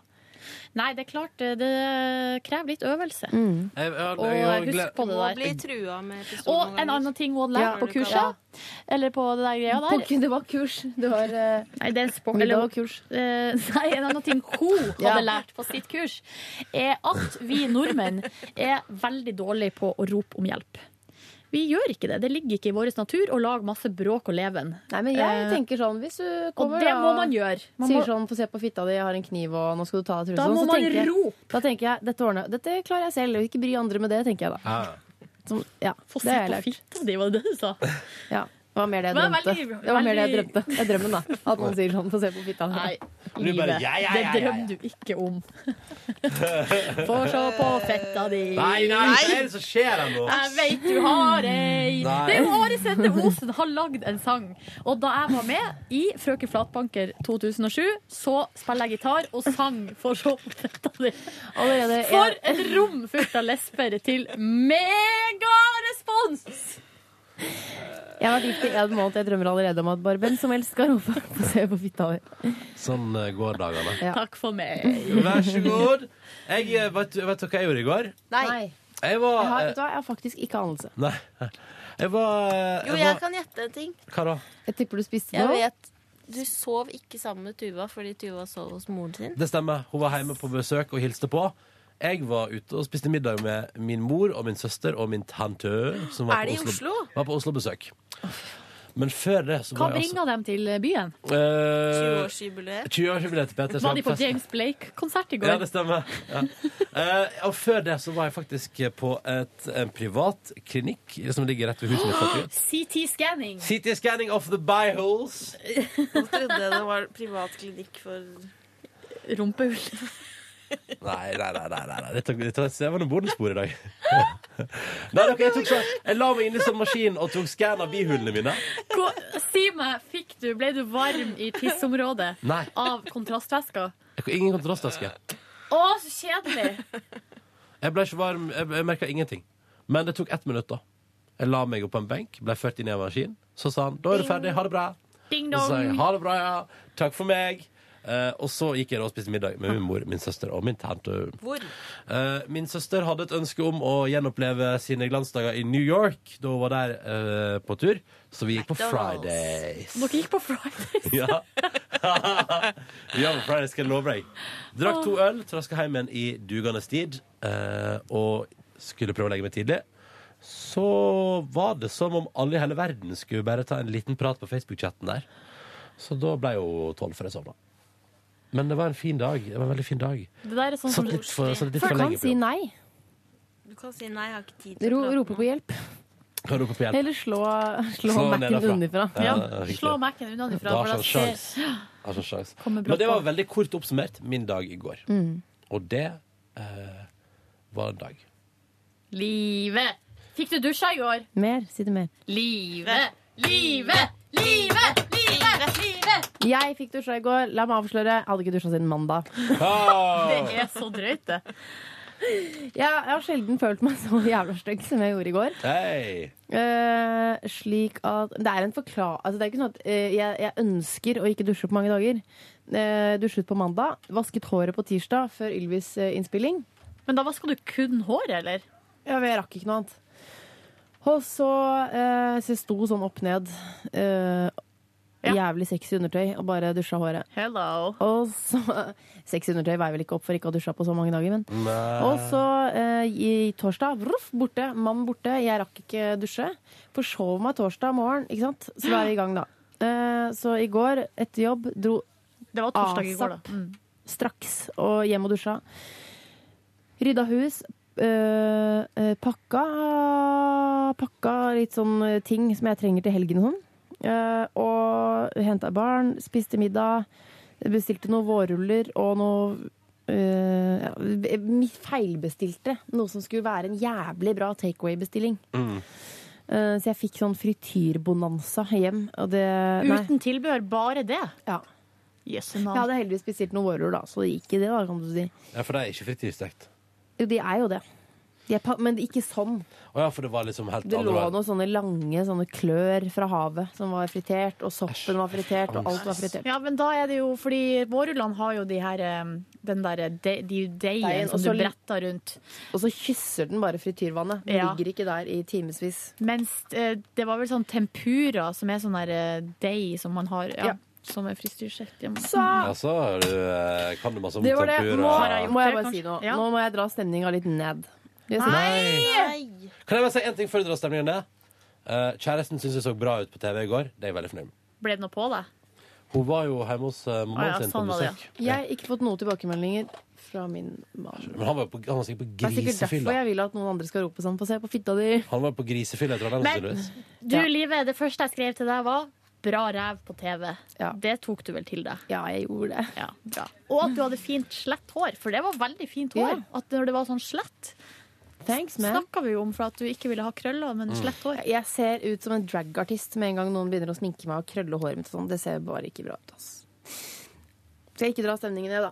[SPEAKER 2] Nei, det er klart, det- det krever litt øvelse.
[SPEAKER 1] Jeg, jeg,
[SPEAKER 2] Og
[SPEAKER 1] jeg, jeg,
[SPEAKER 2] husk på det
[SPEAKER 12] Må
[SPEAKER 2] der.
[SPEAKER 12] bli trua med pistol noen
[SPEAKER 2] Og en
[SPEAKER 12] ganger.
[SPEAKER 2] annen ting hun hadde
[SPEAKER 12] Ja.
[SPEAKER 2] lært på kurset. Eller på det der greia der.
[SPEAKER 3] På- det var kurs. Det var eh,
[SPEAKER 2] Nei, det er en sport.
[SPEAKER 3] middag
[SPEAKER 2] eller-
[SPEAKER 3] og kurs.
[SPEAKER 2] Eh, nei, en annen ting hun hadde
[SPEAKER 3] Ja.
[SPEAKER 2] lært på sitt kurs, er at vi nordmenn er veldig dårlige på å rope om hjelp. Vi gjør ikke det. Det ligger ikke i vår natur å lage masse bråk og leven.
[SPEAKER 3] Nei, men jeg tenker sånn Hvis du
[SPEAKER 2] Og
[SPEAKER 3] kommer
[SPEAKER 2] det
[SPEAKER 3] da-
[SPEAKER 2] må man gjøre. Man
[SPEAKER 3] sier
[SPEAKER 2] må-
[SPEAKER 3] sånn, få se på fitta di, jeg har en kniv og nå skal du ta av
[SPEAKER 2] Da
[SPEAKER 3] trusa.
[SPEAKER 2] må
[SPEAKER 3] Sånn, så
[SPEAKER 2] man
[SPEAKER 3] tenker jeg-
[SPEAKER 2] rope.
[SPEAKER 3] Da tenker jeg, dette ordner Dette klarer jeg selv, og ikke bry andre med det, tenker jeg da. Som, ja,
[SPEAKER 2] Få se
[SPEAKER 3] det har jeg
[SPEAKER 2] på
[SPEAKER 3] lært.
[SPEAKER 2] fitta di, var det det du sa?
[SPEAKER 3] Ja, det var mer det jeg
[SPEAKER 2] Det var
[SPEAKER 3] drømte.
[SPEAKER 2] veldig-
[SPEAKER 3] det var mer det jeg
[SPEAKER 2] veldig-
[SPEAKER 3] drømte. Det er drømmen, da. At noen sier sånn, få se på fitta di.
[SPEAKER 2] Nei,
[SPEAKER 3] Du bare,
[SPEAKER 2] livet.
[SPEAKER 3] ja, ja, ja, ja,
[SPEAKER 2] Det
[SPEAKER 3] ja.
[SPEAKER 2] drømmer du ikke om. Få se på fetta di.
[SPEAKER 1] Nei, nei, hva er det som skjer her nå?
[SPEAKER 2] Jeg veit du har ei!
[SPEAKER 1] Nei.
[SPEAKER 2] Det er jo Are Sende Osen har lagd en sang. Og da jeg var med i Frøken Flatbanker 2007, så spiller jeg gitar og sang for så fetta di.
[SPEAKER 3] Allerede er-
[SPEAKER 2] For et rom fullt av lesber til megarespons!
[SPEAKER 3] Jeg har vært gift i en måned, jeg drømmer allerede om at bare hvem som helst skal rope få se på fitta di.
[SPEAKER 1] Sånn eh, går dagene.
[SPEAKER 2] Takk for meg.
[SPEAKER 1] Vær så god. Jeg, eh, vet, du- vet du hva jeg gjorde i går?
[SPEAKER 3] Nei.
[SPEAKER 1] Jeg
[SPEAKER 3] Jeg
[SPEAKER 1] var
[SPEAKER 3] har,
[SPEAKER 1] eh,
[SPEAKER 3] vet du hva, jeg har faktisk ikke anelse.
[SPEAKER 1] Nei. Jeg var, eh,
[SPEAKER 12] Jo, jeg
[SPEAKER 1] jeg var
[SPEAKER 12] kan gjette en ting.
[SPEAKER 1] Hva da?
[SPEAKER 3] Jeg tipper du spiste
[SPEAKER 12] Jeg
[SPEAKER 3] noe.
[SPEAKER 12] vet du sov ikke sammen med Tuva fordi Tuva sov hos moren sin.
[SPEAKER 1] Det stemmer. Hun var hjemme på besøk og hilste på. Jeg var ute og spiste middag med min mor og min søster og min tante. Som var
[SPEAKER 2] Er
[SPEAKER 1] på
[SPEAKER 2] de i Oslo?
[SPEAKER 1] Var på Oslo-besøk. Men før det så
[SPEAKER 2] Hva
[SPEAKER 1] var jeg altså
[SPEAKER 2] bringer dem til byen?
[SPEAKER 1] eh,
[SPEAKER 12] 20-årsjubileet.
[SPEAKER 1] 20-årsjubileet til Peter.
[SPEAKER 2] Var de på
[SPEAKER 1] Sandfest.
[SPEAKER 2] James Blake-konsert i går?
[SPEAKER 1] Ja, det stemmer. Ja. Eh, og før det så var jeg faktisk på et, en privat klinikk som ligger rett ved huset mitt. faktisk.
[SPEAKER 2] CT-scanning.
[SPEAKER 1] CT-scanning of the biholes.
[SPEAKER 12] Jeg trodde det var privat klinikk for
[SPEAKER 2] Rumpehull.
[SPEAKER 1] Nei, nei, nei, nei, nei. Dette, dette, det var noen bonusspor i dag. nei, dere, jeg, tok så, jeg la meg inn i sånn maskin og tok skann av bihulene mine.
[SPEAKER 2] Hva- Si meg, fikk du, ble du varm i tissområdet
[SPEAKER 1] Nei.
[SPEAKER 2] av kontrastvæska?
[SPEAKER 1] Jeg, ingen kontrastaske.
[SPEAKER 2] Å, så kjedelig!
[SPEAKER 1] Jeg ble ikke varm, jeg, jeg merka ingenting. Men det tok ett minutt, da. Jeg la meg opp på en benk, ble ført inn i en maskin. Så sa han 'da er du ferdig, ha det bra'.
[SPEAKER 2] Ding
[SPEAKER 1] Så sa jeg
[SPEAKER 2] dong.
[SPEAKER 1] ha det bra, ja. Takk for meg. Eh, og så gikk jeg da og spiste middag med min mor, min søster og min tante.
[SPEAKER 12] Hvor?
[SPEAKER 1] Eh, min søster hadde et ønske om å gjenoppleve sine glansdager i New York da hun var der eh, på tur, så vi gikk på
[SPEAKER 2] McDonald's.
[SPEAKER 1] Fridays.
[SPEAKER 2] Dere gikk på Friday.
[SPEAKER 1] Ja. ja, men Friday skal jeg love deg. Drakk to øl, traska hjem igjen i dugende tid eh, og skulle prøve å legge meg tidlig. Så var det som om alle i hele verden skulle bare ta en liten prat på Facebook-chatten der. Så da ble jeg jo tolv før jeg sovna. Men det var en fin dag. Det var en veldig fin dag.
[SPEAKER 2] Det der er sånn som
[SPEAKER 1] Satt litt for, satt litt
[SPEAKER 3] Folk
[SPEAKER 1] for
[SPEAKER 3] kan
[SPEAKER 1] lenge på
[SPEAKER 3] si
[SPEAKER 1] jobb.
[SPEAKER 3] nei.
[SPEAKER 12] Du kan si nei, jeg har ikke tid til
[SPEAKER 3] Ro,
[SPEAKER 12] å prate.
[SPEAKER 3] rope på hjelp.
[SPEAKER 1] Kan rope på hjelp.
[SPEAKER 3] Eller slå, slå,
[SPEAKER 1] Slå
[SPEAKER 3] Mac-en
[SPEAKER 1] nedenfra.
[SPEAKER 3] underfra.
[SPEAKER 1] Ja,
[SPEAKER 2] Ja,
[SPEAKER 1] riktig.
[SPEAKER 2] slå Mac-en unna
[SPEAKER 1] Da
[SPEAKER 2] ifra.
[SPEAKER 1] har
[SPEAKER 2] for da
[SPEAKER 1] ikke han
[SPEAKER 2] ser-
[SPEAKER 1] sjans. Har ikke sjans.
[SPEAKER 2] Kommer brått
[SPEAKER 1] Men det var
[SPEAKER 2] på.
[SPEAKER 1] veldig kort oppsummert min dag i går.
[SPEAKER 2] Mm.
[SPEAKER 1] Og det eh, var en dag.
[SPEAKER 2] Livet! Fikk du dusja i går?
[SPEAKER 3] Mer, si det mer.
[SPEAKER 2] Livet! Livet! Livet! Livet! Livet!
[SPEAKER 3] Jeg fikk dusja i går. La meg avsløre, jeg hadde ikke dusja siden mandag.
[SPEAKER 2] Det er så drøyt, det.
[SPEAKER 3] Jeg, jeg har sjelden følt meg så jævla stygg som jeg gjorde i går.
[SPEAKER 1] Hei!
[SPEAKER 3] Eh, slik at Det er en forklar... Altså, det er ikke sånn at eh, jeg, jeg ønsker å ikke dusje på mange dager. Eh, dusjet på mandag, vasket håret på tirsdag før Ylvis eh, innspilling.
[SPEAKER 2] Men da vaska du kun håret, eller?
[SPEAKER 3] Ja, men jeg rakk ikke noe annet. Og så, eh, så jeg sto sånn opp ned. eh, Jævlig sexy undertøy og bare dusja håret.
[SPEAKER 2] Hello.
[SPEAKER 3] Og så, sexy undertøy veier vel ikke opp for ikke å ha dusja på så mange dager, men. Og så eh, i torsdag, vroff, borte, mann borte, jeg rakk ikke dusje. Forsov meg torsdag morgen, ikke sant? Så da er vi i gang, da. Eh, så i går, etter jobb, dro
[SPEAKER 2] Det var torsdag i går, da.
[SPEAKER 3] straks og hjem og dusja. Rydda hus. eh, eh, pakka Pakka litt sånn eh, ting som jeg trenger til helgen og sånn. Eh, og henta barn, spiste middag, bestilte noen vårruller og noe eh, ja, mi- Feilbestilte noe som skulle være en jævlig bra takeaway-bestilling. Eh, så jeg fikk sånn frityrbonanza hjem. Og det, nei.
[SPEAKER 2] Uten tilbehør, bare det?
[SPEAKER 3] Ja.
[SPEAKER 2] Jøsse navn.
[SPEAKER 3] Jeg hadde heldigvis bestilt noen vårruller, da, så det gikk i det, da, kan du si.
[SPEAKER 1] Ja, for det er ikke frityrstekt.
[SPEAKER 3] Jo, de er jo det. De er pa men ikke sånn.
[SPEAKER 1] Å ja, for det var liksom helt
[SPEAKER 3] Det lå
[SPEAKER 1] andre veien.
[SPEAKER 3] noen sånne lange sånne klør fra havet som var fritert, og soppen var fritert, og alt var fritert.
[SPEAKER 2] Ja, men da er det jo fordi vårrullene har jo de her em, den derre de, de deigen
[SPEAKER 3] Deigen,
[SPEAKER 2] som
[SPEAKER 3] og
[SPEAKER 2] du
[SPEAKER 3] så-
[SPEAKER 2] bretter rundt.
[SPEAKER 3] Og så kysser den bare frityrvannet. Den
[SPEAKER 2] Ja.
[SPEAKER 3] ligger ikke der i timevis.
[SPEAKER 2] Mens eh, det var vel sånn tempura, som er sånn der eh, deig som man har ja,
[SPEAKER 3] Ja.
[SPEAKER 2] Som er fristyrstekt. Ja.
[SPEAKER 1] Ja, så har du, eh, kan du masse om
[SPEAKER 3] Det var det.
[SPEAKER 1] tempura.
[SPEAKER 3] Nå må jeg bare
[SPEAKER 2] kanskje?
[SPEAKER 3] si noe.
[SPEAKER 2] Ja.
[SPEAKER 3] Nå må jeg dra stemninga litt ned. Jeg sier-
[SPEAKER 1] Nei! Kan jeg bare si en ting før du drar stemningen ned? Eh, kjæresten syntes jeg så bra ut på TV i går. Det er jeg veldig fornøyd med.
[SPEAKER 2] Ble det noe på deg?
[SPEAKER 1] Hun var jo hjemme hos eh, mammaen
[SPEAKER 2] Å ja,
[SPEAKER 1] sin
[SPEAKER 2] sånn
[SPEAKER 1] på
[SPEAKER 2] var det,
[SPEAKER 1] besøk.
[SPEAKER 3] Jeg har ikke fått noen tilbakemeldinger fra min mann.
[SPEAKER 1] Men han var, jo på, han var sikkert på
[SPEAKER 3] Det er sikkert derfor
[SPEAKER 1] grisefylla.
[SPEAKER 3] jeg vil at noen andre skal rope sånn. Få se på fitta di!
[SPEAKER 1] Han var på grisefylla i Trondheim,
[SPEAKER 2] Men
[SPEAKER 1] sannsynligvis.
[SPEAKER 2] du, Live, det første jeg skrev til deg, var 'bra ræv på TV'. Det tok du vel til deg?
[SPEAKER 3] Ja, jeg gjorde det.
[SPEAKER 2] Ja, bra. Og at du hadde fint slett hår, for det var veldig fint hår. At når det var sånn slett,
[SPEAKER 3] Thanks, man.
[SPEAKER 2] snakka vi jo om for at du ikke ville ha krøller, men
[SPEAKER 3] Mm.
[SPEAKER 2] slett hår.
[SPEAKER 3] Jeg- Jeg ser ut som en dragartist med en gang noen begynner å sminke meg og krølle håret mitt. og Sånn. Det ser bare ikke bra ut. Ass. Skal jeg ikke dra stemningen ned, da?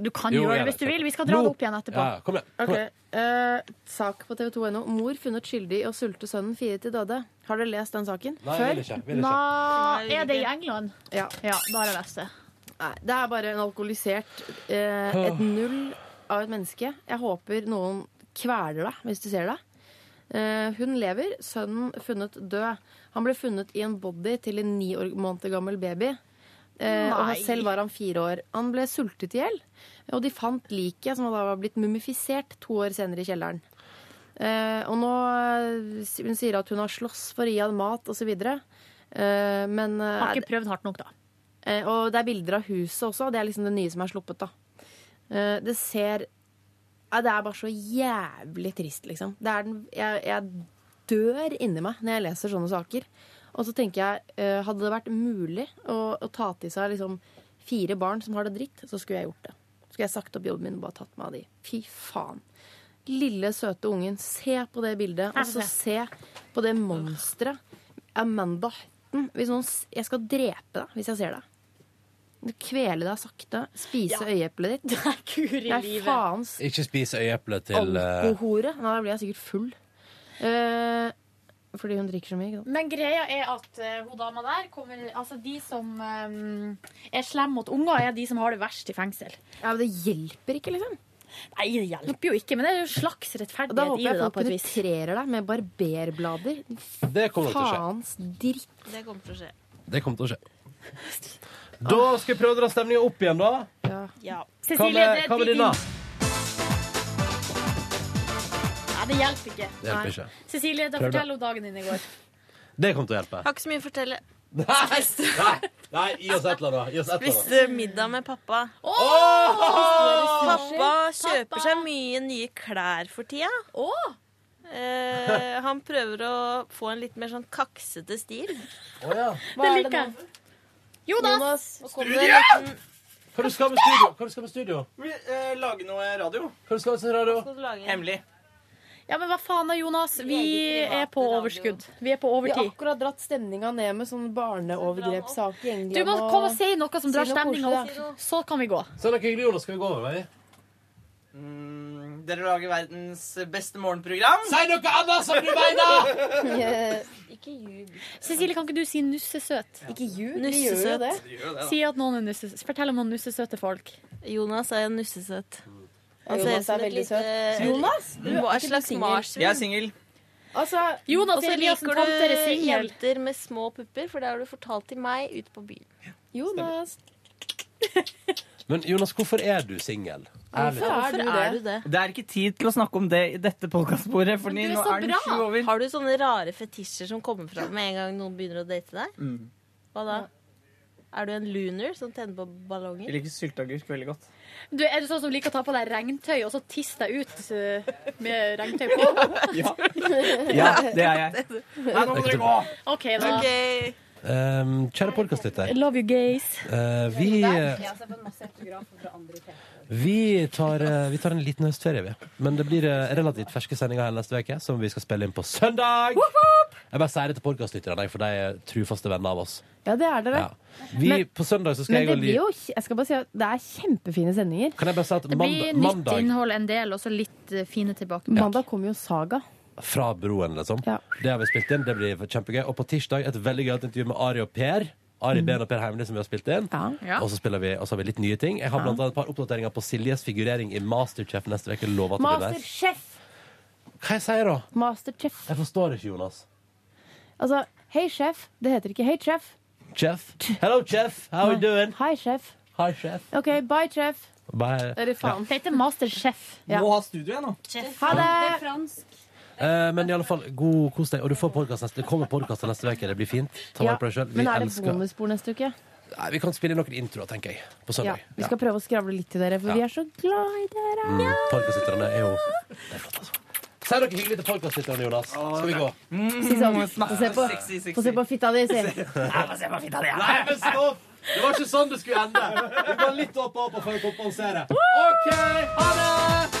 [SPEAKER 2] Du kan Jo, gjøre det jeg hvis vet du det. vil. Vi skal dra Jo. det opp igjen etterpå. Ja,
[SPEAKER 1] kom igjen.
[SPEAKER 2] Kom
[SPEAKER 3] Ok. Eh, sak på tv2.no. Mor funnet skyldig i å sulte sønnen fire til døde. Har dere lest den saken?
[SPEAKER 2] Nei,
[SPEAKER 3] Før?
[SPEAKER 2] vil ikke, vil ikke. Nei, er det i England?
[SPEAKER 3] Ja.
[SPEAKER 2] da har jeg lest det.
[SPEAKER 3] Nei, det er bare en alkoholisert eh,
[SPEAKER 2] Åh.
[SPEAKER 3] Et null av et menneske. Jeg håper noen kveler deg hvis du ser det. Eh, hun lever, sønnen funnet død. Han ble funnet i en body til en ni år måneder gammel baby. Eh, og
[SPEAKER 2] Nei.
[SPEAKER 3] selv var han fire år. Han ble sultet i hjel, og de fant liket, som da var blitt mumifisert, to år senere i kjelleren. Eh, og nå eh, Hun sier at hun har slåss for å gi han mat osv. Eh, men eh,
[SPEAKER 2] Har ikke prøvd hardt nok, da.
[SPEAKER 3] Eh, og det er bilder av huset også. Det er liksom det nye som er sluppet, da. Eh, det ser ja, Det er bare så jævlig trist, liksom. Det er den, jeg, jeg dør inni meg når jeg leser sånne saker. Og så tenker jeg, eh, hadde det vært mulig å, å ta til seg liksom fire barn som har det dritt, så skulle jeg gjort det. Skulle jeg sagt opp jobben min og bare tatt meg av de. Fy faen. Lille, søte ungen. Se på det
[SPEAKER 2] Her
[SPEAKER 3] bildet, og
[SPEAKER 2] får
[SPEAKER 3] så se på det monsteret. Amanda Hutton. Hvis noen, s- jeg skal drepe deg hvis jeg ser deg. Du Kvele deg sakte, spise øyeeplet ditt.
[SPEAKER 2] Det er kur
[SPEAKER 3] i livet. Faens
[SPEAKER 1] Ikke spis øyeeplet til eh,
[SPEAKER 3] alkohore. Nei, da blir jeg sikkert full. Eh, Fordi hun drikker så mye. ikke sant?
[SPEAKER 2] Men greia er at eh, hun dama der kommer Altså, de som eh, er slemme mot unger, er de som har det verst i fengsel.
[SPEAKER 3] Ja, men det hjelper ikke, liksom.
[SPEAKER 2] Nei, det hjelper jo ikke, men det er jo en slags
[SPEAKER 3] Og da
[SPEAKER 2] rettferdighet i
[SPEAKER 3] håper
[SPEAKER 2] det,
[SPEAKER 3] jeg
[SPEAKER 2] da,
[SPEAKER 3] folk
[SPEAKER 2] på et vis.
[SPEAKER 3] penetrerer deg med barberblader.
[SPEAKER 1] Det kommer til å skje.
[SPEAKER 3] Faens dritt.
[SPEAKER 12] Det kommer til å skje.
[SPEAKER 1] Det kommer til å skje. Da skal jeg prøve å dra stemninga opp igjen, da. Hva
[SPEAKER 2] Ja. Cecilie,
[SPEAKER 1] med,
[SPEAKER 2] det,
[SPEAKER 1] hva med denne?
[SPEAKER 2] Nei, det hjelper ikke.
[SPEAKER 1] Det hjelper
[SPEAKER 2] Nei.
[SPEAKER 1] ikke.
[SPEAKER 2] Cecilie, da
[SPEAKER 1] Prøv det.
[SPEAKER 2] fortell om dagen din i går.
[SPEAKER 1] Det kommer til å hjelpe.
[SPEAKER 12] Har ikke så mye å fortelle.
[SPEAKER 1] Nei, nei, nei gi oss et eller annet. Gi oss et eller
[SPEAKER 12] Spiste
[SPEAKER 1] annet.
[SPEAKER 12] middag med pappa.
[SPEAKER 1] Åh!
[SPEAKER 12] Pappa kjøper seg mye nye klær for tida. Eh, han prøver å få en litt mer sånn kaksete stil.
[SPEAKER 1] Å ja.
[SPEAKER 12] Hva
[SPEAKER 2] Det
[SPEAKER 12] er
[SPEAKER 2] liker jeg.
[SPEAKER 12] nå?
[SPEAKER 2] Jonas!
[SPEAKER 12] Nå kommer det
[SPEAKER 1] Studie!
[SPEAKER 12] en liten-
[SPEAKER 1] Hva du skal med studio? Hva du skal med studio?
[SPEAKER 7] Eh, lage noe radio.
[SPEAKER 1] Hva du skal med radio?
[SPEAKER 7] Hemmelig.
[SPEAKER 2] Ja, men hva faen da, Jonas? Vi er på overskudd. Vi er på
[SPEAKER 3] Vi har
[SPEAKER 2] overtid.
[SPEAKER 3] akkurat dratt stemninga ned med sånn barneovergrepssak i England.
[SPEAKER 2] Du må komme og si noe som drar stemninga
[SPEAKER 3] koselig,
[SPEAKER 2] opp, så kan vi gå.
[SPEAKER 1] Så er det hyggelig, Sånn Jonas. Skal vi gå over vei?
[SPEAKER 7] Mm, dere lager verdens beste morgenprogram.
[SPEAKER 1] Si noe annet som du mener!
[SPEAKER 12] Ikke ljug.
[SPEAKER 2] Cecilie, kan ikke du si 'nussesøt'?
[SPEAKER 3] Ikke ljug.
[SPEAKER 12] vi gjør jo Nussesøt. det.
[SPEAKER 7] Vi gjør det, da.
[SPEAKER 2] Si at noen er nussesøt. Fortell om noen nussesøte folk.
[SPEAKER 12] Jonas er nussesøt.
[SPEAKER 2] Jonas er veldig søt. Jonas? Du er
[SPEAKER 12] Hva
[SPEAKER 2] ikke
[SPEAKER 12] slags
[SPEAKER 2] du singel?
[SPEAKER 12] marsvin?
[SPEAKER 7] Jeg er singel.
[SPEAKER 3] Altså,
[SPEAKER 2] Jonas
[SPEAKER 12] Og så
[SPEAKER 2] Eliassen,
[SPEAKER 12] liker
[SPEAKER 2] tante, er
[SPEAKER 12] du
[SPEAKER 2] singel.
[SPEAKER 12] jenter med små pupper, for det har du fortalt til meg ute på byen.
[SPEAKER 3] Jonas.
[SPEAKER 1] Men Jonas, hvorfor er du singel?
[SPEAKER 7] Ærlig talt.
[SPEAKER 12] Hvorfor er du det?
[SPEAKER 7] Det er ikke tid til å snakke om det i dette podkastbordet, for nå er den sju over.
[SPEAKER 12] Har du sånne rare fetisjer som kommer fram med en gang noen begynner å date deg?
[SPEAKER 7] Mm.
[SPEAKER 12] Hva da? Er du en luner som tenner på ballonger?
[SPEAKER 7] Jeg liker sylteagurk veldig godt.
[SPEAKER 2] Du, er du sånn som liker å ta på deg regntøy og så tisse deg ut eh, med regntøy på?
[SPEAKER 7] Ja. Ja, det er jeg. Nei, nå må dere gå!
[SPEAKER 2] OK, da.
[SPEAKER 1] Um, kjære podkastlytter.
[SPEAKER 2] Love you, gays.
[SPEAKER 1] Eh, vi, vi, tar, eh, vi tar en liten høstferie, vi. Men det blir eh, relativt ferske sendinger her neste uke, som vi skal spille inn på søndag. Jeg bare sier det til podkastlytterne, for de er trufaste venner av oss.
[SPEAKER 3] Ja, det er dere.
[SPEAKER 1] Ja. Vi,
[SPEAKER 3] Men-
[SPEAKER 1] på søndag så skal
[SPEAKER 3] Men
[SPEAKER 1] jeg
[SPEAKER 3] det
[SPEAKER 1] og
[SPEAKER 3] blir
[SPEAKER 1] Li
[SPEAKER 3] jo Jeg skal bare si at det er kjempefine sendinger.
[SPEAKER 1] Kan jeg bare si at
[SPEAKER 2] Det blir
[SPEAKER 1] mand
[SPEAKER 2] nytt
[SPEAKER 1] mandag
[SPEAKER 2] innhold en del, og så litt eh, fine tilbake.
[SPEAKER 3] Mandag kommer jo Saga.
[SPEAKER 1] fra broen, liksom. Det har vi spilt inn, det blir kjempegøy. Og på tirsdag et veldig gøyalt intervju med Ari og Per. Ari Ben og Per Heimli, som vi har spilt inn.
[SPEAKER 3] Mm. Ja.
[SPEAKER 1] Og så spiller vi, og så har vi litt nye ting. Jeg har
[SPEAKER 3] Ja.
[SPEAKER 1] blant annet et par oppdateringer på Siljes figurering i Masterchef neste uke. Lov at det blir der.
[SPEAKER 3] Masterchef!
[SPEAKER 1] Hva jeg sier da?
[SPEAKER 3] Masterchef.
[SPEAKER 1] Jeg forstår ikke, Jonas.
[SPEAKER 3] Altså, hei, sjef. Det heter ikke hei, sjef.
[SPEAKER 1] Jeff? Hello, Jeff. How are you doing?
[SPEAKER 3] Hei, sjef.
[SPEAKER 1] Hi, Jeff.
[SPEAKER 3] OK, bye, sjef.
[SPEAKER 1] Bye.
[SPEAKER 3] Eller faen.
[SPEAKER 2] Det heter Masterchef.
[SPEAKER 3] Ja.
[SPEAKER 7] Må ha studio igjen nå.
[SPEAKER 3] Ha det!
[SPEAKER 1] Eh, men i alle fall, god kos deg. Og du får podcast neste Det kommer podkast neste uke. Det blir fint. Ta
[SPEAKER 3] Ja,
[SPEAKER 1] vare på deg sjøl. Vi
[SPEAKER 3] Men er det
[SPEAKER 1] elsker
[SPEAKER 3] bonusbord neste uke?
[SPEAKER 1] Nei, Vi kan spille inn noen introer, tenker jeg. På
[SPEAKER 3] Ja.
[SPEAKER 1] søndag.
[SPEAKER 3] Vi skal prøve å skravle litt til dere, for
[SPEAKER 1] Ja.
[SPEAKER 3] vi er så glad i dere.
[SPEAKER 1] Mm, Podkastlytterne er jo Det er flott, altså. Si noe hyggelig til podkastlytterne, Jonas. Skal vi gå?
[SPEAKER 3] Si sånn. Få se på,
[SPEAKER 7] Sexy, sexy.
[SPEAKER 3] få se på fitta di, si.
[SPEAKER 1] Nei, men stopp! Det var ikke sånn det skulle ende. Vi går litt opp og opp og får kompensere. OK, ha det!